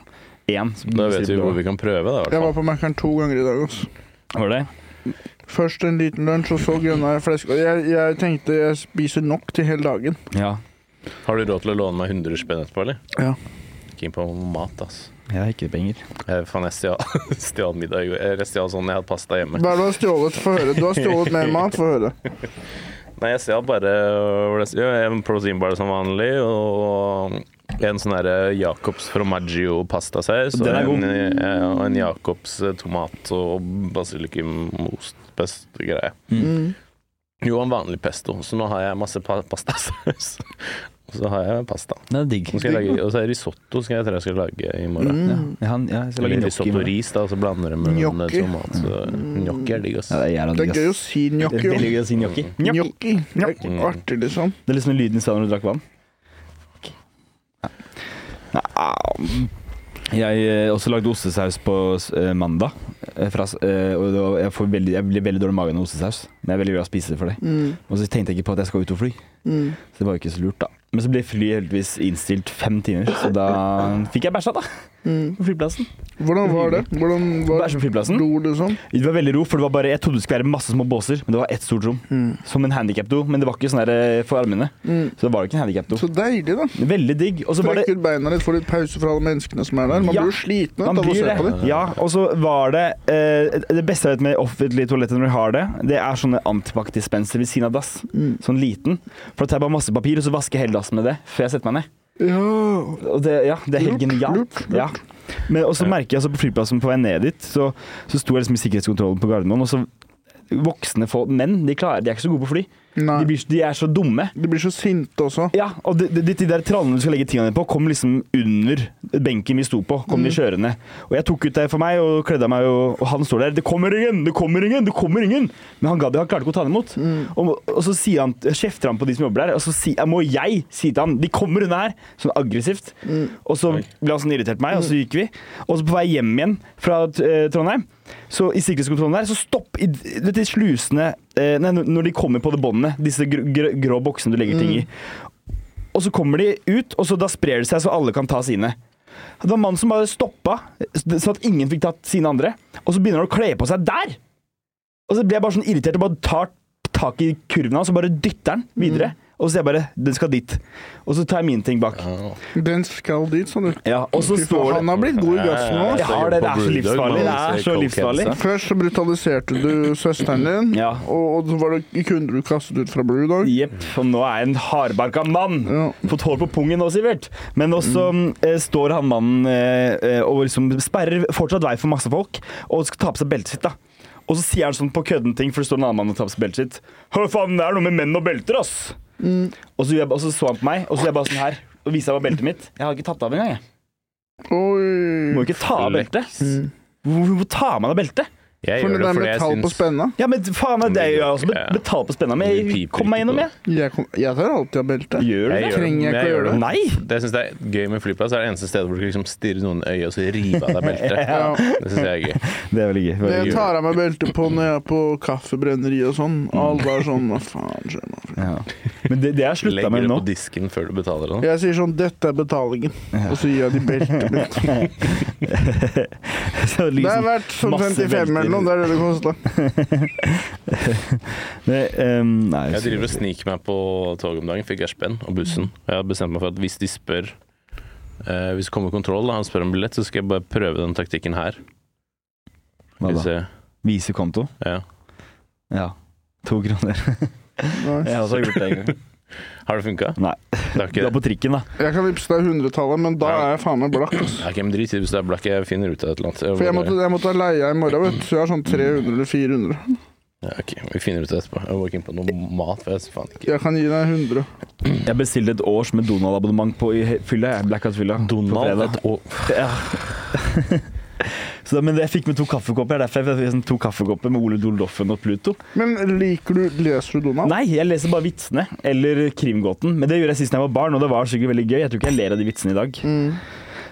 [SPEAKER 4] én. som
[SPEAKER 1] Da vet
[SPEAKER 4] bestiller
[SPEAKER 1] vi hvor
[SPEAKER 4] Foodora.
[SPEAKER 1] vi kan prøve, da. i
[SPEAKER 2] Jeg
[SPEAKER 1] hvert
[SPEAKER 2] var
[SPEAKER 1] fall.
[SPEAKER 2] på Mækkern to ganger i dag. Også.
[SPEAKER 4] Var det det?
[SPEAKER 2] Først en liten lunsj, og så grønna jeg flesk. Og jeg, jeg tenkte jeg spiser nok til hele dagen.
[SPEAKER 4] Ja.
[SPEAKER 1] Har du råd til å låne meg 100 spenn etterpå, eller?
[SPEAKER 2] Ja.
[SPEAKER 1] Keen på mat, ass.
[SPEAKER 4] Jeg har ikke penger.
[SPEAKER 1] Jeg, faen, jeg stjal, stjal middag i går. Jeg stjal sånn jeg hadde pasta hjemme.
[SPEAKER 2] Hva er det du har stjålet? Få høre. Du har stjålet mer mat, få høre.
[SPEAKER 1] Nei, jeg stjal bare øh, hva det- ja, en proteinbar som vanlig, og en sånn derre Jacobs Fromaggio pastasaus. Og
[SPEAKER 4] Den er
[SPEAKER 1] en,
[SPEAKER 4] god.
[SPEAKER 1] ja, og en Jacobs eh, tomat- og basilikumostpest-greie.
[SPEAKER 2] Mm.
[SPEAKER 1] Jo, en vanlig pesto, så nå har jeg masse pa pastasaus. Og så har jeg pasta.
[SPEAKER 4] Det er digg.
[SPEAKER 1] Nå skal jeg lage, og så er det risotto skal jeg tror jeg skal lage i morgen.
[SPEAKER 4] Ja,
[SPEAKER 2] Mm.
[SPEAKER 4] ja, ja, jeg skal lage
[SPEAKER 1] Eller
[SPEAKER 4] gnocchi i
[SPEAKER 1] risotto og
[SPEAKER 4] morgen.
[SPEAKER 1] sånn ris, da, og så blander det med noen
[SPEAKER 2] Gnocchi. Mm.
[SPEAKER 1] tomat. så- Gnocchi er digg, ass.
[SPEAKER 4] Ja, det er jævla
[SPEAKER 2] Det
[SPEAKER 4] digg,
[SPEAKER 2] er gøy å
[SPEAKER 4] ass.
[SPEAKER 2] si
[SPEAKER 4] Det er veldig
[SPEAKER 2] gnocchi.
[SPEAKER 4] gøy å si gnocchi. Mm.
[SPEAKER 2] Gnocchi. Det er ikke Artig, liksom.
[SPEAKER 4] Det er liksom lyden i stedet når du drakk vann. Jeg eh, også lagde ostesaus på eh, mandag. eh, Fra, s- eh, og det var, jeg, får veldig, jeg blir veldig dårlig i magen av ostesaus. Men jeg er veldig glad i å spise det for det.
[SPEAKER 2] Mm.
[SPEAKER 4] Og så tenkte jeg ikke på at jeg skal ut og fly.
[SPEAKER 2] Mm.
[SPEAKER 4] Så det var jo ikke så lurt, da. Men så ble flyet heldigvis innstilt fem timer, så da fikk jeg bæsja, da.
[SPEAKER 2] Mm.
[SPEAKER 4] På flyplassen.
[SPEAKER 2] Hvordan var det? Hvordan var
[SPEAKER 4] Bæsja på flyplassen.
[SPEAKER 2] do, liksom?
[SPEAKER 4] Det var veldig ro, for det var bare, jeg trodde det skulle være masse små båser, men det var ett stort rom.
[SPEAKER 2] Mm.
[SPEAKER 4] Som en handikapdo, men det var ikke sånn der eh, for armene.
[SPEAKER 2] Mm.
[SPEAKER 4] Så det var ikke en handikapdo.
[SPEAKER 2] Så deilig, da.
[SPEAKER 4] Veldig digg. Og så var det
[SPEAKER 2] Strekke ut beina litt, få litt pause fra alle menneskene som er der. Man
[SPEAKER 4] Ja.
[SPEAKER 2] blir jo sliten
[SPEAKER 4] Man
[SPEAKER 2] vet du, av å
[SPEAKER 4] blir
[SPEAKER 2] se på
[SPEAKER 4] det.
[SPEAKER 2] dem.
[SPEAKER 4] Ja, og så var det eh, Det beste jeg vet med offentlige toaletter når vi har det, det er sånne antibac-dispenser ved siden av dass.
[SPEAKER 2] Mm.
[SPEAKER 4] Sånn liten. For da tar jeg bare masse papir, og så vasker jeg hele dassen med det før jeg setter meg ned.
[SPEAKER 2] Ja.
[SPEAKER 4] Og det, ja, det er helt
[SPEAKER 2] Lurt,
[SPEAKER 4] genialt.
[SPEAKER 2] lurt, lurt.
[SPEAKER 4] Ja. Men også merker jeg altså på flyplassen på vei ned dit, så, så sto jeg liksom i sikkerhetskontrollen på Gardermoen, og så Voksne folk, menn, de, klarer, de er ikke så gode på fly. De,
[SPEAKER 2] Nei.
[SPEAKER 4] blir, de er så dumme.
[SPEAKER 2] De blir så sinte også.
[SPEAKER 4] Ja, og de, de, de der trallene du skal legge tingene dine på, kom liksom under benken vi sto på. Kom de kjørende. Og jeg tok ut det for meg og kledde av meg, og, og han står der. 'Det kommer ingen! Det kommer ingen!' det kommer ingen Men han gadd ikke, han klarte ikke å ta den imot. Og, og så sier han, kjefter han på de som jobber der, og så si, må jeg si til han 'De kommer, hun her!' Sånn aggressivt. Og så ble han sånn irritert på meg, og så gikk vi. Og så på vei hjem igjen fra eh, Trondheim, så i sikkerhetskontrollen der, så stopp i du vet de slusene eh, Nei, når de kommer på det båndet, disse gr gr grå boksene du legger ting i. Og så kommer de ut, og så da sprer det seg så alle kan ta sine. Det var en mann som bare stoppa, så at ingen fikk tatt sine andre. Og så begynner han å kle på seg der! Og så blir jeg bare sånn irritert og bare tar tak i kurven hans og bare dytter den videre. Og så sier jeg bare 'den skal dit'. Og så tar jeg mine ting bak.
[SPEAKER 2] Den skal dit, sa du.
[SPEAKER 4] Ja, og så
[SPEAKER 2] Fy faen,
[SPEAKER 4] står
[SPEAKER 2] Han har blitt god i gassen nå. altså.
[SPEAKER 4] Jeg har det, det er så livsfarlig. Det er så livsfarlig.
[SPEAKER 2] Først så brutaliserte du søsteren din,
[SPEAKER 4] Ja.
[SPEAKER 2] og, og så var det ikke under du kastet ut fra Blue Dog.
[SPEAKER 4] Jepp. Og nå er jeg en hardbarka mann.
[SPEAKER 2] Ja.
[SPEAKER 4] Fått hår på pungen nå, Sivert. Men også eh, står han mannen eh, eh, og liksom sperrer fortsatt vei for masse folk, og skal ta på seg beltet sitt, da. Og så sier han sånn på kødden ting, for det står en annen mann og tar på seg beltet sitt. Hør faen, det er noe med menn og belter, ass! Og, så gjør jeg, og så så han på meg, og så gjør jeg bare sånn her. Og viser meg beltet mitt. Jeg har ikke tatt det av engang, jeg. Må
[SPEAKER 2] Oi. Mm.
[SPEAKER 4] jo ikke ta av beltet. Hvorfor tar man av beltet?
[SPEAKER 1] Jeg gjør
[SPEAKER 2] For det
[SPEAKER 1] det
[SPEAKER 2] der
[SPEAKER 1] fordi
[SPEAKER 2] med
[SPEAKER 1] jeg
[SPEAKER 2] tall på
[SPEAKER 1] syns
[SPEAKER 2] spenna
[SPEAKER 4] Ja, men faen, det er jo jeg også
[SPEAKER 1] Ja.
[SPEAKER 4] betalt på spenna, men
[SPEAKER 1] Du
[SPEAKER 4] jeg
[SPEAKER 1] piper
[SPEAKER 4] kom
[SPEAKER 1] ikke på
[SPEAKER 4] meg gjennom,
[SPEAKER 1] det.
[SPEAKER 4] jeg.
[SPEAKER 2] jeg, kom- jeg tar alltid av belte.
[SPEAKER 4] Gjør
[SPEAKER 1] Jeg
[SPEAKER 4] du det?
[SPEAKER 1] gjør det,
[SPEAKER 2] Trenger jeg
[SPEAKER 1] men
[SPEAKER 2] ikke å gjøre det?
[SPEAKER 4] Nei!
[SPEAKER 1] Det jeg syns det er gøy med flyplass, er det eneste stedet hvor du liksom stirrer noen i øyet og så river av deg beltet.
[SPEAKER 2] Ja.
[SPEAKER 1] Det syns jeg er gøy.
[SPEAKER 4] Det er veldig gøy.
[SPEAKER 2] Det
[SPEAKER 4] Veldig
[SPEAKER 2] jeg
[SPEAKER 4] gøy.
[SPEAKER 2] tar av meg beltet på når jeg er på kaffebrenneri og sånn. Alle er sånn Hva faen skjer nå?
[SPEAKER 4] Ja. Men det, det har jeg slutta
[SPEAKER 1] Legger
[SPEAKER 4] med
[SPEAKER 1] det
[SPEAKER 4] nå.
[SPEAKER 1] på disken før du betaler. Sånn.
[SPEAKER 2] Jeg sier sånn Dette er betalingen. Og så gir jeg de beltet mitt.
[SPEAKER 4] Så
[SPEAKER 2] Det er
[SPEAKER 4] liksom,
[SPEAKER 2] verdt sånn
[SPEAKER 4] masse
[SPEAKER 2] 55 eller noe. Det er det det kosta.
[SPEAKER 4] det, ehm, nei,
[SPEAKER 1] Jeg driver og sniker meg på toget om dagen. Fikk jeg spenn og bussen. Og jeg har bestemt meg for at hvis de spør eh, Hvis det kommer kontroll da, og spør om billett, så skal jeg bare prøve den taktikken her.
[SPEAKER 4] hva
[SPEAKER 1] Hvis
[SPEAKER 4] da?
[SPEAKER 1] jeg,
[SPEAKER 4] Vise konto?
[SPEAKER 1] ja.
[SPEAKER 4] Ja. To kroner. Jeg har også gjort det en gang.
[SPEAKER 1] Har det funka?
[SPEAKER 4] Nei.
[SPEAKER 1] Det er
[SPEAKER 4] Du
[SPEAKER 1] ikke
[SPEAKER 4] er på trikken, da.
[SPEAKER 2] Jeg kan vippse deg hundretallet, men da er jeg faen meg blakk. ass.
[SPEAKER 1] Ok, men Drit i det hvis det er blakk. Jeg finner ut av et eller annet.
[SPEAKER 2] For jeg måtte,
[SPEAKER 1] bare-
[SPEAKER 2] jeg måtte ha leia i morgen, vet du. Så jeg har sånn 300 eller 400.
[SPEAKER 1] ja, ok, Vi finner ut av det etterpå. Jeg var ikke inne på noe mat. For jeg så faen ikke
[SPEAKER 2] Jeg kan gi deg 100.
[SPEAKER 4] Jeg bestilte et års med Donald-abonnement på i he- fylla. jeg. Blackout-fylla. på
[SPEAKER 1] Donald
[SPEAKER 4] fredag.
[SPEAKER 1] et år.
[SPEAKER 4] Ja. Så, da- men jeg fikk med to kaffekopper. det er Derfor jeg fikk sånn to kaffekopper med Ole Doldoffen og Pluto.
[SPEAKER 2] Men liker du Leser du Donald?
[SPEAKER 4] Nei, jeg leser bare vitsene. Eller Krimgåten. Men det gjorde jeg sist da jeg var barn, og det var sikkert veldig gøy. Jeg tror ikke jeg ler av de vitsene i dag.
[SPEAKER 2] Mm.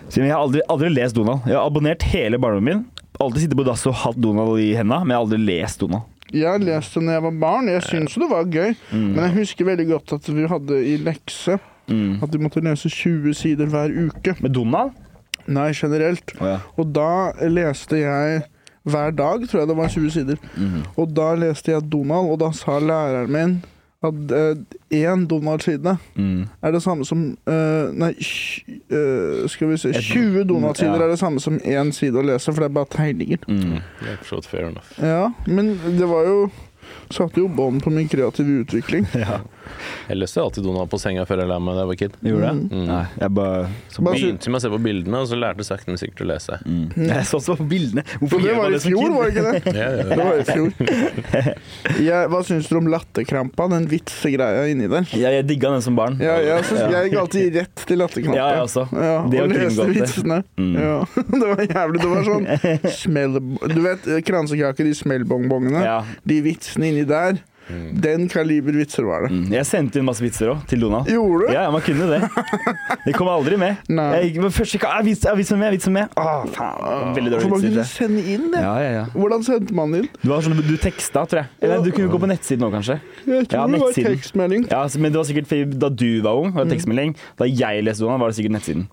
[SPEAKER 4] Så jeg har aldri, aldri lest Donald. Jeg har abonnert hele barndommen min. Alltid sittet på dass og hatt Donald i henda, men jeg har aldri lest Donald.
[SPEAKER 2] Jeg leste da jeg var barn. Jeg syntes jo det var gøy. Men jeg husker veldig godt at vi hadde i lekse at du måtte lese 20 sider hver uke.
[SPEAKER 4] Med Donald?
[SPEAKER 2] Nei, generelt. Og da leste jeg hver dag, tror jeg det var 20 sider. Og da leste jeg Donald, og da sa læreren min at eh, én Donald-side
[SPEAKER 4] Mm.
[SPEAKER 2] er det samme som eh, Nei, tj- eh, skal vi se 20 Donald-sider
[SPEAKER 4] ja.
[SPEAKER 2] er det samme som én side å lese, for det er bare tegninger.
[SPEAKER 4] Mm.
[SPEAKER 1] Det er for så vidt fair enough.
[SPEAKER 2] Ja, men det var jo Satte jo bånd på min kreative utvikling.
[SPEAKER 1] Jeg leste alltid Donald på senga før jeg la meg da jeg var kid.
[SPEAKER 4] Gjorde jeg?
[SPEAKER 1] Mm.
[SPEAKER 4] Nei, jeg bare så,
[SPEAKER 2] Bare-
[SPEAKER 1] Begynte med å se på bildene, og så lærte jeg sakte, men sikkert å lese.
[SPEAKER 4] mm. Jeg så så på bildene.
[SPEAKER 2] Og
[SPEAKER 4] Hvorfor
[SPEAKER 2] det
[SPEAKER 4] gjør
[SPEAKER 2] var
[SPEAKER 4] man
[SPEAKER 2] i
[SPEAKER 4] det som
[SPEAKER 2] fjor,
[SPEAKER 4] kid?
[SPEAKER 2] var det ikke det?
[SPEAKER 1] Ja, ja,
[SPEAKER 2] Det
[SPEAKER 1] ja.
[SPEAKER 2] var i fjor. Jeg, hva syns dere om latterkrampa, den vitsegreia inni der?
[SPEAKER 4] Ja, jeg digga den som barn.
[SPEAKER 2] Ja, jeg, synes, jeg gikk alltid rett til latterknappa.
[SPEAKER 4] Ja, jeg også.
[SPEAKER 2] Ja,
[SPEAKER 4] Det
[SPEAKER 2] og
[SPEAKER 4] var
[SPEAKER 2] leste
[SPEAKER 4] kringgodt, det. Mm.
[SPEAKER 2] vitsene. Ja. Det var jævlig. Det var sånn smell... Du vet kransekaker, de smellbongbongene.
[SPEAKER 4] Ja.
[SPEAKER 2] De vitsene inni der. Den kaliber vitser var det.
[SPEAKER 4] Mm. Jeg sendte inn masse vitser òg, til Donald.
[SPEAKER 2] Gjorde du?
[SPEAKER 4] Ja, ja, man kunne det. Det kom aldri med.
[SPEAKER 2] Nei.
[SPEAKER 4] Jeg gikk men først sjekka ah, vits, ah, vitsen med, vitsen med. Ah, faen. Veldig
[SPEAKER 2] For man
[SPEAKER 4] dårlig
[SPEAKER 2] kunne
[SPEAKER 4] vits.
[SPEAKER 2] sende inn det.
[SPEAKER 4] Ja, ja, ja.
[SPEAKER 2] Hvordan sendte man inn?
[SPEAKER 4] Du, var sånn, du teksta, tror jeg. Eller du kunne gå på nettsiden nå, kanskje.
[SPEAKER 2] Jeg tror
[SPEAKER 4] Ja,
[SPEAKER 2] det var Mm.
[SPEAKER 4] nettsiden.
[SPEAKER 2] tekstmelding.
[SPEAKER 4] Ja, altså, men det var sikkert fordi da du var ung, var det tekstmelding. Da jeg leste Donald, var det sikkert nettsiden.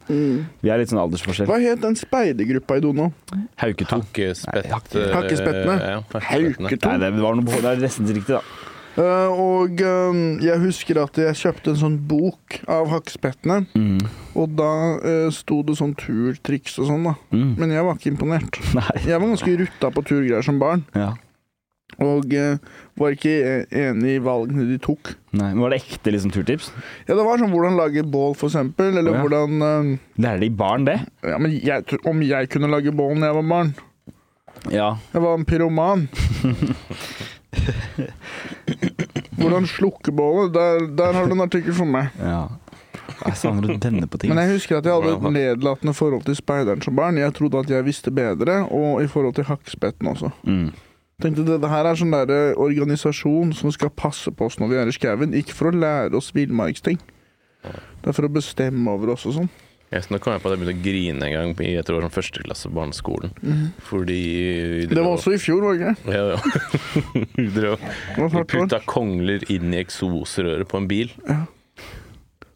[SPEAKER 4] Vi er litt sånn aldersforskjell.
[SPEAKER 2] Mm. Hva het den speidergruppa i Donald?
[SPEAKER 4] Hauketo.
[SPEAKER 1] Hakkespett...
[SPEAKER 4] Nei,
[SPEAKER 2] hakkespettene.
[SPEAKER 1] eh, Ja, hakkespettene.
[SPEAKER 2] Hauketo.
[SPEAKER 4] Nei, det var noe Det er nesten riktig, da.
[SPEAKER 2] Eh, og eh, jeg husker at jeg kjøpte en sånn bok av hakkespettene.
[SPEAKER 4] Mm.
[SPEAKER 2] Og da eh, sto det sånn turtriks og sånn, da.
[SPEAKER 4] Mm.
[SPEAKER 2] Men jeg var ikke imponert.
[SPEAKER 4] Nei.
[SPEAKER 2] Jeg var ganske rutta på turgreier som barn,
[SPEAKER 4] Ja.
[SPEAKER 2] og eh, var ikke e- enig i valgene de tok.
[SPEAKER 4] Nei. Men var det ekte liksom turtips?
[SPEAKER 2] Ja, det var sånn hvordan lage bål, for eksempel, eller
[SPEAKER 4] Å, ja.
[SPEAKER 2] hvordan eh,
[SPEAKER 4] Lærer de barn det?
[SPEAKER 2] Ja, men jeg, tr- om jeg kunne lage bål når jeg var barn?
[SPEAKER 4] Ja.
[SPEAKER 2] Jeg var en pyroman. Hvordan slukke bålet? Der, der har du en artikkel for meg.
[SPEAKER 4] ja. Jeg savner å denne på ting.
[SPEAKER 2] Men jeg husker at jeg hadde et
[SPEAKER 1] Hvordan da?
[SPEAKER 2] nedlatende forhold til speideren som barn. Jeg trodde at jeg visste bedre, og i forhold til hakkespetten også.
[SPEAKER 4] Mm.
[SPEAKER 2] Tenkte Dette her er sånn der eh, organisasjon som skal passe på oss når vi er i skauen. Ikke for å lære oss villmarksting. Det er for å bestemme over oss og sånn.
[SPEAKER 1] Ja, så nå kom jeg på at jeg begynte å grine en gang i jeg tror det var sånn første klasse på barneskolen. Fordi vi
[SPEAKER 2] Mhm. Det
[SPEAKER 1] drev
[SPEAKER 2] var
[SPEAKER 1] og-
[SPEAKER 2] også i fjor, var det ikke?
[SPEAKER 1] ja, ja. Vi drev og-
[SPEAKER 2] Det var
[SPEAKER 1] Vi
[SPEAKER 2] snart år.
[SPEAKER 1] putta kongler inn i eksosrøret på en bil.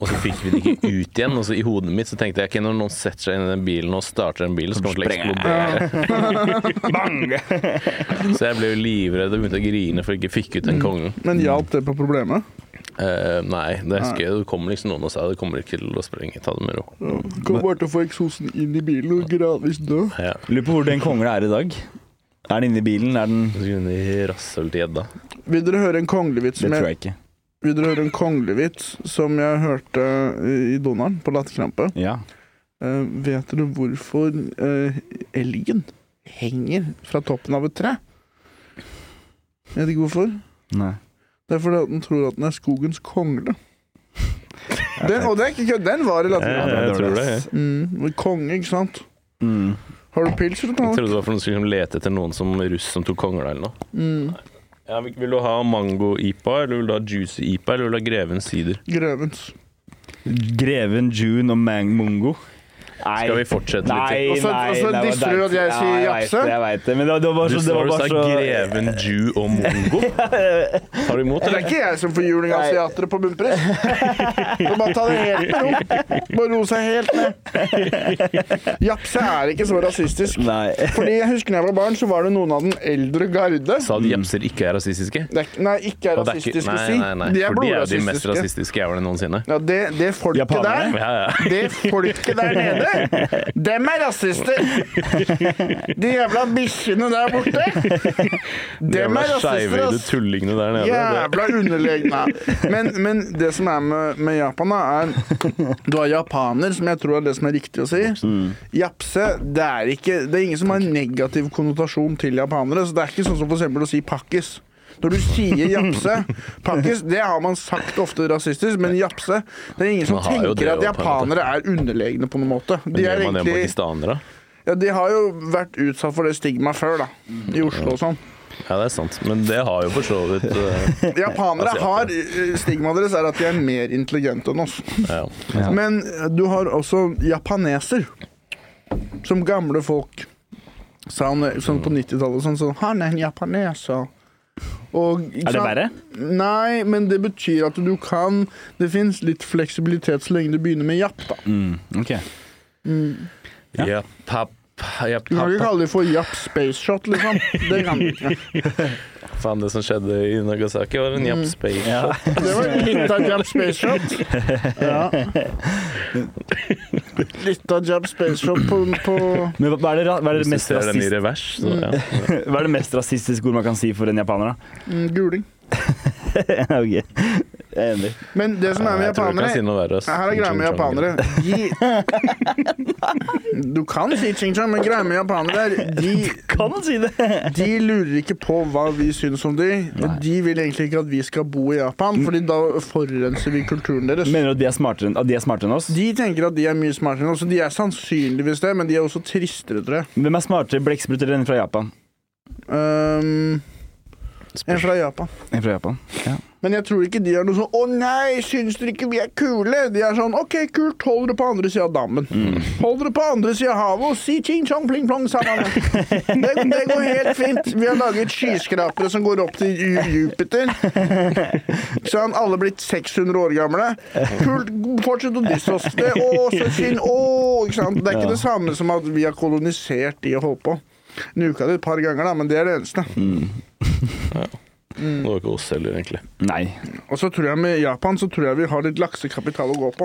[SPEAKER 1] Og så fikk vi det ikke ut igjen. Og så i hodet mitt så tenkte jeg ok, når noen setter seg inn i den bilen og starter den bilen, så kommer det til å
[SPEAKER 4] Sprenger.
[SPEAKER 1] eksplodere.
[SPEAKER 4] Bang!
[SPEAKER 1] Så jeg ble jo livredd og begynte å grine for jeg ikke fikk ut den konglen.
[SPEAKER 2] Men hjalp det på problemet?
[SPEAKER 1] Eh, nei, det husker jeg. Det kommer liksom noen og sa det kommer ikke til å sprenge. Ta det med ro.
[SPEAKER 2] Ja. Kommer bare til å få eksosen inn i bilen og gradvis dø.
[SPEAKER 1] Ja.
[SPEAKER 4] Lurer på hvor den kongla er i dag. Er den inne i bilen? Er den
[SPEAKER 1] Så kunne de rasshøl til gjedda.
[SPEAKER 2] Vil dere høre en konglevits
[SPEAKER 4] Det
[SPEAKER 2] som,
[SPEAKER 4] tror
[SPEAKER 2] jeg-
[SPEAKER 4] jeg ikke.
[SPEAKER 2] vil dere høre en konglevits som jeg hørte eh, i- i Donald på Latterkrampe?
[SPEAKER 4] Ja.
[SPEAKER 2] Eh, vet dere hvorfor eh, elgen henger fra toppen av et tre? Jeg vet ikke hvorfor.
[SPEAKER 4] Nei.
[SPEAKER 2] Det er fordi at den tror at den er skogens kongle. Den, og det er ikke kødd, den var i
[SPEAKER 1] Jeg,
[SPEAKER 2] Latterkrampe.
[SPEAKER 1] jeg tror det. Jeg.
[SPEAKER 2] Mm, men konge, ikke sant?
[SPEAKER 4] Mm.
[SPEAKER 2] Har du pils eller
[SPEAKER 1] jeg
[SPEAKER 2] noe?
[SPEAKER 1] trodde det var for noen som skulle lete etter noen som russ som tok kongla eller noe.
[SPEAKER 2] Mm,
[SPEAKER 1] Ja, vil- vil du ha mango-ipa, eller vil du ha juicy-ipa, eller vil du ha Grevens sider?
[SPEAKER 2] grevens.
[SPEAKER 4] Greven, June og Mang Mungo. Nei.
[SPEAKER 1] Skal vi fortsette litt?
[SPEAKER 4] Nei, altså,
[SPEAKER 2] Og så-
[SPEAKER 4] nei,
[SPEAKER 2] og så
[SPEAKER 4] det var
[SPEAKER 2] disser du
[SPEAKER 4] deilig.
[SPEAKER 2] at jeg sier
[SPEAKER 4] Ja,
[SPEAKER 2] japse?
[SPEAKER 4] Jeg vet det, jeg vet det. Men det, var- det var
[SPEAKER 1] Du
[SPEAKER 4] bare så, det
[SPEAKER 1] sa
[SPEAKER 4] var
[SPEAKER 1] du sa
[SPEAKER 4] bare så
[SPEAKER 1] Greven, Jew og mongo. Tar du imot,
[SPEAKER 2] Det er
[SPEAKER 1] eller?
[SPEAKER 2] ikke jeg som får juling av
[SPEAKER 4] Nei.
[SPEAKER 2] asiatere på bunnpris. Så bare ta det helt med ro. Bare ro seg helt ned. Japse er ikke så rasistisk.
[SPEAKER 4] Nei.
[SPEAKER 2] Fordi jeg husker da jeg var barn, så var det noen av den eldre garde
[SPEAKER 1] Sa de japser ikke er rasistiske?
[SPEAKER 2] det er, ikke- Nei, ikke er
[SPEAKER 1] Og det er ikke,
[SPEAKER 2] rasistiske,
[SPEAKER 1] nei,
[SPEAKER 2] si.
[SPEAKER 1] nei, nei.
[SPEAKER 2] De er
[SPEAKER 1] For de er jo de mest
[SPEAKER 2] blodrasistiske.
[SPEAKER 1] rasistiske jævlene noensinne.
[SPEAKER 2] Ja, det, det folket
[SPEAKER 4] Japanerne?
[SPEAKER 2] der
[SPEAKER 1] Ja, ja.
[SPEAKER 2] Det folket der nede, dem er rasister. De jævla bikkjene der borte, dem
[SPEAKER 1] Jævla
[SPEAKER 2] er rasister,
[SPEAKER 1] skeivhøyde
[SPEAKER 2] ass.
[SPEAKER 1] tullingene der nede.
[SPEAKER 2] Jævla underlegne. Men, men det som er med, med Japan, da, er Du har japaner, som jeg tror er det som er riktig å si. Japse, det er ikke Det er ingen som har en negativ konnotasjon til japanere. Så det er ikke sånn som for eksempel å si pakkis. Når du sier japse Pakkis, det har man sagt ofte rasistisk, men japse Det er ingen som
[SPEAKER 1] Man har jo
[SPEAKER 2] tenker
[SPEAKER 1] det
[SPEAKER 2] at
[SPEAKER 1] også, på en måte.
[SPEAKER 2] japanere er underlegne på noen måte.
[SPEAKER 1] Det
[SPEAKER 2] De
[SPEAKER 1] gjør
[SPEAKER 2] er
[SPEAKER 1] man det med
[SPEAKER 2] egentlig
[SPEAKER 1] pakistanere?
[SPEAKER 2] Ja, de har jo vært utsatt for det stigmaet før, da. I Oslo og sånn.
[SPEAKER 1] Ja, det er sant. Men det har jo for så vidt eh,
[SPEAKER 2] Japanere
[SPEAKER 4] Altså,
[SPEAKER 1] Asiater.
[SPEAKER 2] har eh, Stigmaet deres er at de er mer intelligente enn oss.
[SPEAKER 1] ja.
[SPEAKER 2] Men eh, du har også japaneser. Som gamle folk sa han, sånn på 90-tallet. Sånn, sånn, 'Han er en japaneser'. Og,
[SPEAKER 4] Er det verre?
[SPEAKER 2] Nei, men det betyr at du kan Det fins litt fleksibilitet så lenge du begynner med japp, da.
[SPEAKER 4] Mm, Ok.
[SPEAKER 1] Ja. Japp, japp,
[SPEAKER 2] Du kan ikke
[SPEAKER 1] japp.
[SPEAKER 2] kalle det for japp space shot, liksom. Det kan du ikke.
[SPEAKER 1] Faen, det som skjedde i Nagasaki, var en japp space.
[SPEAKER 4] Ja.
[SPEAKER 2] Mm. Det var litt av Jab Space Shot. Ja. Litt av Jab Space Shot på, på
[SPEAKER 4] Men hva hva er det, ra- hva er det,
[SPEAKER 1] Hvis du
[SPEAKER 4] mest,
[SPEAKER 1] ser den i
[SPEAKER 4] rasist,
[SPEAKER 1] revers, så ja.
[SPEAKER 4] hva er det mest rasistiske ordet man kan si for en japaner, da?
[SPEAKER 2] mm, guling.
[SPEAKER 4] ok. Jeg er enig.
[SPEAKER 2] Men det som er med
[SPEAKER 1] Jeg tror du kan si
[SPEAKER 2] japanere
[SPEAKER 1] noe verre. ass.
[SPEAKER 2] Her er greia med japanere. De Du kan si ching-chang, men greia med japanere er de,
[SPEAKER 4] Kan man si det?
[SPEAKER 2] de lurer ikke på hva vi syns om de. De vil egentlig ikke at vi skal bo i Japan, Fordi da forurenser vi kulturen deres.
[SPEAKER 4] Mener du at de er smartere enn, at de er smartere enn oss?
[SPEAKER 2] De tenker at de er mye smartere enn oss, og de er sannsynligvis det, men de er også tristere, tror jeg.
[SPEAKER 4] Hvem er smartere blekkspruter enn fra Japan?
[SPEAKER 2] Ehm, en fra Japan.
[SPEAKER 4] En fra Japan?
[SPEAKER 2] Men jeg tror ikke de er noe sånn 'Å nei, syns dere ikke vi er kule?' De er sånn 'OK, kult. Hold dere på andre sida av dammen. Hold dere på andre sida av havet og si ching-chong, pling-plong sammen. Det, det går helt fint. Vi har laget skyskrapere som går opp til Ju- Jupiter. Ikke sant? Alle blitt 600 år gamle. Kult. Fortsett å disse oss. Det, å, så synd. Å, ikke sant? Det er ikke det samme som at vi har kolonisert de og holdt på. Nuka det et par ganger, da, men det er det eneste. Mm.
[SPEAKER 1] Det var ikke oss heller, egentlig.
[SPEAKER 4] Nei.
[SPEAKER 2] Og så tror jeg med Japan så tror jeg vi har litt laksekapital å gå på.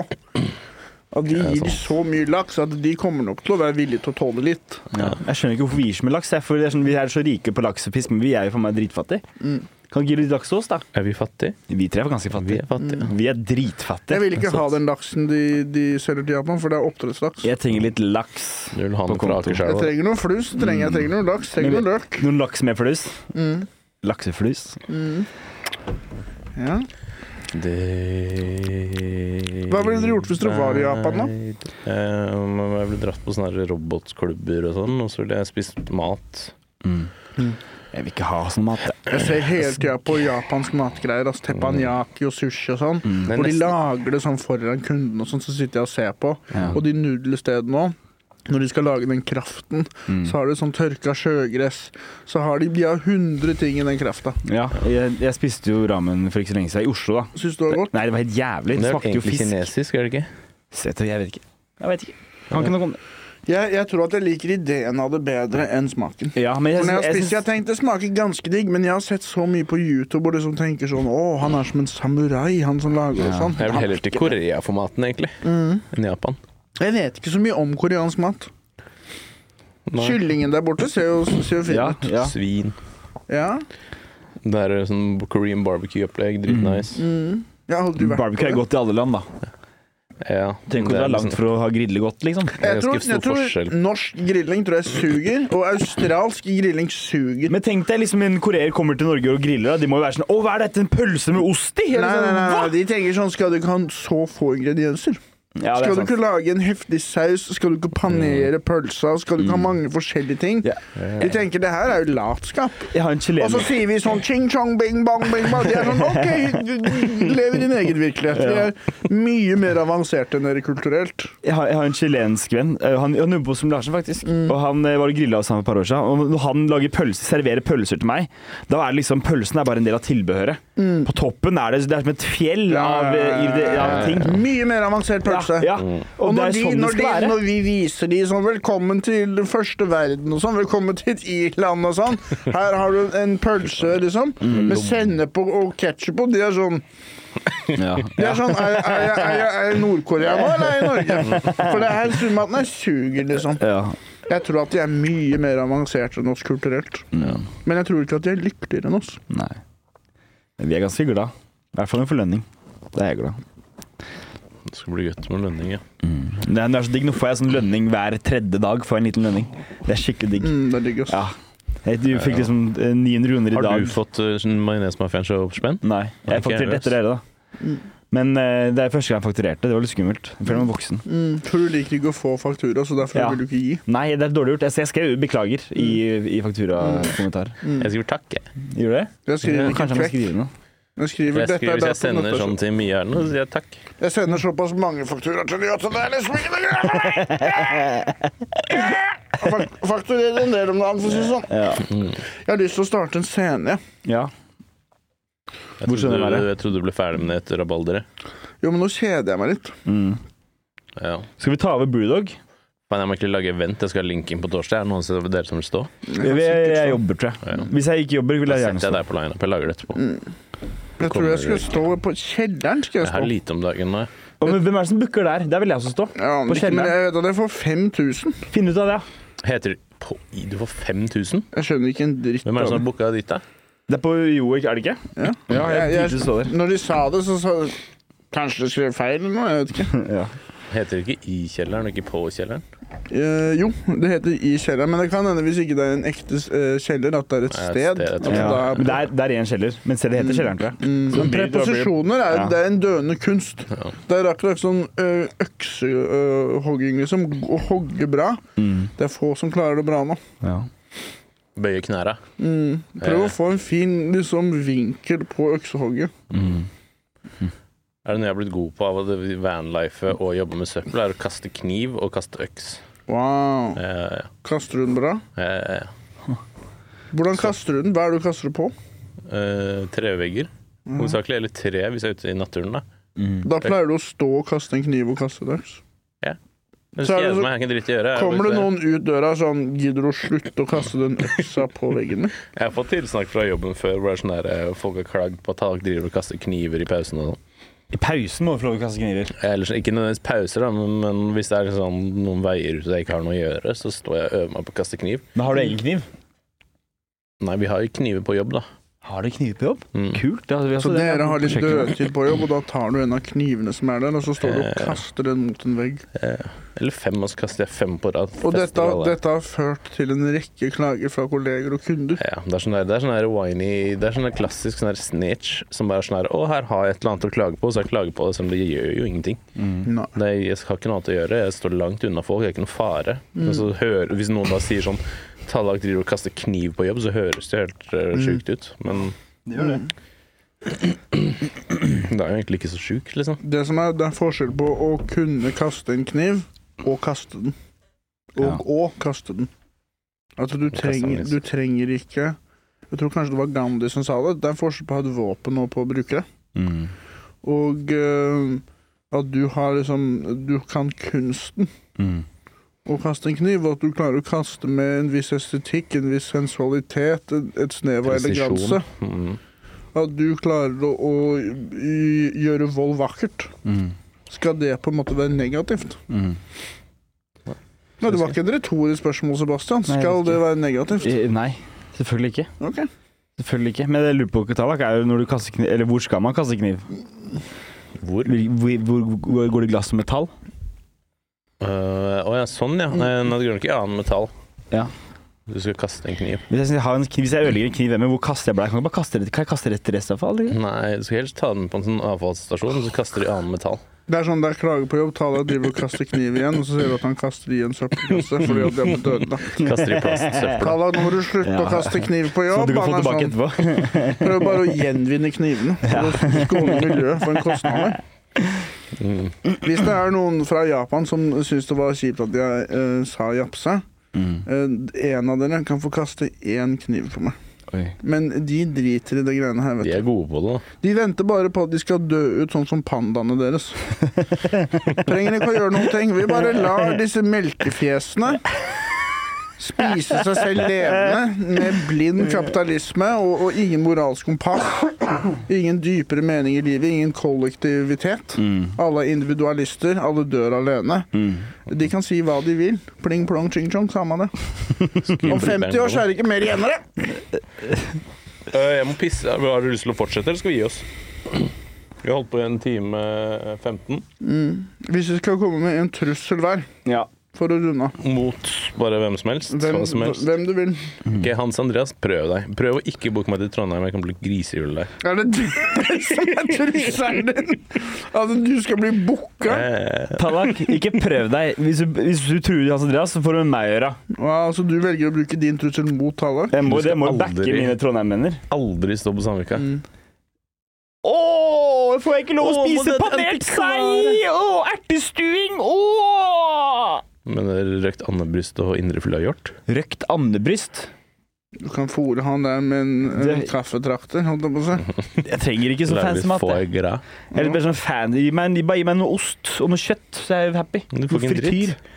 [SPEAKER 2] At de gir så mye laks at de kommer nok til å være villige til å tåle litt.
[SPEAKER 4] Jeg skjønner ikke hvorfor vi gir så mye laks. Jeg, for det er sånn, vi er så rike på laks og fisk, men vi er jo for meg dritfattige.
[SPEAKER 2] Mm.
[SPEAKER 4] Kan ikke gi litt laks til oss, da?
[SPEAKER 1] Er vi fattige?
[SPEAKER 4] Vi tre er ganske
[SPEAKER 1] Vi er
[SPEAKER 4] fattige.
[SPEAKER 1] fattige.
[SPEAKER 4] Vi er
[SPEAKER 2] Jeg
[SPEAKER 4] dritfattige.
[SPEAKER 2] vil ikke ha den laksen de, de selger til Japan, for det er oppdrettslaks.
[SPEAKER 4] Jeg trenger litt laks.
[SPEAKER 1] Du vil ha
[SPEAKER 4] På
[SPEAKER 1] noe fra
[SPEAKER 4] konto.
[SPEAKER 2] Jeg
[SPEAKER 1] Akerselva?
[SPEAKER 2] trenger noe flus, jeg trenger, jeg trenger noe laks, jeg trenger
[SPEAKER 4] Men-
[SPEAKER 2] noe løk.
[SPEAKER 4] Noen laks med flus?
[SPEAKER 2] Mm.
[SPEAKER 4] Lakseflus?
[SPEAKER 2] Ja.
[SPEAKER 1] Det
[SPEAKER 2] Hva ville dere gjort hvis dere var i Japan, da?
[SPEAKER 1] Eh, om jeg ble dratt på sånne her robotklubber og sånn, og så ville jeg spist mat.
[SPEAKER 4] Jeg vil ikke ha sånn mat. jeg.
[SPEAKER 2] Jeg ser hele tida på japansk matgreier, altså teppanyaki og sushi og sånn.
[SPEAKER 4] Mm.
[SPEAKER 1] Det er
[SPEAKER 2] Hvor de
[SPEAKER 1] nesten-
[SPEAKER 2] lager det sånn foran kunden og sånn, så sitter jeg og ser på.
[SPEAKER 4] Ja.
[SPEAKER 2] Og de nudelstedene òg. Når de skal lage den kraften,
[SPEAKER 4] Mm.
[SPEAKER 2] så har de sånn tørka sjøgress. Så har de, de har 100 ting i den krafta.
[SPEAKER 4] Ja, jeg, jeg spiste jo ramen for ikke så lenge siden i Oslo, da.
[SPEAKER 2] Syns du det var godt?
[SPEAKER 4] Nei, det var helt jævlig.
[SPEAKER 1] Men
[SPEAKER 4] Det
[SPEAKER 1] det er
[SPEAKER 4] smakte jo
[SPEAKER 1] egentlig
[SPEAKER 4] fisk.
[SPEAKER 1] kinesisk, er det ikke?
[SPEAKER 4] Sett og- Jeg vet ikke. Jeg vet ikke. Kan ikke noe om det.
[SPEAKER 2] Jeg, jeg tror at jeg liker ideen av det bedre enn smaken.
[SPEAKER 4] Ja, men
[SPEAKER 2] For når jeg,
[SPEAKER 4] jeg,
[SPEAKER 2] har
[SPEAKER 4] jeg,
[SPEAKER 2] spist, jeg
[SPEAKER 4] syns-
[SPEAKER 2] tenkte det smaker ganske digg, men jeg har sett så mye på YouTube hvor de som tenker sånn Å, han er som en samurai, han som lager og sånn.
[SPEAKER 1] Jeg vil heller til Korea-formaten, egentlig,
[SPEAKER 4] Mm.
[SPEAKER 1] enn Japan.
[SPEAKER 2] Jeg vet ikke så mye om koreansk mat.
[SPEAKER 1] Nei.
[SPEAKER 2] Kyllingen der borte ser jo, ser jo fin
[SPEAKER 4] ja,
[SPEAKER 2] ut.
[SPEAKER 4] ja.
[SPEAKER 1] Svin.
[SPEAKER 2] Ja.
[SPEAKER 1] Det er jo sånn Korean barbecue-opplegg.
[SPEAKER 4] Mm.
[SPEAKER 1] Dritnice.
[SPEAKER 2] Jeg har aldri vært på
[SPEAKER 4] Barbecue
[SPEAKER 2] det.
[SPEAKER 4] er godt i alle land, da.
[SPEAKER 1] Ja,
[SPEAKER 4] Trenger ikke
[SPEAKER 1] det
[SPEAKER 4] å
[SPEAKER 1] er
[SPEAKER 4] dra
[SPEAKER 1] liksom-
[SPEAKER 4] langt for å ha grille godt, liksom.
[SPEAKER 1] er
[SPEAKER 2] Jeg tror,
[SPEAKER 1] ganske stor
[SPEAKER 2] jeg tror
[SPEAKER 1] forskjell.
[SPEAKER 2] Norsk grilling tror jeg suger, og australsk grilling suger.
[SPEAKER 4] Men tenk deg liksom en koreer kommer til Norge og griller. da. De må jo være sånn Å, hva er dette? En pølse med ost i?
[SPEAKER 2] Nei,
[SPEAKER 4] Eller
[SPEAKER 2] nei, nei,
[SPEAKER 4] sånn,
[SPEAKER 2] nei,
[SPEAKER 4] hva?
[SPEAKER 2] de tenker sånn Skal du ikke ha så få ingredienser?
[SPEAKER 4] Ja,
[SPEAKER 2] skal
[SPEAKER 4] det er
[SPEAKER 2] du
[SPEAKER 4] sant. Mm.
[SPEAKER 2] ikke lage en heftig saus? Skal du ikke panere pølsa? Skal du ikke ha mange forskjellige ting?
[SPEAKER 4] Ja.
[SPEAKER 2] De tenker det her er jo latskap.
[SPEAKER 4] Jeg har en
[SPEAKER 2] Og så
[SPEAKER 4] chilener.
[SPEAKER 2] sier vi sånn ching chong bing bong bing bong. De er sånn OK, du- du lever din egen virkelighet. Vi er mye mer avanserte enn dere kulturelt.
[SPEAKER 4] Jeg har, jeg har en chilensk venn. Eh, Han, han jobber på som Larsen, faktisk.
[SPEAKER 2] Mm.
[SPEAKER 4] Og Han eh, var og grilla sammen for et par år siden. Og når han lager pølser, serverer pølser til meg, da er det liksom Pølsen er bare en del av tilbehøret.
[SPEAKER 2] Mm.
[SPEAKER 4] På toppen er det, det er som et fjell av, eh, i det, av ting.
[SPEAKER 2] Mye mer avansert Mm. pølse. Mm.
[SPEAKER 4] Ja, ja. Og,
[SPEAKER 2] Og
[SPEAKER 4] det
[SPEAKER 2] når,
[SPEAKER 4] er
[SPEAKER 2] de,
[SPEAKER 4] sånn det
[SPEAKER 2] når,
[SPEAKER 4] skal
[SPEAKER 2] de,
[SPEAKER 4] være.
[SPEAKER 2] når vi viser de sånn 'velkommen til den første verden' og sånn, 'velkommen til et i-land' og sånn Her har du en pølse, liksom,
[SPEAKER 4] Mm,
[SPEAKER 2] med sennep og, og ketsjup på. De er sånn,
[SPEAKER 4] Ja.
[SPEAKER 2] de er, sånn er, er, jeg- er, jeg- er jeg i Nord-Korea nå, eller er jeg i Norge? For det her surmaten her suger, liksom.
[SPEAKER 4] Ja.
[SPEAKER 2] Jeg tror at de er mye mer avanserte enn oss kulturelt.
[SPEAKER 4] Ja.
[SPEAKER 2] Men jeg tror ikke at de er lykkeligere enn oss.
[SPEAKER 4] Nei. Men vi er ganske glad. I hvert fall en forlønning. Det er jeg glad.
[SPEAKER 1] Det skal bli godt med lønning, ja.
[SPEAKER 4] Det er, det er så digg. Nå får jeg sånn lønning hver tredje dag. Får jeg en liten lønning. Det er skikkelig digg.
[SPEAKER 2] Mm, det er digg, ass.
[SPEAKER 4] Ja. Jeg, du fikk liksom eh, 900 kroner i
[SPEAKER 1] Har
[SPEAKER 4] dag.
[SPEAKER 1] du fått uh, majonesmafiaens overspenn?
[SPEAKER 4] Nei. Jeg
[SPEAKER 1] Ikke
[SPEAKER 4] fakturerte
[SPEAKER 1] ellers.
[SPEAKER 4] etter dere, da. Men eh, det er første gang jeg fakturerte. Det var litt skummelt. Jeg føler meg voksen.
[SPEAKER 2] Mm, for du liker ikke å få faktura, så derfor
[SPEAKER 4] Ja.
[SPEAKER 2] vil du ikke gi.
[SPEAKER 4] Nei, det er dårlig gjort. Jeg, jeg skrev beklager i, i fakturakommentar.
[SPEAKER 1] Jeg skriver takk, jeg.
[SPEAKER 4] Gjorde det?
[SPEAKER 2] Jeg skriver ikke
[SPEAKER 4] Kanskje jeg må
[SPEAKER 2] frekk.
[SPEAKER 4] skrive noe.
[SPEAKER 2] Jeg
[SPEAKER 1] jeg
[SPEAKER 2] skriver, dette er
[SPEAKER 1] skriver hvis jeg
[SPEAKER 2] datoen,
[SPEAKER 1] sender
[SPEAKER 2] dette er
[SPEAKER 1] sånn til Mia eller noe, så sier jeg takk.
[SPEAKER 2] Jeg sender såpass mange fakturaer til Nyhatt, så det er liksom ikke noe greie for meg! Fak- Fakturerer en del om dagen, for å si det sånn.
[SPEAKER 4] Ja.
[SPEAKER 2] Jeg har lyst til å starte en scene. jeg.
[SPEAKER 4] ja.
[SPEAKER 1] Jeg
[SPEAKER 4] Hvor skjønner
[SPEAKER 1] trodde,
[SPEAKER 4] jeg
[SPEAKER 1] du,
[SPEAKER 4] det?
[SPEAKER 1] jeg trodde du ble ferdig med det etter rabalderet.
[SPEAKER 2] Jo, men nå kjeder jeg meg litt.
[SPEAKER 4] Mm.
[SPEAKER 1] Ja.
[SPEAKER 4] Skal vi ta over Brewdog?
[SPEAKER 1] Men jeg må egentlig lage event. Jeg skal ha linken på torsdag. Er det noen av dere som vil stå?
[SPEAKER 4] Jeg, jeg, jeg jobber, tror jeg. Hvis jeg ikke jobber, vil
[SPEAKER 1] Da
[SPEAKER 4] jeg
[SPEAKER 1] setter
[SPEAKER 4] gjerne
[SPEAKER 1] jeg
[SPEAKER 4] stå.
[SPEAKER 1] deg på lineup. Jeg lager det etterpå.
[SPEAKER 2] Mm. Jeg tror jeg skulle stå på kjelleren. skal jeg
[SPEAKER 1] Jeg har
[SPEAKER 2] stå.
[SPEAKER 1] lite om dagen nå. jeg.
[SPEAKER 4] Å, men hvem er det som booker der? Der vil jeg også stå.
[SPEAKER 2] Ja,
[SPEAKER 4] på
[SPEAKER 2] men ikke- men
[SPEAKER 4] kjelleren.
[SPEAKER 2] jeg vet at jeg får 5000.
[SPEAKER 4] Finn ut av det. ja.
[SPEAKER 1] Heter på, Du får 5000?
[SPEAKER 2] Jeg skjønner ikke en dritt
[SPEAKER 1] Hvem er det som har
[SPEAKER 2] av det.
[SPEAKER 1] booka dit, da?
[SPEAKER 4] Det er på Joek, er det ikke?
[SPEAKER 2] Ja.
[SPEAKER 4] Ja, jeg,
[SPEAKER 2] Jeg- jeg-
[SPEAKER 4] tenkte det står der.
[SPEAKER 2] Når de sa det, så sa Kanskje det skrev feil eller noe? Jeg vet ikke.
[SPEAKER 4] Ja.
[SPEAKER 1] Heter det ikke i kjelleren, og ikke på kjelleren?
[SPEAKER 2] Eh, jo, det heter i kjelleren, men det kan hende hvis ikke det er en ekte eh, kjeller, at det
[SPEAKER 1] Ja,
[SPEAKER 2] er et
[SPEAKER 1] et
[SPEAKER 2] sted.
[SPEAKER 1] sted, jeg tror
[SPEAKER 2] Altså,
[SPEAKER 1] det.
[SPEAKER 2] da-
[SPEAKER 4] Men Det, er, det er en kjeller, men selv det heter kjelleren, tror jeg.
[SPEAKER 2] Mm,
[SPEAKER 4] Så
[SPEAKER 2] men
[SPEAKER 4] blir det- da blir-
[SPEAKER 2] preposisjoner er,
[SPEAKER 4] Ja.
[SPEAKER 2] det er en døende kunst.
[SPEAKER 1] Ja.
[SPEAKER 2] Det er akkurat sånn øksehogging, liksom. Å hogge bra. Det er få som klarer det bra nå.
[SPEAKER 4] Ja.
[SPEAKER 1] Bøye knæra.
[SPEAKER 2] Mm. Prøv
[SPEAKER 1] Eh.
[SPEAKER 2] å få en fin liksom, vinkel på øksehogget.
[SPEAKER 1] Er det noe jeg har blitt god på av å vanlife og jobbe med søppel, er å kaste kniv og kaste øks.
[SPEAKER 2] Wow.
[SPEAKER 1] Eh,
[SPEAKER 2] Kaster du den bra?
[SPEAKER 1] eh,
[SPEAKER 2] Hvordan kaster du den? Hva er det du kaster det på?
[SPEAKER 1] eh, trevegger,
[SPEAKER 2] Mm.
[SPEAKER 1] hovedsakelig. Eller tre, hvis jeg er ute i naturen, da.
[SPEAKER 2] Da pleier du å stå og kaste en kniv og kaste en øks.
[SPEAKER 1] Men
[SPEAKER 2] Så
[SPEAKER 1] så
[SPEAKER 2] er det
[SPEAKER 1] kjeder
[SPEAKER 2] så-
[SPEAKER 1] meg, jeg har ikke dritt å gjøre. Jeg,
[SPEAKER 2] Kommer det
[SPEAKER 1] bare-
[SPEAKER 2] noen ut døra sånn 'Gidder du å slutte å kaste den øksa på veggen min?'
[SPEAKER 1] jeg har fått tilsnakk fra jobben før hvor det er sånn der, eh, folk har klagd på at folk driver og kaster kniver i pausen og sånn. Eh,
[SPEAKER 4] I pausen må du få lov å kaste kniver.
[SPEAKER 1] Eller så- ikke nødvendigvis pauser, da, men, men hvis det er sånn, noen veier ut og jeg ikke har noe å gjøre, så står jeg og øver meg på å kaste kniv.
[SPEAKER 4] Men har du egen kniv?
[SPEAKER 1] Nei, vi har jo kniver på jobb, da.
[SPEAKER 4] Har du kniv på jobb?
[SPEAKER 1] Mm.
[SPEAKER 4] Kult. Ja, vi
[SPEAKER 2] Så dere har litt
[SPEAKER 4] Sjekk Altså, det.
[SPEAKER 2] dødtid på jobb, og da tar du en av knivene som er der, og så står du og
[SPEAKER 1] Eh.
[SPEAKER 2] kaster den mot en vegg.
[SPEAKER 1] Eh, eller fem, og så kaster jeg fem på rad.
[SPEAKER 2] Og
[SPEAKER 1] Fester
[SPEAKER 2] dette,
[SPEAKER 1] alle.
[SPEAKER 2] dette har ført til en rekke klager fra kolleger og kunder.
[SPEAKER 1] Ja, det er sånn der, det er sånn der whiny Det er sånn der klassisk sånn der snitch som bare er sånn der Å, her har jeg et eller annet å klage på, så jeg klager på det, selv om det gjør jo ingenting.
[SPEAKER 4] Mm.
[SPEAKER 2] Nei.
[SPEAKER 1] Det, er- jeg har ikke noe annet å gjøre, jeg står langt unna folk, det er ikke noe fare. Men så hører, hvis noen da sier sånn Tallak driver og kaster kniv på jobb, så høres det helt uh, sjukt ut. Men
[SPEAKER 2] Mm.
[SPEAKER 1] det er jo egentlig ikke så sjukt, liksom.
[SPEAKER 2] Det som er, det er forskjell på å kunne kaste en kniv og kaste den. Og,
[SPEAKER 4] Ja.
[SPEAKER 2] og kaste den. Altså, du
[SPEAKER 1] kaste den,
[SPEAKER 2] trenger, du
[SPEAKER 1] liksom.
[SPEAKER 2] trenger ikke Jeg tror kanskje det var Gandhi som sa det. Det er forskjell på å ha et våpen og på å bruke det.
[SPEAKER 4] Mm.
[SPEAKER 2] Og eh, at du har liksom Du kan kunsten.
[SPEAKER 4] Mm.
[SPEAKER 2] å kaste en kniv, og at du klarer å kaste med en viss estetikk, en viss sensualitet, en- et snev av
[SPEAKER 1] Presisjon.
[SPEAKER 2] eleganse.
[SPEAKER 1] Mm.
[SPEAKER 2] At du klarer å, å y- gjøre vold vakkert.
[SPEAKER 4] Mm.
[SPEAKER 2] Skal det på en måte være negativt? Nei, det var ikke et retorisk spørsmål, Sebastian.
[SPEAKER 4] Nei, jeg
[SPEAKER 2] Skal
[SPEAKER 4] vet
[SPEAKER 2] det være negativt?
[SPEAKER 4] Eh, Nei, selvfølgelig ikke.
[SPEAKER 2] Ok.
[SPEAKER 4] Selvfølgelig ikke. Men jeg lurer på Katalak er jo når du kaster kniv Eller hvor skal man kaste kniv?
[SPEAKER 1] Hvor?
[SPEAKER 4] Hvor, hvor, hvor går det i glass og metall?
[SPEAKER 1] Å ja, sånn ja. Nei, nei, det går nok i annet metall.
[SPEAKER 4] Ja.
[SPEAKER 1] Du skal kaste en kniv.
[SPEAKER 4] Hvis jeg, har en kniv, hvis jeg ødelegger en kniv hjemme, hvor kaster jeg blæ? Jeg Kan ikke bare kaste rett, kan jeg kaste rett til restavfall? eller?
[SPEAKER 1] Nei, du skal helst ta den med på en sånn avfallsstasjon, og så kaster du i annet metall.
[SPEAKER 2] Det er sånn det er klager på jobb. Tala driver og kaster kniv igjen, og så sier du at han kaster i en søppelkasse fordi at det er på døden.
[SPEAKER 1] Kaster i plastsøppel.
[SPEAKER 2] Tala, nå må du slutte å
[SPEAKER 4] Ja.
[SPEAKER 2] kaste kniv på
[SPEAKER 4] Så
[SPEAKER 2] jobb.
[SPEAKER 4] du kan få
[SPEAKER 2] han er
[SPEAKER 4] tilbake
[SPEAKER 2] sånn.
[SPEAKER 4] etterpå?
[SPEAKER 2] Prøv bare å gjenvinne knivene. for å Skåne miljøet for en kostnad.
[SPEAKER 1] Mm.
[SPEAKER 2] Hvis det er noen fra Japan som syns det var kjipt at jeg eh, sa japse, eh, en av dere kan få kaste én kniv på meg.
[SPEAKER 4] Oi.
[SPEAKER 2] Men de driter i det greiene her,
[SPEAKER 1] De
[SPEAKER 2] vet du.
[SPEAKER 1] er gode på det.
[SPEAKER 2] De venter bare på at de skal dø ut, sånn som pandaene deres. Trenger ikke å gjøre noen ting. Vi bare lar disse melkefjesene spise seg selv levende med blind kapitalisme og, og ingen moralsk kompass. Ingen dypere mening i livet, ingen kollektivitet. Alle er individualister, alle dør alene.
[SPEAKER 4] Mm.
[SPEAKER 2] De kan si hva de vil. Pling plong ching chong, samme det. Om 50 år så er det ikke mer igjen av det.
[SPEAKER 1] Eh, Jeg må pisse. Har du lyst til å fortsette, eller skal vi gi oss? Vi har holdt på i en time eh, 15
[SPEAKER 2] Hvis vi skal komme med en trussel hver
[SPEAKER 4] Ja.
[SPEAKER 2] for å runde av.
[SPEAKER 1] mot bare hvem som helst.
[SPEAKER 2] Hvem,
[SPEAKER 1] hva som helst.
[SPEAKER 2] hvem du vil.
[SPEAKER 1] Ok, Hans Andreas, prøv deg. Prøv å ikke booke meg til Trondheim. Jeg kan bli grisehjul der.
[SPEAKER 2] Er det det som er trusselen din? At du skal bli booka?
[SPEAKER 1] Eh,
[SPEAKER 4] Tallak, ikke prøv deg. Hvis du, hvis du truer Hans Andreas, så får du med meg å gjøre.
[SPEAKER 2] Ja, altså du velger å bruke din trussel mot Tallak?
[SPEAKER 4] Jeg må,
[SPEAKER 1] Du skal
[SPEAKER 4] jeg må jo
[SPEAKER 1] aldri-
[SPEAKER 4] backe mine Trondheim-venner.
[SPEAKER 1] aldri stå på Sandvika.
[SPEAKER 2] Mm.
[SPEAKER 4] Å, får jeg ikke lov å spise panert sei? Å, ertestuing! Å!
[SPEAKER 1] Men det er røkt andebryst og indre full av hjort.
[SPEAKER 4] Røkt andebryst?
[SPEAKER 2] Du kan fôre han der med en, en
[SPEAKER 4] Det-
[SPEAKER 2] kaffetrakter, holdt jeg på å si.
[SPEAKER 4] Jeg trenger ikke så
[SPEAKER 1] Lærer
[SPEAKER 4] fancy mat.
[SPEAKER 1] får
[SPEAKER 4] jeg.
[SPEAKER 1] jeg græ.
[SPEAKER 4] Jeg er litt mer sånn fan. Gi meg, bare gi meg noe ost og noe kjøtt, så er jeg happy.
[SPEAKER 1] Du får ikke en
[SPEAKER 4] Frityr.
[SPEAKER 1] dritt.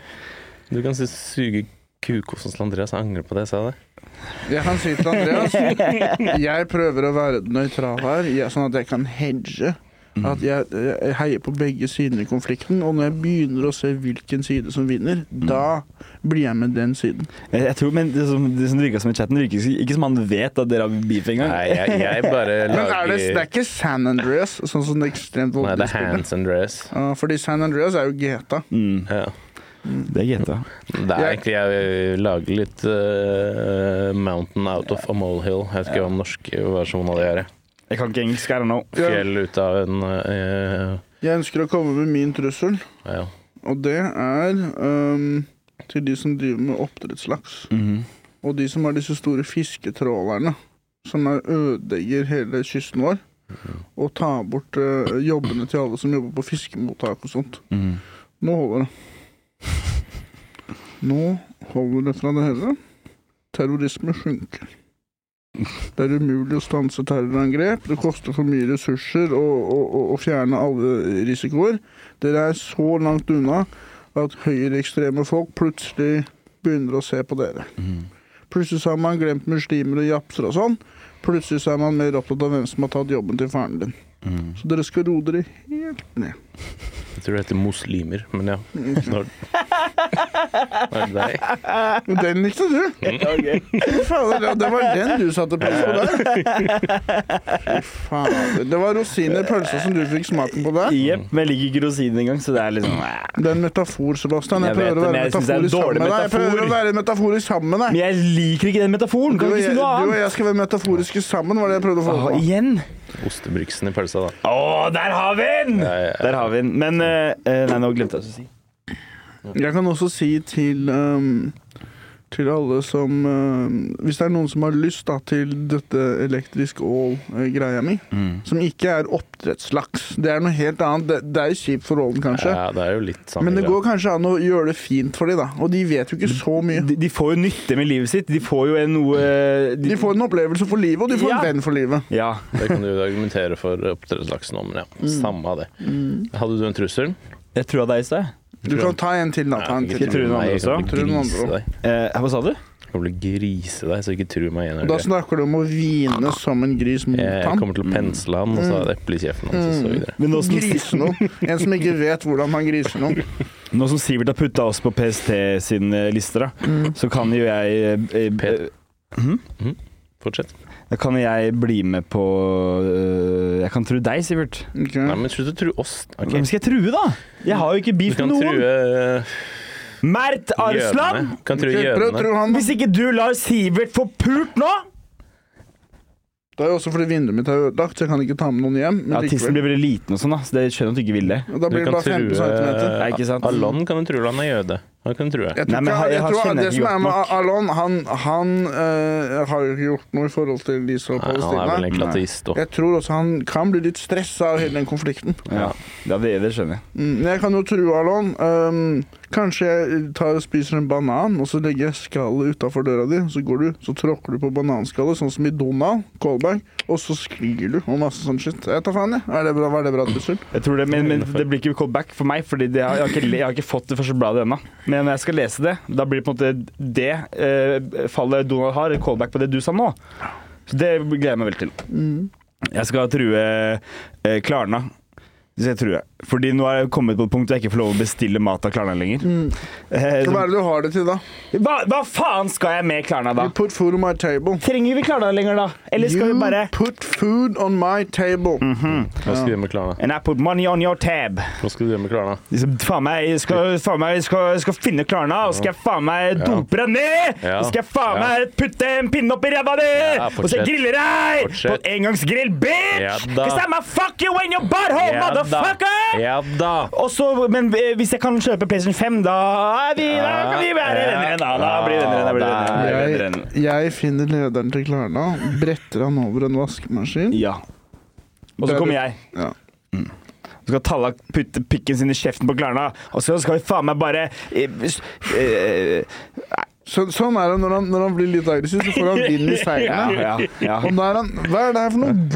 [SPEAKER 1] Du kan si suge kukosen til Andreas. Jeg angrer på det jeg sa. det.
[SPEAKER 2] Jeg kan si til Andreas Jeg prøver å være nøytral her, jeg, sånn at jeg kan hedge.
[SPEAKER 1] Mm.
[SPEAKER 2] At jeg, jeg heier på begge sidene i konflikten, og når jeg begynner å se hvilken side som vinner,
[SPEAKER 1] Mm.
[SPEAKER 2] da blir jeg med den siden.
[SPEAKER 4] Jeg, jeg tror, men det som, det som virka som i chatten, virker ikke, ikke som han vet at dere har beef engang.
[SPEAKER 1] Nei, jeg, jeg bare
[SPEAKER 2] Mm. Men er det, det er
[SPEAKER 1] lager
[SPEAKER 2] ikke San Andreas, sånn som det
[SPEAKER 1] Nei,
[SPEAKER 2] ekstremt
[SPEAKER 1] det
[SPEAKER 2] voldelige
[SPEAKER 1] er
[SPEAKER 2] spillet?
[SPEAKER 1] Hans Andreas.
[SPEAKER 2] Ja, fordi San Andreas er jo GTA.
[SPEAKER 4] Mm,
[SPEAKER 1] Ja.
[SPEAKER 4] det er GTA.
[SPEAKER 1] Det er egentlig jeg lager litt eh, Mountain out of a molehill. Jeg vet ikke hva den norske versjonen av det er.
[SPEAKER 4] Jeg kan ikke engelsk, I don't know.
[SPEAKER 2] Ja.
[SPEAKER 1] Fjell ut av en eh,
[SPEAKER 2] Jeg ønsker å komme med min trussel,
[SPEAKER 1] ja.
[SPEAKER 2] og det er øhm, til de som driver med oppdrettslaks.
[SPEAKER 4] Mhm,
[SPEAKER 2] Og de som har disse store fisketrålerne, som er ødelegger hele kysten vår. Og tar bort øh, jobbene til alle som jobber på fiskemottak og sånt.
[SPEAKER 4] mhm,
[SPEAKER 2] Nå holder det. Nå holder det fra det hele. Terrorisme sjunker. Det er umulig å stanse terrorangrep. Det koster for mye ressurser å, å, å, å fjerne alle risikoer. Dere er så langt unna at høyreekstreme folk plutselig begynner å se på dere.
[SPEAKER 4] mhm.
[SPEAKER 2] Plutselig så har man glemt muslimer og japser og sånn. Plutselig så er man mer opptatt av hvem som har tatt jobben til faren din. Så dere skal roe dere helt ned.
[SPEAKER 1] Jeg tror det heter muslimer, men ja.
[SPEAKER 2] Mm.
[SPEAKER 1] Når... Var det deg?
[SPEAKER 2] Men Den likte du! Fy Fader, det var den du satte pris på der. Fy Fader. Det var rosiner i pølsa som du fikk smaken på der.
[SPEAKER 4] Jepp, men jeg liker ikke rosinen engang, så det er liksom
[SPEAKER 2] Det er en metafor, Sebastian. Jeg,
[SPEAKER 4] Jeg vet
[SPEAKER 2] prøver å være
[SPEAKER 4] det, men jeg synes det er en
[SPEAKER 2] metaforisk sammen
[SPEAKER 4] dårlig
[SPEAKER 2] med deg. Jeg prøver å
[SPEAKER 4] metafor.
[SPEAKER 2] være metaforisk sammen med
[SPEAKER 4] Men
[SPEAKER 2] deg.
[SPEAKER 4] jeg liker ikke den metaforen!
[SPEAKER 2] Du
[SPEAKER 4] Kan
[SPEAKER 2] og,
[SPEAKER 4] du ikke
[SPEAKER 2] jeg, du
[SPEAKER 4] si noe
[SPEAKER 2] og
[SPEAKER 4] annet? Ah,
[SPEAKER 2] jeg skal være metaforiske sammen, var det jeg prøvde å få
[SPEAKER 4] Åh,
[SPEAKER 2] på.
[SPEAKER 4] igjen?
[SPEAKER 1] Ostebriksen i pølsa, da.
[SPEAKER 4] Å, der har vi den!
[SPEAKER 1] Ja, ja, ja.
[SPEAKER 4] Der har vi den. Men eh, eh, Nei, nå glemte jeg hva jeg skulle si.
[SPEAKER 2] Jeg kan også si til ehm, til alle som ehm, Hvis det er noen som har lyst da, til dette elektrisk ål-greia mi,
[SPEAKER 4] Mm.
[SPEAKER 2] som ikke er oppdrettslaks Det er noe helt annet. Det, det er jo kjipt for ålen, kanskje.
[SPEAKER 1] Ja, det er jo litt samme
[SPEAKER 2] Men det
[SPEAKER 1] greia.
[SPEAKER 2] går kanskje an å gjøre det fint for dem, da. Og de vet jo ikke så mye.
[SPEAKER 4] De, de får jo nytte med livet sitt. De får jo en noe eh, de-
[SPEAKER 2] De får en opplevelse for livet, og de får
[SPEAKER 4] Ja.
[SPEAKER 2] en venn for livet.
[SPEAKER 4] Ja.
[SPEAKER 1] Det kan du argumentere
[SPEAKER 2] Mm.
[SPEAKER 1] for oppdrettslaksen om, men ja. Samme av det. Hadde du en trussel?
[SPEAKER 4] Jeg trua deg i sted.
[SPEAKER 2] Du kan ta en til, da. Ta en
[SPEAKER 4] Ikke
[SPEAKER 2] til.
[SPEAKER 4] tru den andre
[SPEAKER 1] jeg kan
[SPEAKER 4] også.
[SPEAKER 1] bli
[SPEAKER 2] Tru den
[SPEAKER 1] grise
[SPEAKER 2] andre
[SPEAKER 1] deg.
[SPEAKER 4] Eh, hva sa du?
[SPEAKER 1] Jeg kommer til å grise deg, så ikke tru meg igjen.
[SPEAKER 2] Og Da snakker du om å hvine som en gris mot
[SPEAKER 1] Jeg
[SPEAKER 2] ham.
[SPEAKER 1] kommer til å pensle han, og så
[SPEAKER 2] Mm.
[SPEAKER 1] har jeg et eple i kjeften hans, og så videre.
[SPEAKER 4] Men nå som,
[SPEAKER 2] Grisen noen. En som ikke vet hvordan man griser noen.
[SPEAKER 4] nå som Sivert har putta oss på PST sin eh, lister, da,
[SPEAKER 2] Mm,
[SPEAKER 4] så kan jo jeg eh, eh,
[SPEAKER 1] Pet. Fortsett.
[SPEAKER 4] Da kan jeg bli med på øh, Jeg kan true deg, Sivert.
[SPEAKER 2] Ok.
[SPEAKER 1] Nei, men slutt å true oss. Ok.
[SPEAKER 4] Hvem skal jeg true, da? Jeg har jo ikke
[SPEAKER 1] Du
[SPEAKER 4] beef med
[SPEAKER 1] kan
[SPEAKER 4] noen.
[SPEAKER 1] true eh,
[SPEAKER 4] Mert Arsland!
[SPEAKER 1] jødene. Du Kan true
[SPEAKER 2] Ok, Prøv å
[SPEAKER 1] jødene.
[SPEAKER 2] tro han. da.
[SPEAKER 4] Hvis ikke du lar Sivert få pult nå
[SPEAKER 2] Det er jo også fordi vinduet mitt er ødelagt, så jeg kan ikke ta med noen hjem.
[SPEAKER 4] Ja,
[SPEAKER 2] Men
[SPEAKER 4] Tissen
[SPEAKER 2] likevel.
[SPEAKER 4] blir veldig liten og sånn, da, så det skjønner at du ikke vil det.
[SPEAKER 2] Og Da
[SPEAKER 1] Du
[SPEAKER 2] blir det
[SPEAKER 1] kan eh,
[SPEAKER 2] bare 15 cm.
[SPEAKER 4] Nei, ikke sant?
[SPEAKER 1] true Alon kan du true, han er jøde. Han kan du true.
[SPEAKER 2] Jeg tror
[SPEAKER 4] Nei, men
[SPEAKER 2] ikke-
[SPEAKER 4] jeg-
[SPEAKER 2] jeg
[SPEAKER 4] jeg
[SPEAKER 2] tror
[SPEAKER 4] kjenner
[SPEAKER 2] Det
[SPEAKER 4] ikke
[SPEAKER 2] som er
[SPEAKER 4] godt
[SPEAKER 2] med
[SPEAKER 4] nok.
[SPEAKER 2] Alon, han, han eh, har jo ikke gjort noe i forhold til de som
[SPEAKER 1] Nei, han er vel
[SPEAKER 2] Palestina.
[SPEAKER 1] egentlig ateist òg.
[SPEAKER 2] Jeg tror også han kan bli litt stressa av hele den konflikten.
[SPEAKER 4] Ja, ja det, det skjønner jeg.
[SPEAKER 2] Mm, Jeg kan jo true Alon. Um, kanskje jeg tar og spiser en banan, og så legger jeg skallet utafor døra di. Så går du, så tråkker du på bananskallet, sånn som i Donald Kolberg, og så sklir du og masse sånn shit. Jeg tar faen, jeg. Er det bra, var det bra trussel?
[SPEAKER 4] jeg tror det, men, men det blir ikke call back for meg, for jeg, har- jeg, har ikke le- jeg har ikke fått det første bladet ennå. Men når jeg skal lese det, da blir det på en måte det øh, fallet Donald har, en callback på det du sa nå. Så det gleder jeg meg veldig til. Jeg skal true eh, Klarna. Det skal jeg true. Fordi nå er jeg kommet på et punkt hvor jeg ikke får lov å bestille mat av Klarna lenger. Eh,
[SPEAKER 2] Hva er det du har det til, da?
[SPEAKER 4] så, hva, hva faen skal jeg med Klarna, da?
[SPEAKER 2] You put food on my table.
[SPEAKER 4] Trenger vi Klarna lenger, da? Eller skal vi bare Mm.
[SPEAKER 2] You put food on my table.
[SPEAKER 1] Hva skal du gjøre med Klarna?
[SPEAKER 4] And I put money on your tab.
[SPEAKER 1] Hva skal du gjøre med Klarna?
[SPEAKER 4] De som faen meg skal, faen meg skal, skal finne Klarna, og skal jeg faen meg dumpe deg ned!
[SPEAKER 1] Ja.
[SPEAKER 4] Og skal jeg faen
[SPEAKER 1] Ja.
[SPEAKER 4] meg putte en pinne opp i ræva di!
[SPEAKER 1] Ja,
[SPEAKER 4] og så
[SPEAKER 1] fortsett.
[SPEAKER 4] griller jeg deg! På
[SPEAKER 1] Fortsett.
[SPEAKER 4] en engangsgrill, bitch!
[SPEAKER 1] Ja da.
[SPEAKER 4] Cause I'm a fuck you in your butthole, motherfucker!
[SPEAKER 1] Ja da!
[SPEAKER 4] Og så, men eh, hvis jeg kan kjøpe PlayStation 5, da, er vi, da kan vi være
[SPEAKER 1] Ja.
[SPEAKER 4] venner igjen, da. Da blir vi venner igjen, da blir vi venner igjen, da blir vi venner
[SPEAKER 2] Jeg,
[SPEAKER 4] igjen.
[SPEAKER 2] jeg finner lederen til Klarna, bretter han over en vaskemaskin.
[SPEAKER 4] Ja. Og så kommer jeg.
[SPEAKER 2] Ja.
[SPEAKER 4] Så skal Tallak putte pikken sin i kjeften på Klarna, og så skal vi faen meg bare eh, s- eh,
[SPEAKER 2] Så, sånn er det når han, når han blir litt aggressiv, så får han vind i
[SPEAKER 4] Ja,
[SPEAKER 2] seilene.
[SPEAKER 4] ja, ja.
[SPEAKER 2] Og der han, hva er det her for noe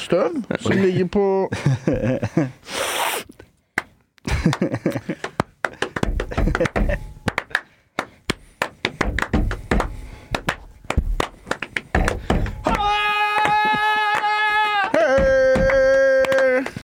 [SPEAKER 2] gullstøv som ligger på